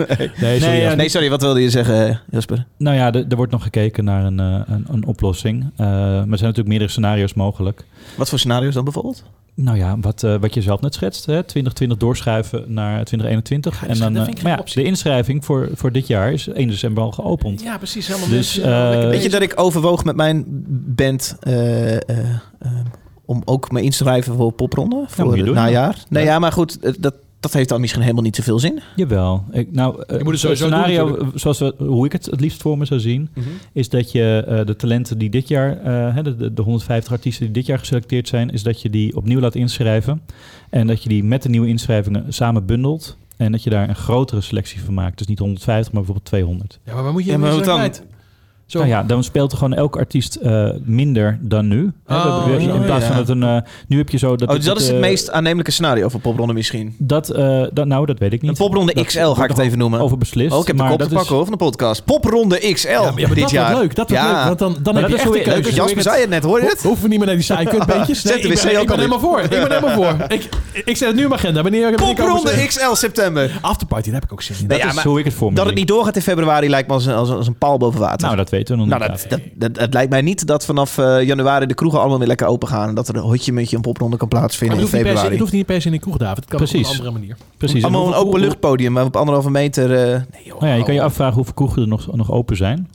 Speaker 3: sorry.
Speaker 1: Nee,
Speaker 3: Jasper.
Speaker 1: sorry. Wat wilde je zeggen, eh, Jasper?
Speaker 5: Nou ja, er er wordt nog gekeken naar een, eh, een, een oplossing. Eh, maar er zijn natuurlijk meerdere scenario's mogelijk.
Speaker 1: Wat voor scenario's dan bijvoorbeeld?
Speaker 5: Nou ja, wat, eh, wat je zelf net schetst. Hè? 2020 doorschuiven naar 2021. en dan,
Speaker 3: dat
Speaker 5: eh,
Speaker 3: vind ik
Speaker 5: maar
Speaker 3: geen
Speaker 5: ja, de inschrijving voor, voor dit jaar is 1 december al geopend.
Speaker 3: Ja, precies. Helemaal
Speaker 5: dus,
Speaker 3: mensen, eh,
Speaker 5: eh,
Speaker 1: Weet je dat ik overwoog met mijn band eh, eh, eh, om ook me in te schrijven voor popronde voor
Speaker 5: moet je
Speaker 1: het
Speaker 5: doen,
Speaker 1: najaar? Nee, ja, maar goed, eh, dat, dat heeft dan misschien helemaal niet zoveel zin.
Speaker 5: Jawel. Ik, nou, eh,
Speaker 1: Je moet het sowieso doen,
Speaker 5: scenario,
Speaker 1: natuurlijk.
Speaker 5: zoals we, hoe ik het het liefst voor me zou zien,
Speaker 1: Mhm.
Speaker 5: is dat je eh, de talenten die dit jaar, eh, hè, de, de- de 150 artiesten die dit jaar geselecteerd zijn, is dat je die opnieuw laat inschrijven. En dat je die met de nieuwe inschrijvingen samen bundelt. En dat je daar een grotere selectie van maakt. Dus niet 150, maar bijvoorbeeld 200.
Speaker 3: Ja, maar waar moet je
Speaker 5: Ja,
Speaker 3: in
Speaker 5: maar
Speaker 3: de
Speaker 5: wat dan?
Speaker 3: tijd? Zo.
Speaker 5: Nou ja, dan speelt gewoon elk artiest eh, minder dan nu. Hè, we
Speaker 1: Oh,
Speaker 5: hebben- in plaats
Speaker 1: ja.
Speaker 5: van dat een... eh, nu heb je zo... Dat
Speaker 1: oh, dus dat is het
Speaker 5: eh,
Speaker 1: meest aannemelijke scenario voor popronde misschien.
Speaker 5: Dat, eh, dat, nou, dat weet ik niet.
Speaker 1: Een popronde
Speaker 5: Dat
Speaker 1: XL ga ik
Speaker 5: wordt
Speaker 1: het
Speaker 5: er
Speaker 1: even noemen.
Speaker 5: Over beslist.
Speaker 1: Oh, ik heb de
Speaker 5: maar
Speaker 1: kop
Speaker 5: dat
Speaker 1: te
Speaker 5: is-
Speaker 1: pakken hoor, van de podcast. Popronde XL
Speaker 3: Ja, maar
Speaker 1: dit
Speaker 3: dat
Speaker 1: jaar.
Speaker 3: wordt leuk. Dat wordt
Speaker 1: Ja.
Speaker 3: leuk. Want dan, dus- dan
Speaker 1: Maar
Speaker 3: heb je
Speaker 1: dat
Speaker 3: echt
Speaker 1: is
Speaker 3: de
Speaker 1: zo-
Speaker 3: keuze.
Speaker 1: leuk. Jasper zei het net, hoor je
Speaker 3: Ho-
Speaker 1: het?
Speaker 3: Hoeven we niet meer naar die saaie kutbeentjes. Nee,
Speaker 1: Zet de
Speaker 3: ik
Speaker 1: wc
Speaker 3: ben,
Speaker 1: ook
Speaker 3: ik ben
Speaker 1: al in.
Speaker 3: helemaal voor. Ik ben helemaal voor. Ik, ik zet het nu in mijn agenda. Wanneer wanneer ik
Speaker 1: Popronde
Speaker 3: over-
Speaker 1: XL september.
Speaker 3: Afterparty, daar heb ik ook zin in.
Speaker 1: Nee, ja, maar Dat het niet doorgaat in februari lijkt me als een, als een, als een paal boven water.
Speaker 5: Nou, dat weten we nog
Speaker 1: Nou,
Speaker 5: niet.
Speaker 1: dat, dat, dat- het lijkt mij niet dat vanaf eh, januari de kroegen allemaal weer lekker open gaan. En dat er een hotje muntje een popronde kan plaatsvinden
Speaker 3: Maar
Speaker 1: in
Speaker 3: het hoeft niet per se-
Speaker 1: februari.
Speaker 3: Het hoeft niet per se in de kroeg, David. Het kan ook
Speaker 5: Precies.
Speaker 3: op een andere manier.
Speaker 5: Precies.
Speaker 1: Allemaal een
Speaker 5: Hoeveel-
Speaker 1: openluchtpodium, maar op anderhalve meter. eh, nee, joh.
Speaker 5: Nou ja, je kan je afvragen hoeveel kroegen er nog, nog open zijn.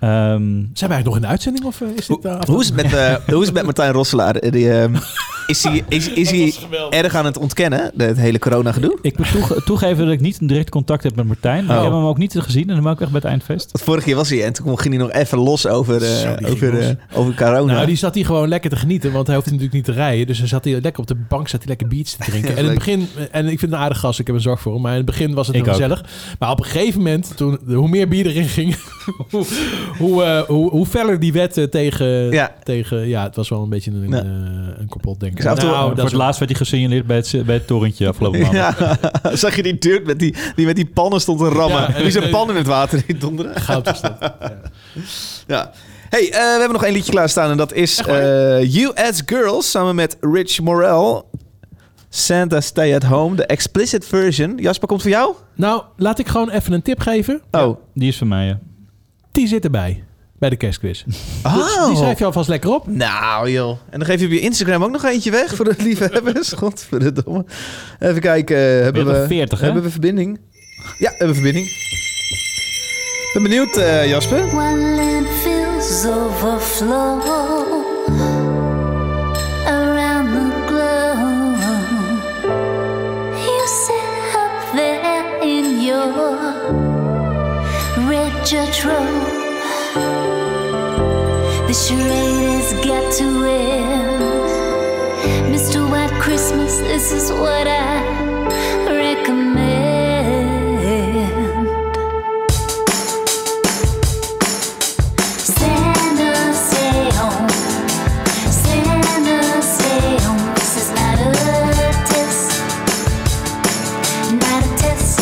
Speaker 5: Ehm,
Speaker 3: Zijn wij eigenlijk nog in de uitzending? Of eh, is dit eh,
Speaker 1: Hoe is het met, eh, hoe is het met Martijn Rosselaar? Eh, Die, ehm, is hij, is, is hij erg aan het ontkennen, de- het hele corona-gedoe?
Speaker 5: ik moet toege- toegeven dat ik niet een direct contact heb met Martijn.
Speaker 1: Oh.
Speaker 5: Ik heb hem ook niet gezien en dan ben ik echt bij het eindfeest.
Speaker 1: Want vorig jaar was hij en toen kon- ging hij nog even los over, eh,
Speaker 3: Zo, die ging
Speaker 1: over, eh, over corona.
Speaker 3: Nou, die zat hier gewoon lekker te genieten, want hij hoefde natuurlijk niet te rijden. Dus hij zat hier lekker op de bank, zat hij lekker biertjes te drinken.
Speaker 1: Ja,
Speaker 3: en in het
Speaker 1: leuk.
Speaker 3: begin, en ik vind het een aardig gast, ik heb een zorg voor hem. Maar in het begin was het
Speaker 5: Ik
Speaker 3: nog
Speaker 5: ook.
Speaker 3: gezellig. Maar op een gegeven moment, toen, hoe meer bier erin ging, hoe, hoe, eh, hoe, hoe feller die wet eh, tegen,
Speaker 1: Ja.
Speaker 3: tegen... Ja, het was wel een beetje een,
Speaker 1: Ja.
Speaker 3: eh, een Nou, complot, denk ik.
Speaker 1: Dus af en toe-
Speaker 5: Voor het Nou, laatst werd hij gesignaleerd bij het, bij het torentje afgelopen maand.
Speaker 1: Ja, zag je die dude met die, die met die pannen stond te
Speaker 5: Ja, eh,
Speaker 1: rammen?
Speaker 5: en
Speaker 1: die zijn
Speaker 5: ik-
Speaker 1: pan in het water die donderen.
Speaker 3: Goud was dat.
Speaker 1: Ja. Hey, eh, we hebben nog één liedje klaarstaan en dat is eh, You As Girls samen met Rich Morel. Santa Stay At Home, de explicit version. Jasper, komt voor jou?
Speaker 3: Nou, laat ik gewoon even een tip geven.
Speaker 1: Oh.
Speaker 5: Die is van mij, ja.
Speaker 3: Die zit erbij, bij de kerstquiz.
Speaker 1: Oh.
Speaker 3: Die schrijf je alvast lekker
Speaker 5: Eh.
Speaker 3: op.
Speaker 1: Nou joh. En dan geef je op je Instagram ook nog eentje weg voor de liefhebbers. Godverdomme. Even kijken. eh, hebben,
Speaker 5: Weer
Speaker 1: we,
Speaker 5: op 40, hè?
Speaker 1: hebben we verbinding? Ja, hebben we verbinding. Ik ben benieuwd, eh, Jasper.
Speaker 9: When landfills overflow around the globe, you sit up there in your red church robe. The charade has got to end. Mr. White Christmas, this is what I recommend. Santa, stay home. Santa, stay home. This is not a test. Not a test.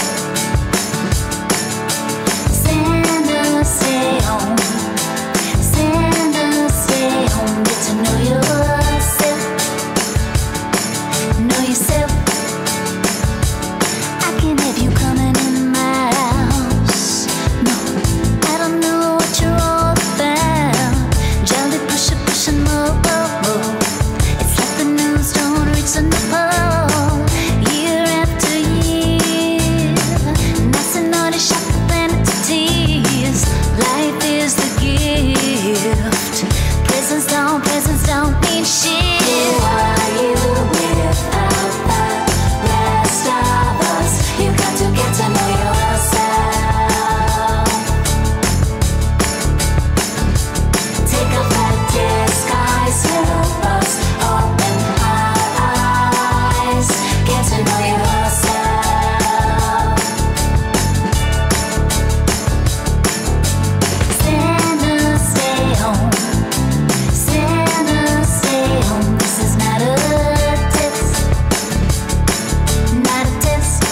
Speaker 9: Santa, stay home. Santa, stay home. Get to know yourself. Know yourself. I can have you coming in my house. No. I don't know what you're all about. Jolly pusher, pushing more. It's like the news don't reach the pole year after year. Nice and naughty, shock the planet to tears. Life is the gift. Presents don't, presents don't mean shit. Who are you without the rest of us? You got to get to know yourself. Take off that disguise, help us open our eyes, get to know yourself. Santa, stay home. Santa, stay home. This is not a test. Not a test.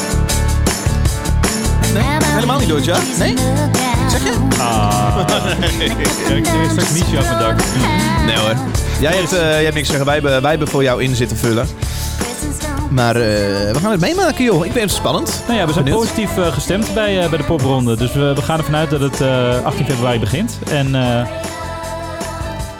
Speaker 1: Helemaal niet door, ja? Nee? Zeg je?
Speaker 5: Ah. ik kreeg straks Miesje op mijn dak.
Speaker 1: Nee hoor. Jij hebt, eh, jij hebt niks te zeggen. Wij hebben, wij hebben voor jou in zitten vullen. Maar eh, we gaan het meemaken, joh. Ik ben spannend.
Speaker 5: Nou ja, we zijn
Speaker 1: Benieuwd.
Speaker 5: positief eh, gestemd bij, eh, bij de popronde. Dus we, we gaan ervan uit dat het eh, 18 februari begint. En eh,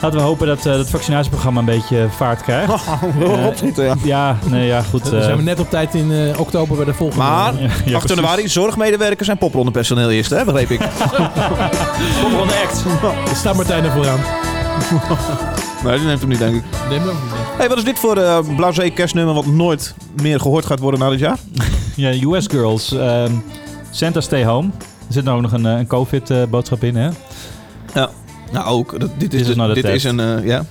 Speaker 5: laten we hopen dat eh, dat het vaccinatieprogramma een beetje eh, vaart krijgt.
Speaker 1: wel
Speaker 5: Eh,
Speaker 1: opschieten, ja.
Speaker 5: Ja, nee, ja, goed.
Speaker 3: Dan
Speaker 5: eh,
Speaker 3: zijn we net op tijd in eh, oktober bij de volgende.
Speaker 1: Maar,
Speaker 5: Ja,
Speaker 1: 8
Speaker 5: ja,
Speaker 1: januari, zorgmedewerkers en poprondepersoneel eerst, hè? Begreep ik.
Speaker 5: popronde act.
Speaker 3: Staat Martijn er vooraan.
Speaker 1: Nee, die neemt hem niet, denk ik.
Speaker 3: Neem hem ook niet.
Speaker 1: hey, wat is dit voor eh blasé kerstnummer wat nooit meer gehoord gaat worden na dit jaar?
Speaker 5: Ja, US Girls. ehm, Santa Stay Home. Er zit nou ook nog een, eh, een COVID-boodschap in, hè?
Speaker 1: Ja. Nou, ook. Dat- dit
Speaker 5: This
Speaker 1: is,
Speaker 5: is not a
Speaker 1: dit
Speaker 5: test.
Speaker 1: is een... eh, ja.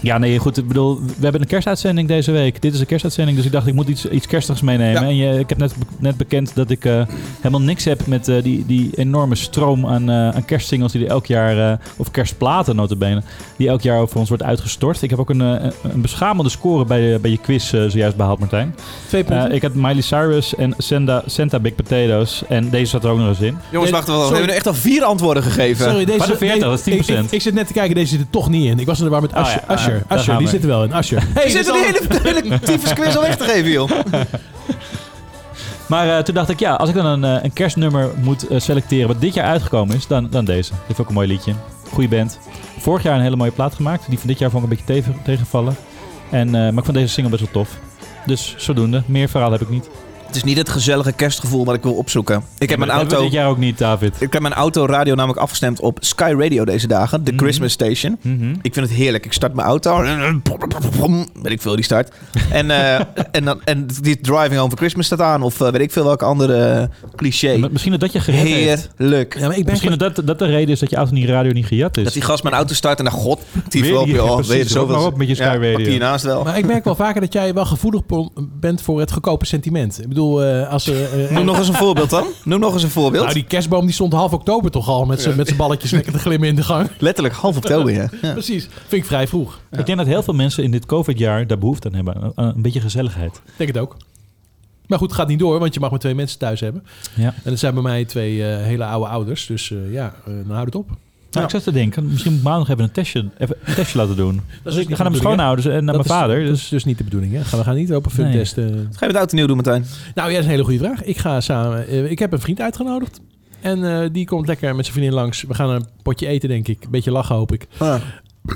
Speaker 5: Ja, nee, goed. Ik bedoel, we hebben een kerstuitzending deze week. Dit is een kerstuitzending, dus ik dacht ik moet iets, iets kerstigs meenemen. En je, ik heb net, net bekend dat ik eh, helemaal niks heb met eh, die, die enorme stroom aan, eh, aan kerstsingles die er elk jaar, eh, of kerstplaten notabene, die elk jaar over ons wordt uitgestort. Ik heb ook een, eh, een beschamende score bij, je- bij je quiz eh, zojuist behaald, Martijn.
Speaker 3: Twee punten.
Speaker 5: Eh, ik had Miley Cyrus en Santa, Santa Big Potatoes en deze zat er ook nog eens in.
Speaker 1: Jongens, wacht wel. We
Speaker 3: sorry.
Speaker 1: hebben nu echt al vier antwoorden gegeven.
Speaker 3: Sorry, deze,
Speaker 5: Maar de 40, dat is
Speaker 3: ik-
Speaker 5: 10%.
Speaker 3: Ik, ik zit net te kijken, deze zit er toch niet in. Ik was er waar met
Speaker 5: Oh ja,
Speaker 3: Asher.
Speaker 5: ah,
Speaker 3: Asher,
Speaker 5: daar
Speaker 3: Asher,
Speaker 5: gaan
Speaker 3: die
Speaker 5: we.
Speaker 3: zit er wel in. Asher.
Speaker 1: Je zit er de hele, hele tyfusquiz al weg te geven, joh.
Speaker 5: Maar eh, toen dacht ik, ja, als ik dan een, eh, een kerstnummer moet eh, selecteren wat dit jaar uitgekomen is, dan, dan deze. Dat vind ik ook een mooi liedje. Goeie band. Vorig jaar een hele mooie plaat gemaakt. Die van dit jaar vond ik een beetje tegen, tegenvallen. En, eh, maar ik vond deze single best wel tof. Dus zodoende. Meer verhaal heb ik niet.
Speaker 1: Het is niet het gezellige kerstgevoel dat ik wil opzoeken. Ik heb
Speaker 5: maar
Speaker 1: mijn
Speaker 5: dat hebben
Speaker 1: auto...
Speaker 5: we dit jaar ook niet, David.
Speaker 1: Ik heb mijn autoradio namelijk afgestemd op Sky Radio deze dagen. De Christmas Station.
Speaker 5: Mhm.
Speaker 1: Ik vind het heerlijk. Ik start mijn auto. Weet ik veel, die start. En, eh, en, dan, en die Driving Home for Christmas staat aan. Of eh, weet ik veel welke andere eh, cliché.
Speaker 5: Misschien dat dat je gered heeft.
Speaker 1: Heerlijk.
Speaker 3: Ja, maar ik ben
Speaker 5: Misschien dat, dat dat de reden is dat je auto niet radio niet gejat is.
Speaker 1: Dat die gast mijn auto start en dan god, tief
Speaker 5: Weer
Speaker 1: op
Speaker 5: die-
Speaker 1: joh.
Speaker 5: ja,
Speaker 1: Weet je
Speaker 5: precies,
Speaker 1: zoveel-
Speaker 5: rot maar op met je Sky Radio.
Speaker 1: pak die hiernaast wel.
Speaker 3: Maar ik merk wel vaker dat jij wel gevoelig po- bent voor het goedkope sentiment. Ik bedoel, eh, als... eh, eh,
Speaker 1: Noem nog eens een voorbeeld dan. Noem nog eens een voorbeeld.
Speaker 3: Nou, die kerstboom die stond half oktober toch al met zijn balletjes lekker te glimmen in de gang.
Speaker 1: Letterlijk half oktober, ja. ja.
Speaker 3: Precies. Vind ik vrij vroeg.
Speaker 5: Ik denk dat heel veel mensen in dit COVID-jaar daar behoefte aan hebben. Aan Een, beetje gezelligheid.
Speaker 3: Ik Denk het ook. Maar goed, gaat niet door, want je mag maar twee mensen thuis hebben.
Speaker 5: Ja.
Speaker 3: En dat zijn bij mij twee eh, hele oude ouders. Dus eh, ja, eh, dan houd het op.
Speaker 5: Nou, ik zat te denken, misschien moet ik maandag even een testje, even een testje laten doen.
Speaker 3: Dat
Speaker 5: Dat
Speaker 3: is
Speaker 5: is
Speaker 3: niet
Speaker 5: ik ga naar
Speaker 3: de
Speaker 5: mijn
Speaker 3: bedoeling,
Speaker 5: schoonouders en naar
Speaker 3: Dat
Speaker 5: mijn
Speaker 3: is-
Speaker 5: vader.
Speaker 3: Dat
Speaker 5: Dus
Speaker 3: is dus niet de bedoeling. Hè? Gaan we gaan niet open fun
Speaker 5: Nee.
Speaker 3: testen.
Speaker 1: Ga je met oud en nieuw doen, Martijn?
Speaker 3: Nou ja, dat is een hele goede vraag. Ik ga samen. eh, ik heb een vriend uitgenodigd. En eh, die komt lekker met zijn vriendin langs. We gaan een potje eten, denk ik. Een beetje lachen, hoop ik.
Speaker 1: Ah,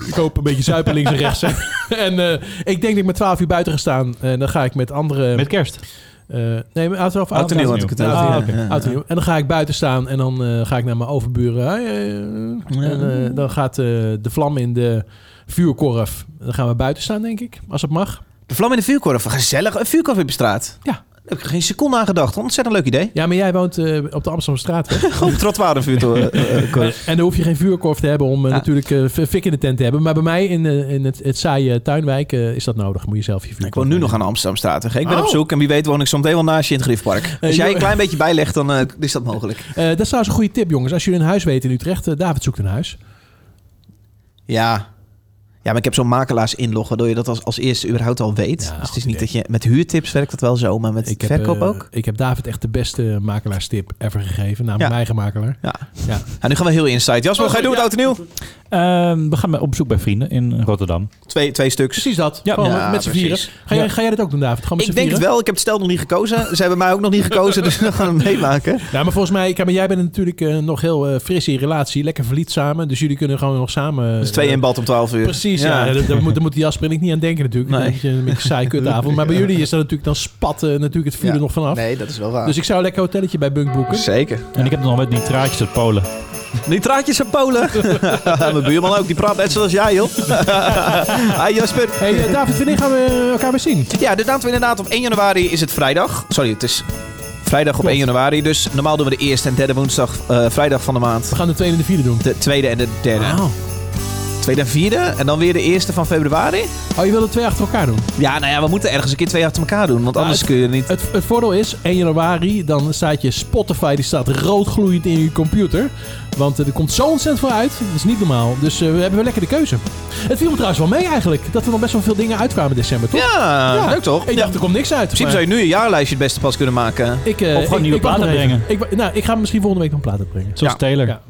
Speaker 3: Ik hoop een beetje zuipen links en rechts. en eh, ik denk dat ik met 12 uur buiten ga staan. En dan ga ik met andere.
Speaker 5: Met kerst?
Speaker 3: Eh, nee, maar oud of
Speaker 1: Oud en nieuw had ik het over,
Speaker 3: Ah,
Speaker 1: ja.
Speaker 3: oké.
Speaker 1: Ja, ja.
Speaker 3: Oud en nieuw. En dan ga ik buiten staan en dan eh, ga ik naar mijn overburen. Hoi, eh, en eh, dan gaat eh, de vlam in de vuurkorf. Dan gaan we buiten staan, denk ik. Als het mag.
Speaker 1: De vlam in de vuurkorf. Gezellig. Een vuurkorf op je straat.
Speaker 3: Ja.
Speaker 1: Daar heb ik geen seconde aan gedacht. Ontzettend leuk idee.
Speaker 3: Ja, maar jij woont eh, op de Amsterdamse straat.
Speaker 1: Gewoon op trottoir een eh, vuurkorf.
Speaker 3: En dan hoef je geen vuurkorf te hebben om eh, natuurlijk eh, v- fik in de tent te hebben. Maar bij mij in, eh, in het, het saaie tuinwijk eh, is dat nodig. Moet je zelf je vuurkorf
Speaker 1: Ik woon nu nog aan de Amsterdamstraat. hè. Ik ben
Speaker 3: Oh.
Speaker 1: op zoek en wie weet woon ik zometeen wel naast je in het Griffpark. Als jij
Speaker 3: joh.
Speaker 1: een klein beetje bijlegt, dan eh, is dat mogelijk.
Speaker 3: Eh, dat is trouwens een goede tip, jongens. Als jullie een huis weten in Utrecht, eh, David zoekt een huis.
Speaker 1: Ja. Ja, maar ik heb zo'n makelaars inlog, waardoor je dat als, als eerste überhaupt al weet. dus het is niet dat je met huurtips werkt dat wel zo, maar met
Speaker 3: Ik heb,
Speaker 1: verkoop
Speaker 3: eh,
Speaker 1: ook.
Speaker 3: Ik heb David echt de beste makelaarstip ever gegeven. Namelijk
Speaker 1: Ja.
Speaker 3: mijn eigen makelaar.
Speaker 1: Ja.
Speaker 3: Ja. Oh,
Speaker 1: Nou, nu gaan we heel inside. Jasper, wat ga je doen met oud en nieuw?
Speaker 5: ehm, we gaan op bezoek bij vrienden in Rotterdam.
Speaker 1: Twee, twee stuks.
Speaker 3: Precies dat.
Speaker 5: Ja.
Speaker 3: Gewoon
Speaker 1: Ja,
Speaker 3: met z'n
Speaker 1: precies.
Speaker 3: vieren. Ga, jij,
Speaker 5: Ja.
Speaker 3: ga jij dat ook doen, David? Gewoon met
Speaker 1: Ik
Speaker 3: z'n
Speaker 1: denk het
Speaker 3: vieren?
Speaker 1: wel. Ik heb het stel nog niet gekozen. Ze hebben mij ook nog niet gekozen, dus we gaan het meemaken.
Speaker 3: Nou, maar volgens mij, kijk, maar jij bent natuurlijk eh, nog heel eh, fris in je relatie. Lekker verliet samen. Dus jullie kunnen gewoon nog samen... eh,
Speaker 1: Dus twee in bad om 12 uur.
Speaker 3: Precies, ja.
Speaker 1: Ja.
Speaker 3: Daar, daar moet, daar moet Jasper en ik niet aan denken natuurlijk.
Speaker 1: Nee.
Speaker 3: Een beetje een beetje een saai kutavond. Maar bij jullie is dat natuurlijk dan spatten natuurlijk het vuur er nog vanaf.
Speaker 1: Nee, dat is wel waar.
Speaker 3: Dus ik zou lekker een hotelletje bij Bunk boeken.
Speaker 1: Zeker.
Speaker 5: En ik heb nog met die traatjes uit Polen.
Speaker 1: Nitraatjes in Polen. Mijn buurman ook, die praat net zoals jij, joh. Hi Jasper.
Speaker 3: Hey eh, David, wanneer gaan we elkaar weer zien?
Speaker 1: Ja, dus datum inderdaad. Op 1 januari is het vrijdag. Sorry, het is vrijdag op 1 januari. Dus normaal doen we de eerste en derde woensdag, eh, vrijdag van de maand.
Speaker 3: We gaan de tweede en de vierde doen.
Speaker 1: De tweede en de derde.
Speaker 3: Wauw.
Speaker 1: Tweede en vierde. En dan weer de eerste van februari.
Speaker 3: Oh, je wil de twee achter elkaar doen?
Speaker 1: Ja, nou ja, we moeten ergens een keer twee achter elkaar doen. Want anders
Speaker 3: het-
Speaker 1: kun je niet...
Speaker 3: Het, het voordeel is, 1 januari, dan staat je Spotify, die staat roodgloeiend in je computer. Want eh, er komt zo ontzettend veel uit, dat is niet normaal. Dus eh, we hebben wel lekker de keuze. Het viel me trouwens wel mee eigenlijk, dat er nog best wel veel dingen uitkwamen in december, toch?
Speaker 1: Ja, leuk toch?
Speaker 3: Ik dacht, er komt niks uit.
Speaker 1: Misschien
Speaker 3: maar
Speaker 1: zou je nu een jaarlijstje het beste pas kunnen maken.
Speaker 3: ik, eh,
Speaker 5: Of gewoon
Speaker 3: ik-
Speaker 5: nieuwe
Speaker 3: ik wacht
Speaker 5: platen
Speaker 3: nog even.
Speaker 5: brengen.
Speaker 3: Ik, wa- nou, ik ga misschien volgende week nog platen brengen.
Speaker 5: Zoals
Speaker 1: Ja.
Speaker 5: Taylor.
Speaker 3: Ja.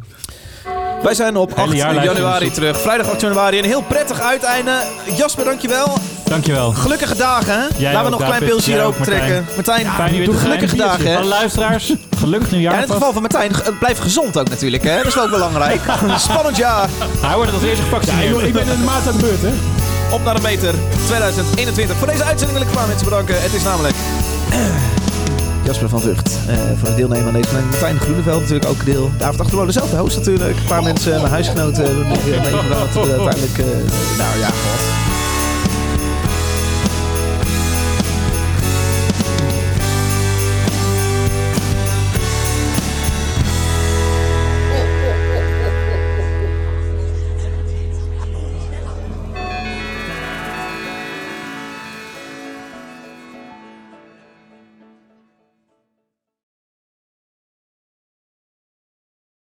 Speaker 1: Wij zijn op 8
Speaker 5: jaarlijstje
Speaker 1: januari
Speaker 5: is
Speaker 1: terug. Vrijdag 8 januari. Een heel prettig uiteinde. Jasper, dankjewel.
Speaker 5: Dankjewel.
Speaker 1: Gelukkige dagen, hè? Laten we nog
Speaker 5: ook,
Speaker 1: een klein
Speaker 5: David.
Speaker 1: pilsje
Speaker 5: Jij
Speaker 1: hier
Speaker 5: ook,
Speaker 1: ook trekken. Martijn,
Speaker 5: Fijn weer
Speaker 1: doe
Speaker 5: te zijn.
Speaker 1: gelukkige dagen, hè?
Speaker 5: Alle luisteraars, gelukkig
Speaker 1: Ja,
Speaker 5: nieuwjaar.
Speaker 1: in het geval van Martijn, ge- blijf gezond ook natuurlijk, hè? Dat is wel ook belangrijk. Spannend jaar.
Speaker 5: Hij wordt het als eerste
Speaker 3: Ja, joh,
Speaker 5: gevaccineerd.
Speaker 3: ik ben in de maart aan de beurt, hè?
Speaker 1: Op naar een beter 2021. Voor deze uitzending wil ik paar mensen bedanken. Het is namelijk... Jasper van Vught eh, voor het deelnemen aan deze uitzending. Martijn Groeneveld natuurlijk ook deel. David Achterloon, dezelfde host natuurlijk. Een paar mensen, mijn huisgenoten hebben meegedaan. Uiteindelijk, eh, nou ja, god.